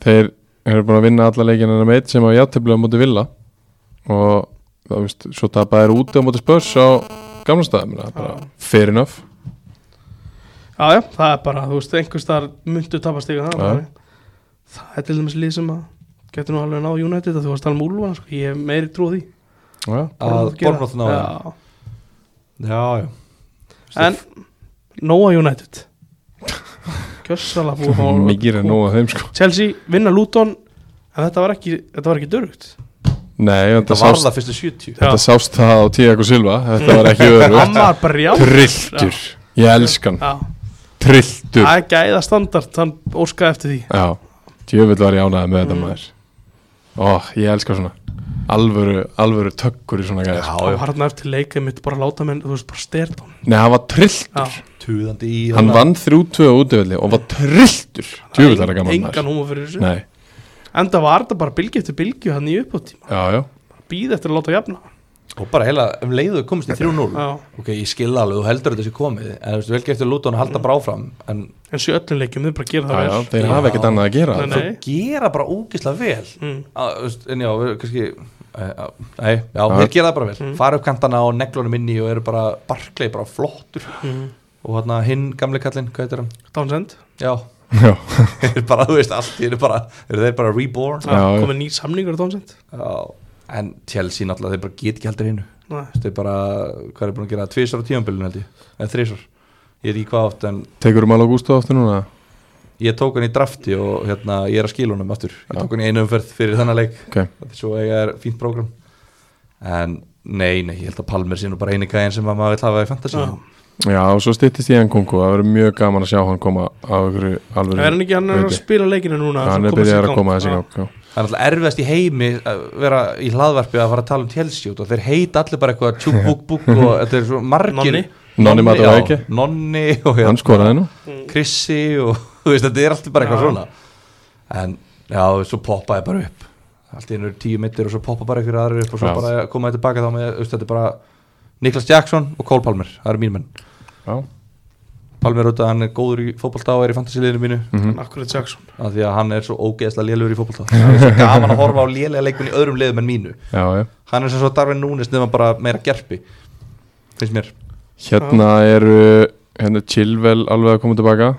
B: þeir eru búin að vinna alla leikina nema eitt sem á játtöflega múti Villa og það veist, svo tapaði er úti á múti Spurs á gamla staðum það er bara fair enough
A: já, já Það er bara, þú veist, einhvers þar myndu tapast ykkur það
B: Já.
A: þannig. Það er til dæmis lið sem að Getur nú alveg náð United að þú varst alveg múlvan sko. Ég hef meiri trú á því
B: ja.
C: að
A: Bournemouth gera.
C: Bormóð ná já,
A: Já.
C: já, já.
A: En Nóa United Kjössala búið að fá-
B: mikið er nóg að þeim sko
A: Chelsea vinna Luton En þetta var ekki, þetta var ekki dörgt
B: Nei, þetta,
C: það var
B: sást,
C: það fyrstu 70
B: þetta sást það á Tiago Silva þetta var ekki öðru
A: Hann var brjálur
B: trilltur, ég elskan
A: Já,
B: trilltur,
A: það er gæða standart Hann óskaði eftir því
B: já djöfull var ég ánæði með þetta
A: Mm.
B: maður ó, ég elska svona alvöru, alvöru tökkur í svona
C: já,
B: gæðir
A: Og
C: já,
A: hann eftir leika mitt bara láta menn Þú veist bara stert hann
B: Nei, hann var trilltur
A: Já,
C: tuðandi í
B: Hann
C: þarna.
B: vann 3-2 útöfelli og var trilltur Djúvill er það gaman
A: Engan
B: maður
A: húma fyrir þessu
B: Nei,
A: Enda var þetta bara bylgi eftir bylgi hann í uppáttíma
B: já, já
A: Býð eftir að láta jafna
C: og bara heila um leiðu komist í 3-0
A: Já,
C: ok, ég skilða alveg, þú heldur að þetta sé komið en þú veist, vel gert að Luton að halda bara áfram en
A: eins og í öllum leikjum Þau bara gera það
B: Já, já,
A: vel
B: þeir
C: Já.
B: hafa ekkert annað að gera
A: Nei,
B: Þú-
A: nei.
C: gera bara ógislega vel
A: Mm.
C: að, þú veist, en já, við- kannski eh, á- nei, já,
B: Já.
C: Mm. þeir gera það bara vel fara upp kantana og neglunum inni og eru bara barklegi bara flottur
A: Mm.
C: og hérna hinn gamli kallinn, hvað heitir hann?
A: Downsend
C: Já,
B: Já,
C: bara þú veist allt, þeir eru bara, eru þeir bara reborn
B: Já, já.
A: komið nýr samningur á Downsend
C: Já, en Chelsea náttúrulega, þeir bara get ekki heldur hinn
A: Nei.
C: Þeir bara, hvað er búin að gera, tvisar á tímanbylun held ég, eða þrisar Ég veit ekki hvað oft, en
B: tekur um alveg gústu aftur núna
C: ég tók hann í drafti og hérna, ég er að skila honum aftur Ég
B: Já.
C: tók hann í einu umferð fyrir þennan leik
B: Ok,
C: Svo ég er fínt prógram En nei, nei, ég held að Palmer sé nú bara eini gæðin sem að maður vil hafa í fantasy
A: Já.
B: já og svo styttist í Nkunku Það verður mjög gaman að sjá hann koma á ykkur alveg
A: er hann ekki hann er að
B: Veit ég.
A: spila leikinu núna
B: Hann er byrjað að koma
A: Ah,
B: þessi gang já.
C: Það er alltaf erfiðast í heimi að vera í hlaðvarpi að fara að tala um Chelsea út og þeir heita allir bara eitthvað tjúk búk búk og þetta er svo margir
A: Nonni.
B: Nonni Madueke.
C: já, Nonni og hérna.
B: Hann skoraði nú
C: Krissi og þú veist þetta er alltaf bara eitthvað
A: Já.
C: svona en já, svo poppaði bara upp allt í einu eru tíu mittir og svo poppa bara eitthvað aðrir upp og svo
B: Já.
C: bara koma þetta baka þá með þú veist, þetta er bara Niklas Jackson og Cole Palmer það eru mín menn
B: Já,
C: Palmer út að hann er góður í fótballtá og er í fantasiliðinu mínu
B: Mhm.
A: hann akkurat Jackson
C: af því að hann er svo ógeðslega lélur í fótballtá það er svo gaman að horfa á lélega leikun í öðrum liðum en mínu
B: já, já
C: hann er sem svo Darwin Núnes nefnum bara meira gerpi finnst mér
B: Hérna eru hérna Chilwell alveg að koma tilbaka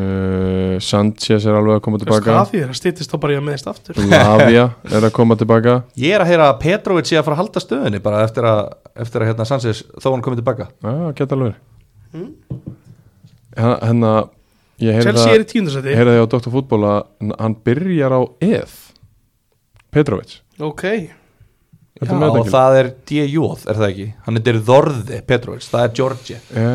B: uh, Sanchez er alveg að koma tilbaka
A: Skafi er að stýttist þá bara ég að meðist aftur
B: Lavia er að koma tilbaka
C: ég er að heyra að Petrovic sé að fara að halda stöðunni bara eftir að, eftir að hérna Sanchez þó hann komið tilbaka
B: Já, geta alveg Hérna, hérna ég heyrði
A: Chelsea
B: það,
A: er í tíundarsæti
B: heyrði það á Dr. Fútbol að n- hann byrjar á eð Petrovic
A: ok
B: Ertu
C: Já,
B: með þetta
C: og
B: ekki?
C: það er D.J.O.Þ. er það ekki hann er Dorði Petrovic, það er Georgi
B: Já,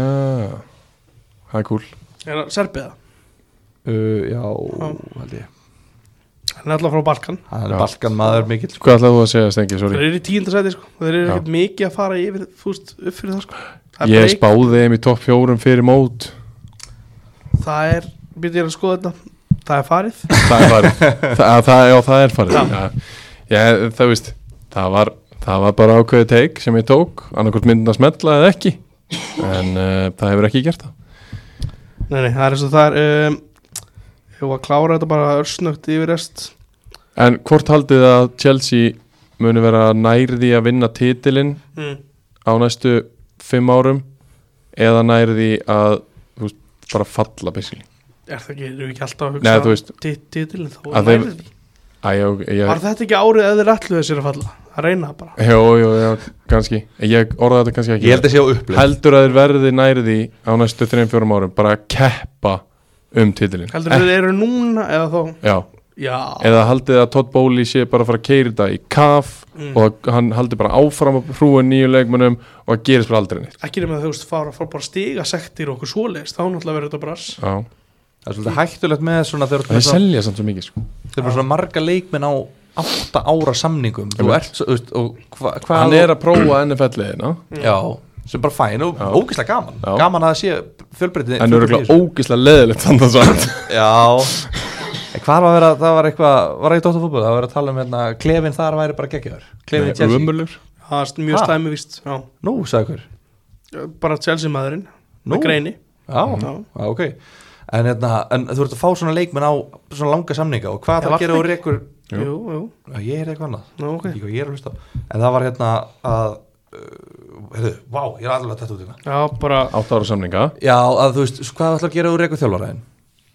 B: það er cool
A: er hann serbiða
C: uh, já,
A: Já.
C: held ég
A: hann er alltaf frá Balkan
C: hann er
B: Já.
C: balkan maður mikill sko.
B: Hvað ætlaðu þú að segja, Stengi,
A: þeir
B: sorry
A: eru í tíundarsæti sko þeir eru
B: Já.
A: ekkert mikið að fara yfir fúst upp fyrir það sko það er,
B: Ég
A: bara
B: spáði þeim í topp fjórum fyrir mót
A: ein- það er byrjum að skoða þetta það er farið
B: það er farið það, það, já, það er farið já. Já, það, veist, það, var, það var bara ákveðið teik sem ég tók annarkvort myndin að smetla eða ekki en uh, það hefur ekki gert það
A: nei, nei, það er eins og það er um, ég var að klára þetta bara örsnögt yfir rest
B: en hvort haldið þið að Chelsea muni vera nærði að vinna titilinn
A: mm.
B: á næstu fimm árum eða nærði að þú veist, bara falla basically
A: er það ekki, erum við ekki alltaf að
B: Nei, þú veist.
A: hugsa tit- titilinn þá
B: Að
A: er
B: þeim-
A: nærið því.
B: Æ, ég,
A: var
B: ég,
A: þetta ekki árið að þeir ætluðu sér að falla að reyna það bara
B: jó, jó, jó, kannski ég orða þetta kannski ekki
C: ég held að sé á upplið
B: heldur að þeir verði nærði á næstu 3-4 árum bara að keppa um titilinn
A: heldur þeir eru núna eða þá
B: Já,
A: já,
B: eða haldið að Todd Bowley sé bara að fara að keira þetta í kaf
A: Mm.
B: og að hann haldi bara áfram að hrúa nýju leikmönnum og að gerist bara aldrei neitt
A: ekki nema þú veist fara, fara bara stiga sektir og okkur svoleiðist þá náttúrulega verður þetta brass
B: Já,
C: það er svolítið hættulegt með svona þegar þú
B: það er
C: ert með
B: selja samt svo mikið sko
C: þeir eru svona marga leikminn á átta ára samningum þú
B: Einmitt.
C: ert svo, þú veist, og hva, hvað
B: Hann er að prófa NFL-liðina
C: já, sem bara fæn og
B: Já.
C: ógeðslega gaman
B: Já.
C: gaman að það sé fjölbreytið
B: en örgulega ógislega leðilegt þannig að það
C: já En Hvað var að vera, það var eitthvað, var ekki dóttarfútbol, það var að vera að tala um hérna, klefin þar væri bara geggjör, klefin Chelsea.
B: Umurlur
A: það er mjög
C: Ha?
A: slæmi víst já.
C: Nú, sagði hver.
A: bara Chelsea maðurinn
C: Nú.
A: með greini
C: Já,
A: Já.
C: já, ok en, hérna, en þú ert að fá svona leikmenn á svona langa samninga og
A: Ég
C: hvað það
A: var
C: gerir og rekur
B: Jú.
A: jú, jú,
C: Já, ég er eitthvað annað,
A: Nú, ok.
C: Ég veit ekki hvað ég er að hlusta á. en það var hérna að uh, heyrðu, vá, ég er alveg að þetta út hérna. í það
A: já, bara
B: 8 ára samninga
C: Já, að þú veist, hvað ætlar að gera og rekur þjálfaraðin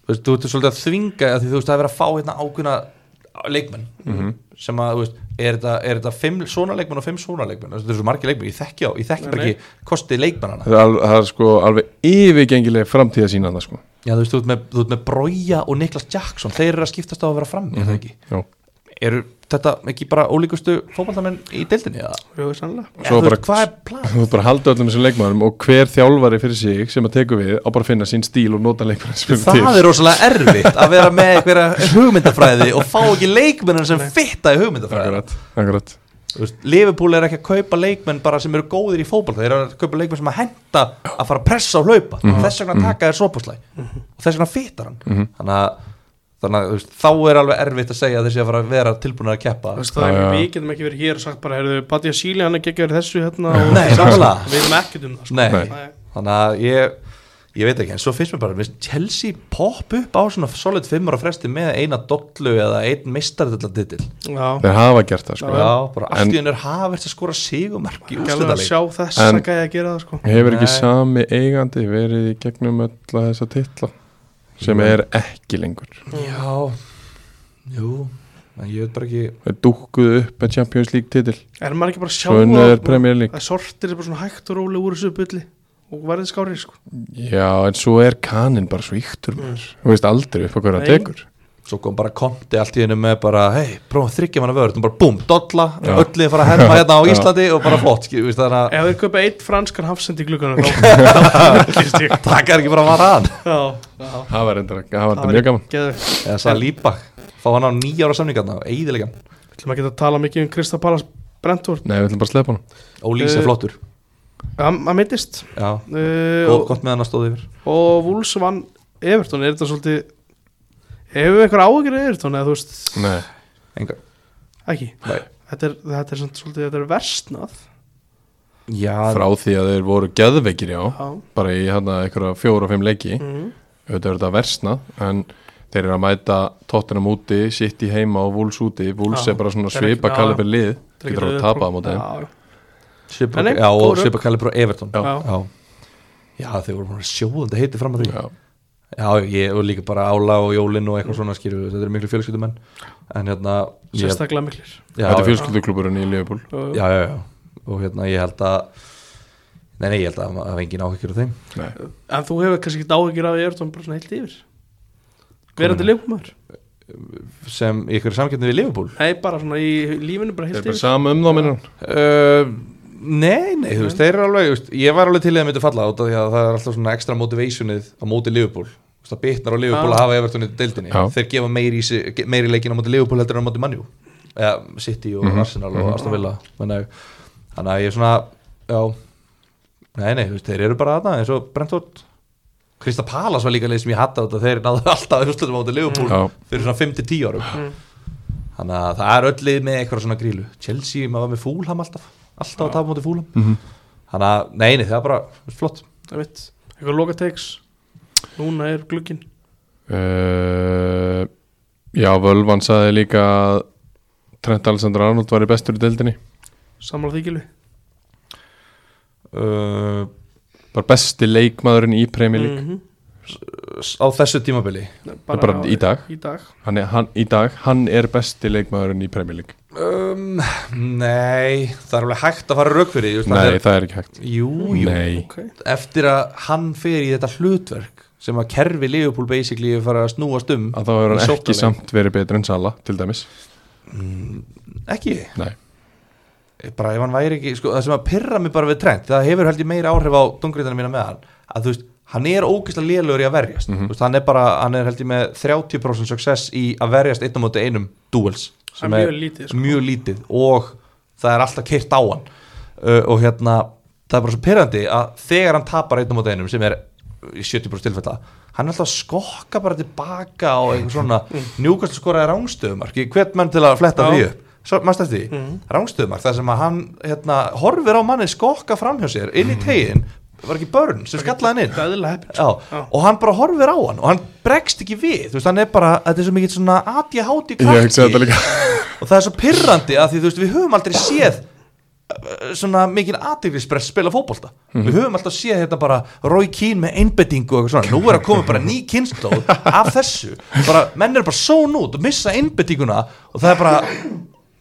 C: þú veist, þú ert svolítið að þvinga að því þú veist, það er verið að fá hérna ákveðna leikmenn sem að, þú veist, er þetta, er þetta fimm svona leikmenn og fimm svona leikmenn Þú veist, þetta eru svo margir leikmenn, ég þekki á, ég þekki
A: Nei,
C: bara
A: nei.
C: ekki kostið leikmennana
B: Það er, al- það er sko alveg yfirgengileg framtíða sína það sko
C: Já, þú veist, þú ert með, þú ert með Brója og Niklas Jackson, þeir eru að skiptast á að vera fram, mm það ekki?
B: Jú.
C: Eru þetta ekki bara ólíkustu fótballtamenn í deildinni? eða?
A: jú, sannlega
B: Svo
C: Eða, þú
B: bara-
C: veist, hvað er plan?
B: Þú ert bara að halda öllum þessum leikmönnum og hver þjálfari fyrir sig sem að teku við á bara að finna sín stíl og nota leikmönnum sem
C: Það er rosalega erfitt að vera með einhverja hugmyndafræði og fá ekki leikmennar sem fitta í hugmyndafræði
B: Akkurat, akkurat
C: Þú veist, Liverpool er ekki að kaupa leikmenn bara sem eru góðir í fótball, þeir eru að kaupa leikmenn sem að henda að fara að pressa og hlaupa þess vegna taka þér sopaslæg og þess vegna fittar hann þannig að, þannig að þú veist, þá er alveg erfitt að segja að þessi að fara að vera tilbúin að keppa
A: Þú veist, það er
B: Já, já.
A: við getum ekki verið hér og sagt bara heyrðu, Patti Asíli hann er geggjör þessu hérna og
C: Nei, nákvæmlega.
A: við erum ekkert um það sko.
C: Nei.
B: Nei.
A: Nei.
C: þannig að ég, ég veit ekki, en svo finnst mér bara mér finnst Chelsea popp upp á svona solid fimmur á fresti með eina dollu eða einn mistardölladittil
A: Já,
B: þeir hafa gert það sko.
A: Já.
C: Já, bara allt
B: En-
C: í hennu er hafert að skora sigumark í
A: ekki alveg að
C: úrslutaleik
A: sjá þess að
B: En-
A: gæja að gera það sko
B: hefur ekki
C: Nei.
B: sami eigandi verið í gegnum öll að þessa titla sem
C: Jú.
B: er ekki lengur
C: Já, jú en ég veit bara ekki
B: þeir dúkkuðu upp að Champions League titil
A: Er maður ekki bara að sjá
B: svo unnu er
A: að-
B: Premier League
A: að sortir er bara svona hægt og róli úr þessu bulli og verðið skári sko
B: já en svo er kanin bara svo yktur mm. þú veist aldrei upp að hverja
A: Nei.
B: tekur
C: Svo kom bara konti allt í hennu með bara hei, prófum þryggja manna vörð, og bara búm, dolla
B: Já.
C: öllu fara að herma hérna á
B: Já.
C: Íslandi og bara flott, skil, veist, þannig að
A: Ef þeir köpa eitt franskan hafsend í glugganum þá þá fylgist ég
C: taka er ekki bara að vara hann
A: Já, já
B: það var enda, það var
A: Það
B: enda mjög gaman
A: geðveikt.
C: eða sá Líbak, fá hann á nýja ára samningarna og eiðilega,
A: Við ætlum að geta að tala mikið um Krista Palas Brentford
B: nei við ætlum bara að slepa hann
A: Eh,
C: ólýsa flottur
A: Hann hann meiddist
C: Já,
A: uh,
C: góð,
A: og,
C: gott með hann að stóði yfir
A: og Wolves vann Everton Er þetta svolítið Hefur við einhver áhugir Everton eða þú veist
B: nei
C: Engar.
A: Ekki
C: Mm. Nei.
A: Þetta er, þetta er samt svolítið Þetta er versnað
C: Já,
B: frá því að þeir voru geðveikir já
A: Já
B: bara í hérna einhverja fjóra og fimm leiki
A: mm.
B: auðvitað er þetta versna en þeir eru að mæta tóttinam úti sitt í heima og vúls úti vúls
A: Já,
B: er bara svona
A: þeir eru ekki-
B: svipa
A: já,
B: kaliber lið getur að tapa á móti þeim.
A: þeim
C: Svipa,
A: Nei, nei,
C: já, og
A: góður.
C: Svipa Kalibur og Everton
B: Já.
A: Já.
C: Já, já þeir voru bara sjóðandi heiti fram að því Já,
B: Já,
C: ég og líka bara Ála og Jólin og eitthvað svona skýru Þetta eru miklu fjölskyldumenn En hérna ég-
A: Sérstaklega miklir
C: já,
B: þetta er fjölskyldukluburinn í Liverpool
A: já.
C: já, já, já, og hérna ég held að Nei, nei, ég held að það var engin áhyggjur af þeim
B: Nei.
A: En þú hefur kannski ekki áhugir af Everton bara svona heilt yfir Verandi leikmaður
C: Sem í ykkur samkjöndin við Liverpool
A: Nei, bara svona í lífinu bara
B: Þeir
A: heilt
B: eru bara
A: yfir
B: sama um þá minnum
C: Uh, nei, nei, þú veist, þeir eru alveg þú veist, ég var alveg til í að myndi falla út af því að það er alltaf svona ekstra motivationið á móti Liverpool Þú veist, það bitnar á Liverpool
A: Já.
C: að hafa Everton í deildinni,
B: Já.
C: þeir gefa meiri, í sig- ge- meiri leikin á móti Liverpool heldur en á móti Manju eða City og
B: Mhm.
C: Arsenal og Aston Villa menna, þannig að ég er svona já, nei, nei, þú veist, þeir eru bara aðna eins og Brentford Krista Palas var líka leið sem ég hatta þetta þeir náðu alltaf umslutum á móti Liverpool
B: Já.
C: fyrir svona 5-10 árum
A: Mm.
C: þannig að það er öll lið með eitthvað svona grílu Chelsea, maður var með fúlham alltaf alltaf að tapa mútið fúlham
B: Mhm.
C: þannig að, neini, það er bara flott
A: Það veit Eitthvað loka teiks Núna er glugginn
B: uh, Já, Völvan saði líka að Trent Alexander Arnold var í bestur í deildinni
A: Samla því gilvi
C: uh,
B: bara besti leikmaðurinn í Premier League
A: -hmm.
C: s- á þessu tímabili
B: bara, bara í dag,
A: Í dag
C: Mm.
B: hann er, hann, í dag hann er besti leikmaðurinn í Premier League
C: um, nei, það er alveg hægt að fara rauk fyrir því, þú veist, hann
B: Nei, það er ekki hægt
C: er, jú, jú,
B: Nei,
A: Ok
C: eftir að hann fer í þetta hlutverk sem að kerfi Liverpool basically er farið að snúast um
B: að þá hefur
C: Í
B: hann ekki
C: sóknarleik.
B: samt verið betur en Sala til dæmis
C: Mm, ekki, Eh,
B: Nei,
C: bara ef hann væri ekki sko, það sem að pyrra mig bara við trend það hefur held ég meira áhrif á dungriðina mína með hann að þú veist, hann er ógeðslega lélugur í að verjast þú veist, hann er bara, hann er held ég með 30% success í að verjast einn á móti einum duels,
A: Það er mjög lítið sko.
C: mjög lítið og það er alltaf keirt á hann uh, og hérna, það er bara svo pyrrandi að þegar hann tapar einn á móti einum sem er í 70% tilfella hann er alltaf að skokka bara tilbaka á einhver svona njúkast skoraði rángstöðumark ég hvet menn til að
A: Já.
C: fletta því upp Svo, mannst eftir því, mm. rángstöðumark þar sem að hann hérna, horfir á manni skokka fram hjá sér inn í tegin, var ekki börn sem skallaði hann inn
A: Það er eðlilega heppin
C: Já,
A: Já.
C: og hann bara horfir á hann og hann bregst ekki við, þú veist, hann er bara þetta er svo mikið svona ADHD
B: ég hugsa þetta
C: krakki
B: líka
C: og það er svo pirrandi að því, þú veist, við höfum aldrei séð uh, svona mikinn aðdeglisbrest spila fótbolta við höfum alltaf séð hérna bara Rói Kín með einbettingu og eitthvað svona, nú er að koma bara ný kynnslóð af þessu bara, menn er bara són út og missa einbettinguna og það er bara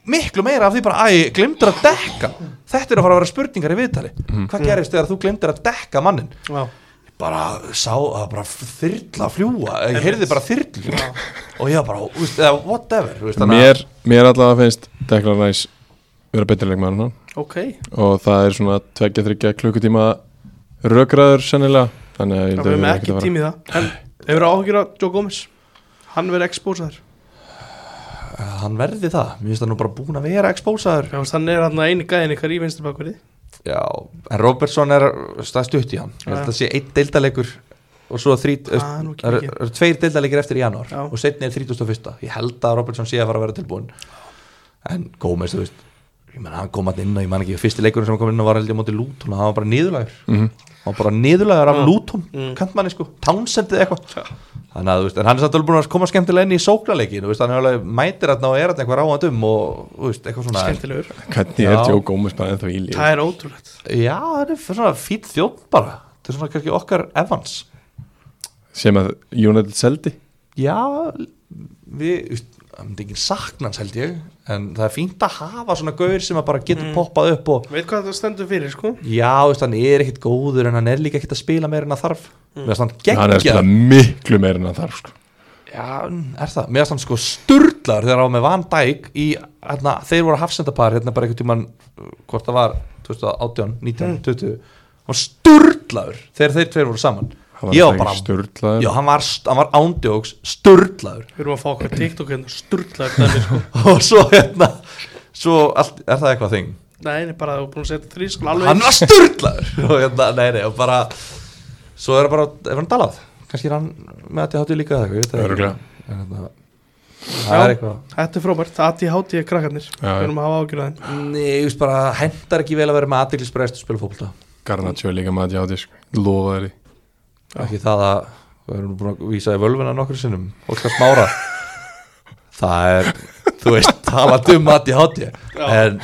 C: miklu meira af því bara, æ, glemdur að dekka þetta er að fara að vera spurningar í viðtali hvað gerist þegar þú glemdur að dekka mannin
A: Já
C: bara sá að bara þyrla fljúa, ég heyrði bara þyrlu og ég var bara, þú veist, eða whatever þú veist, þannig að-
B: mér, mér allavega finnst Declan Rice vera betur leikmaður en hann
A: Ok
B: og það er svona 2-3 klukkutíma rökraður sennilega þannig að ég
A: Það
B: held að
A: verðum
B: við erum
A: ekki
B: ekkert að fara
A: tími í það En hefur áhugir af Joe Gomez Hann verið expósaður
C: hann verði það, mér finnst það nú bara búin að vera expósaður
A: Já, veist, Hann er hann eini gæðin ykkar í vinsturbakverði
C: já, en Robertson er staðstutt í hann, ég held að það sé einn deildalegur og svo þrít
A: Ah, nú ekki
C: það eru
A: mikið.
C: er tveir deildalegir eftir í janúar
A: Já.
C: og setni er 31. ég held að Robertson sé að fara að vera tilbúin en Gómez, þú veist ég menn hann kom alltaf inn og ég man ekki fyrsti leikurinn sem hann kom inn og var held ég á móti Lúton og hann var bara niðurlægur
B: Mhm.
C: hann var bara niðurlægur af
A: Mm.
C: Lúton
A: Mm.
C: kantmanni sko, Townsendið eitthvað þannig að þú veist, en hann er samt alveg búin að koma skemmtilega inn í sóknarleikin, þú veist, hann er alveg mætir hann og er hann eitthvað ráðand um og þú veist, eitthvað svona
A: skemmtilegur
B: Hvernig
C: Já.
B: er Joe Gómez bara ennþá í lífi?
A: það er ótrúlegt
C: já, það er svona fýtt þjótt bara þetta er svona kannski okkar Evans
B: Sem að United seldi?
C: já, við þú veist, það er engin saknans held ég en það er fínt að hafa svona gaur sem að bara getur
A: Mm.
C: poppað upp og
A: veit hvað það stendur fyrir sko
C: já, þú veist, hann er ekkit góður en hann er líka ekkit að spila meira en að þarf mm. hann
B: Hann er að
C: geggja
B: spila miklu meira en hann þarf sko.
C: Já, er það, meðast hann sko sturlar þegar hann var með Van Dijk í, hérna, þeir voru hafsendapar hérna bara einhvern tímann, uh, hvort það var 2018, 19, 20 hann var sturlaður þegar þeir tveir voru saman
B: Hann
C: Ég var
B: alltaf
C: bara,
B: ekki sturlaður.
C: já, hann var, st- hann var ándjóks sturlaður
A: við erum að fá okkur TikTok hérna sturglaður dæmi sko
C: og svo hérna svo, allt, er það eitthvað þing?
A: nei, nei, bara þú er búin að setja þrískal alveg
C: Hann var sturlaður og hérna, nei, nei, og bara svo er hann bara, er hann dalað kannski er hann með að þið hátu líka eða eitthvað, ég veit það
B: Örugglega.
C: ekki. En hérna, það er
A: Já.
C: eitthvað
A: þetta er frábært, ADHD er krakkarnir
B: Já,
A: við
B: já.
A: erum að hafa ágjörða þeim
C: Nei, ég veist bara, hendar ekki vel að vera með aðdeglisbreyst og spila fólkvölda
B: Garnaccio er líka maður játi sko. Lofa þeirri
C: Ekki það að, við erum búin að vísa í völvuna nokkur sinnum, fólk að smára Það er, þú veist, talandi um ADHD
A: Já.
C: En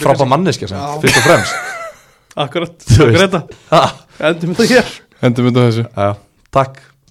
C: frábæð manneskja sem,
A: Já.
C: fyrst og fremst
A: akkurat,
C: Þú veist.
A: akkurat þetta
C: ha,
A: endur með það hér
B: Endum við þetta þessu
C: já, Takk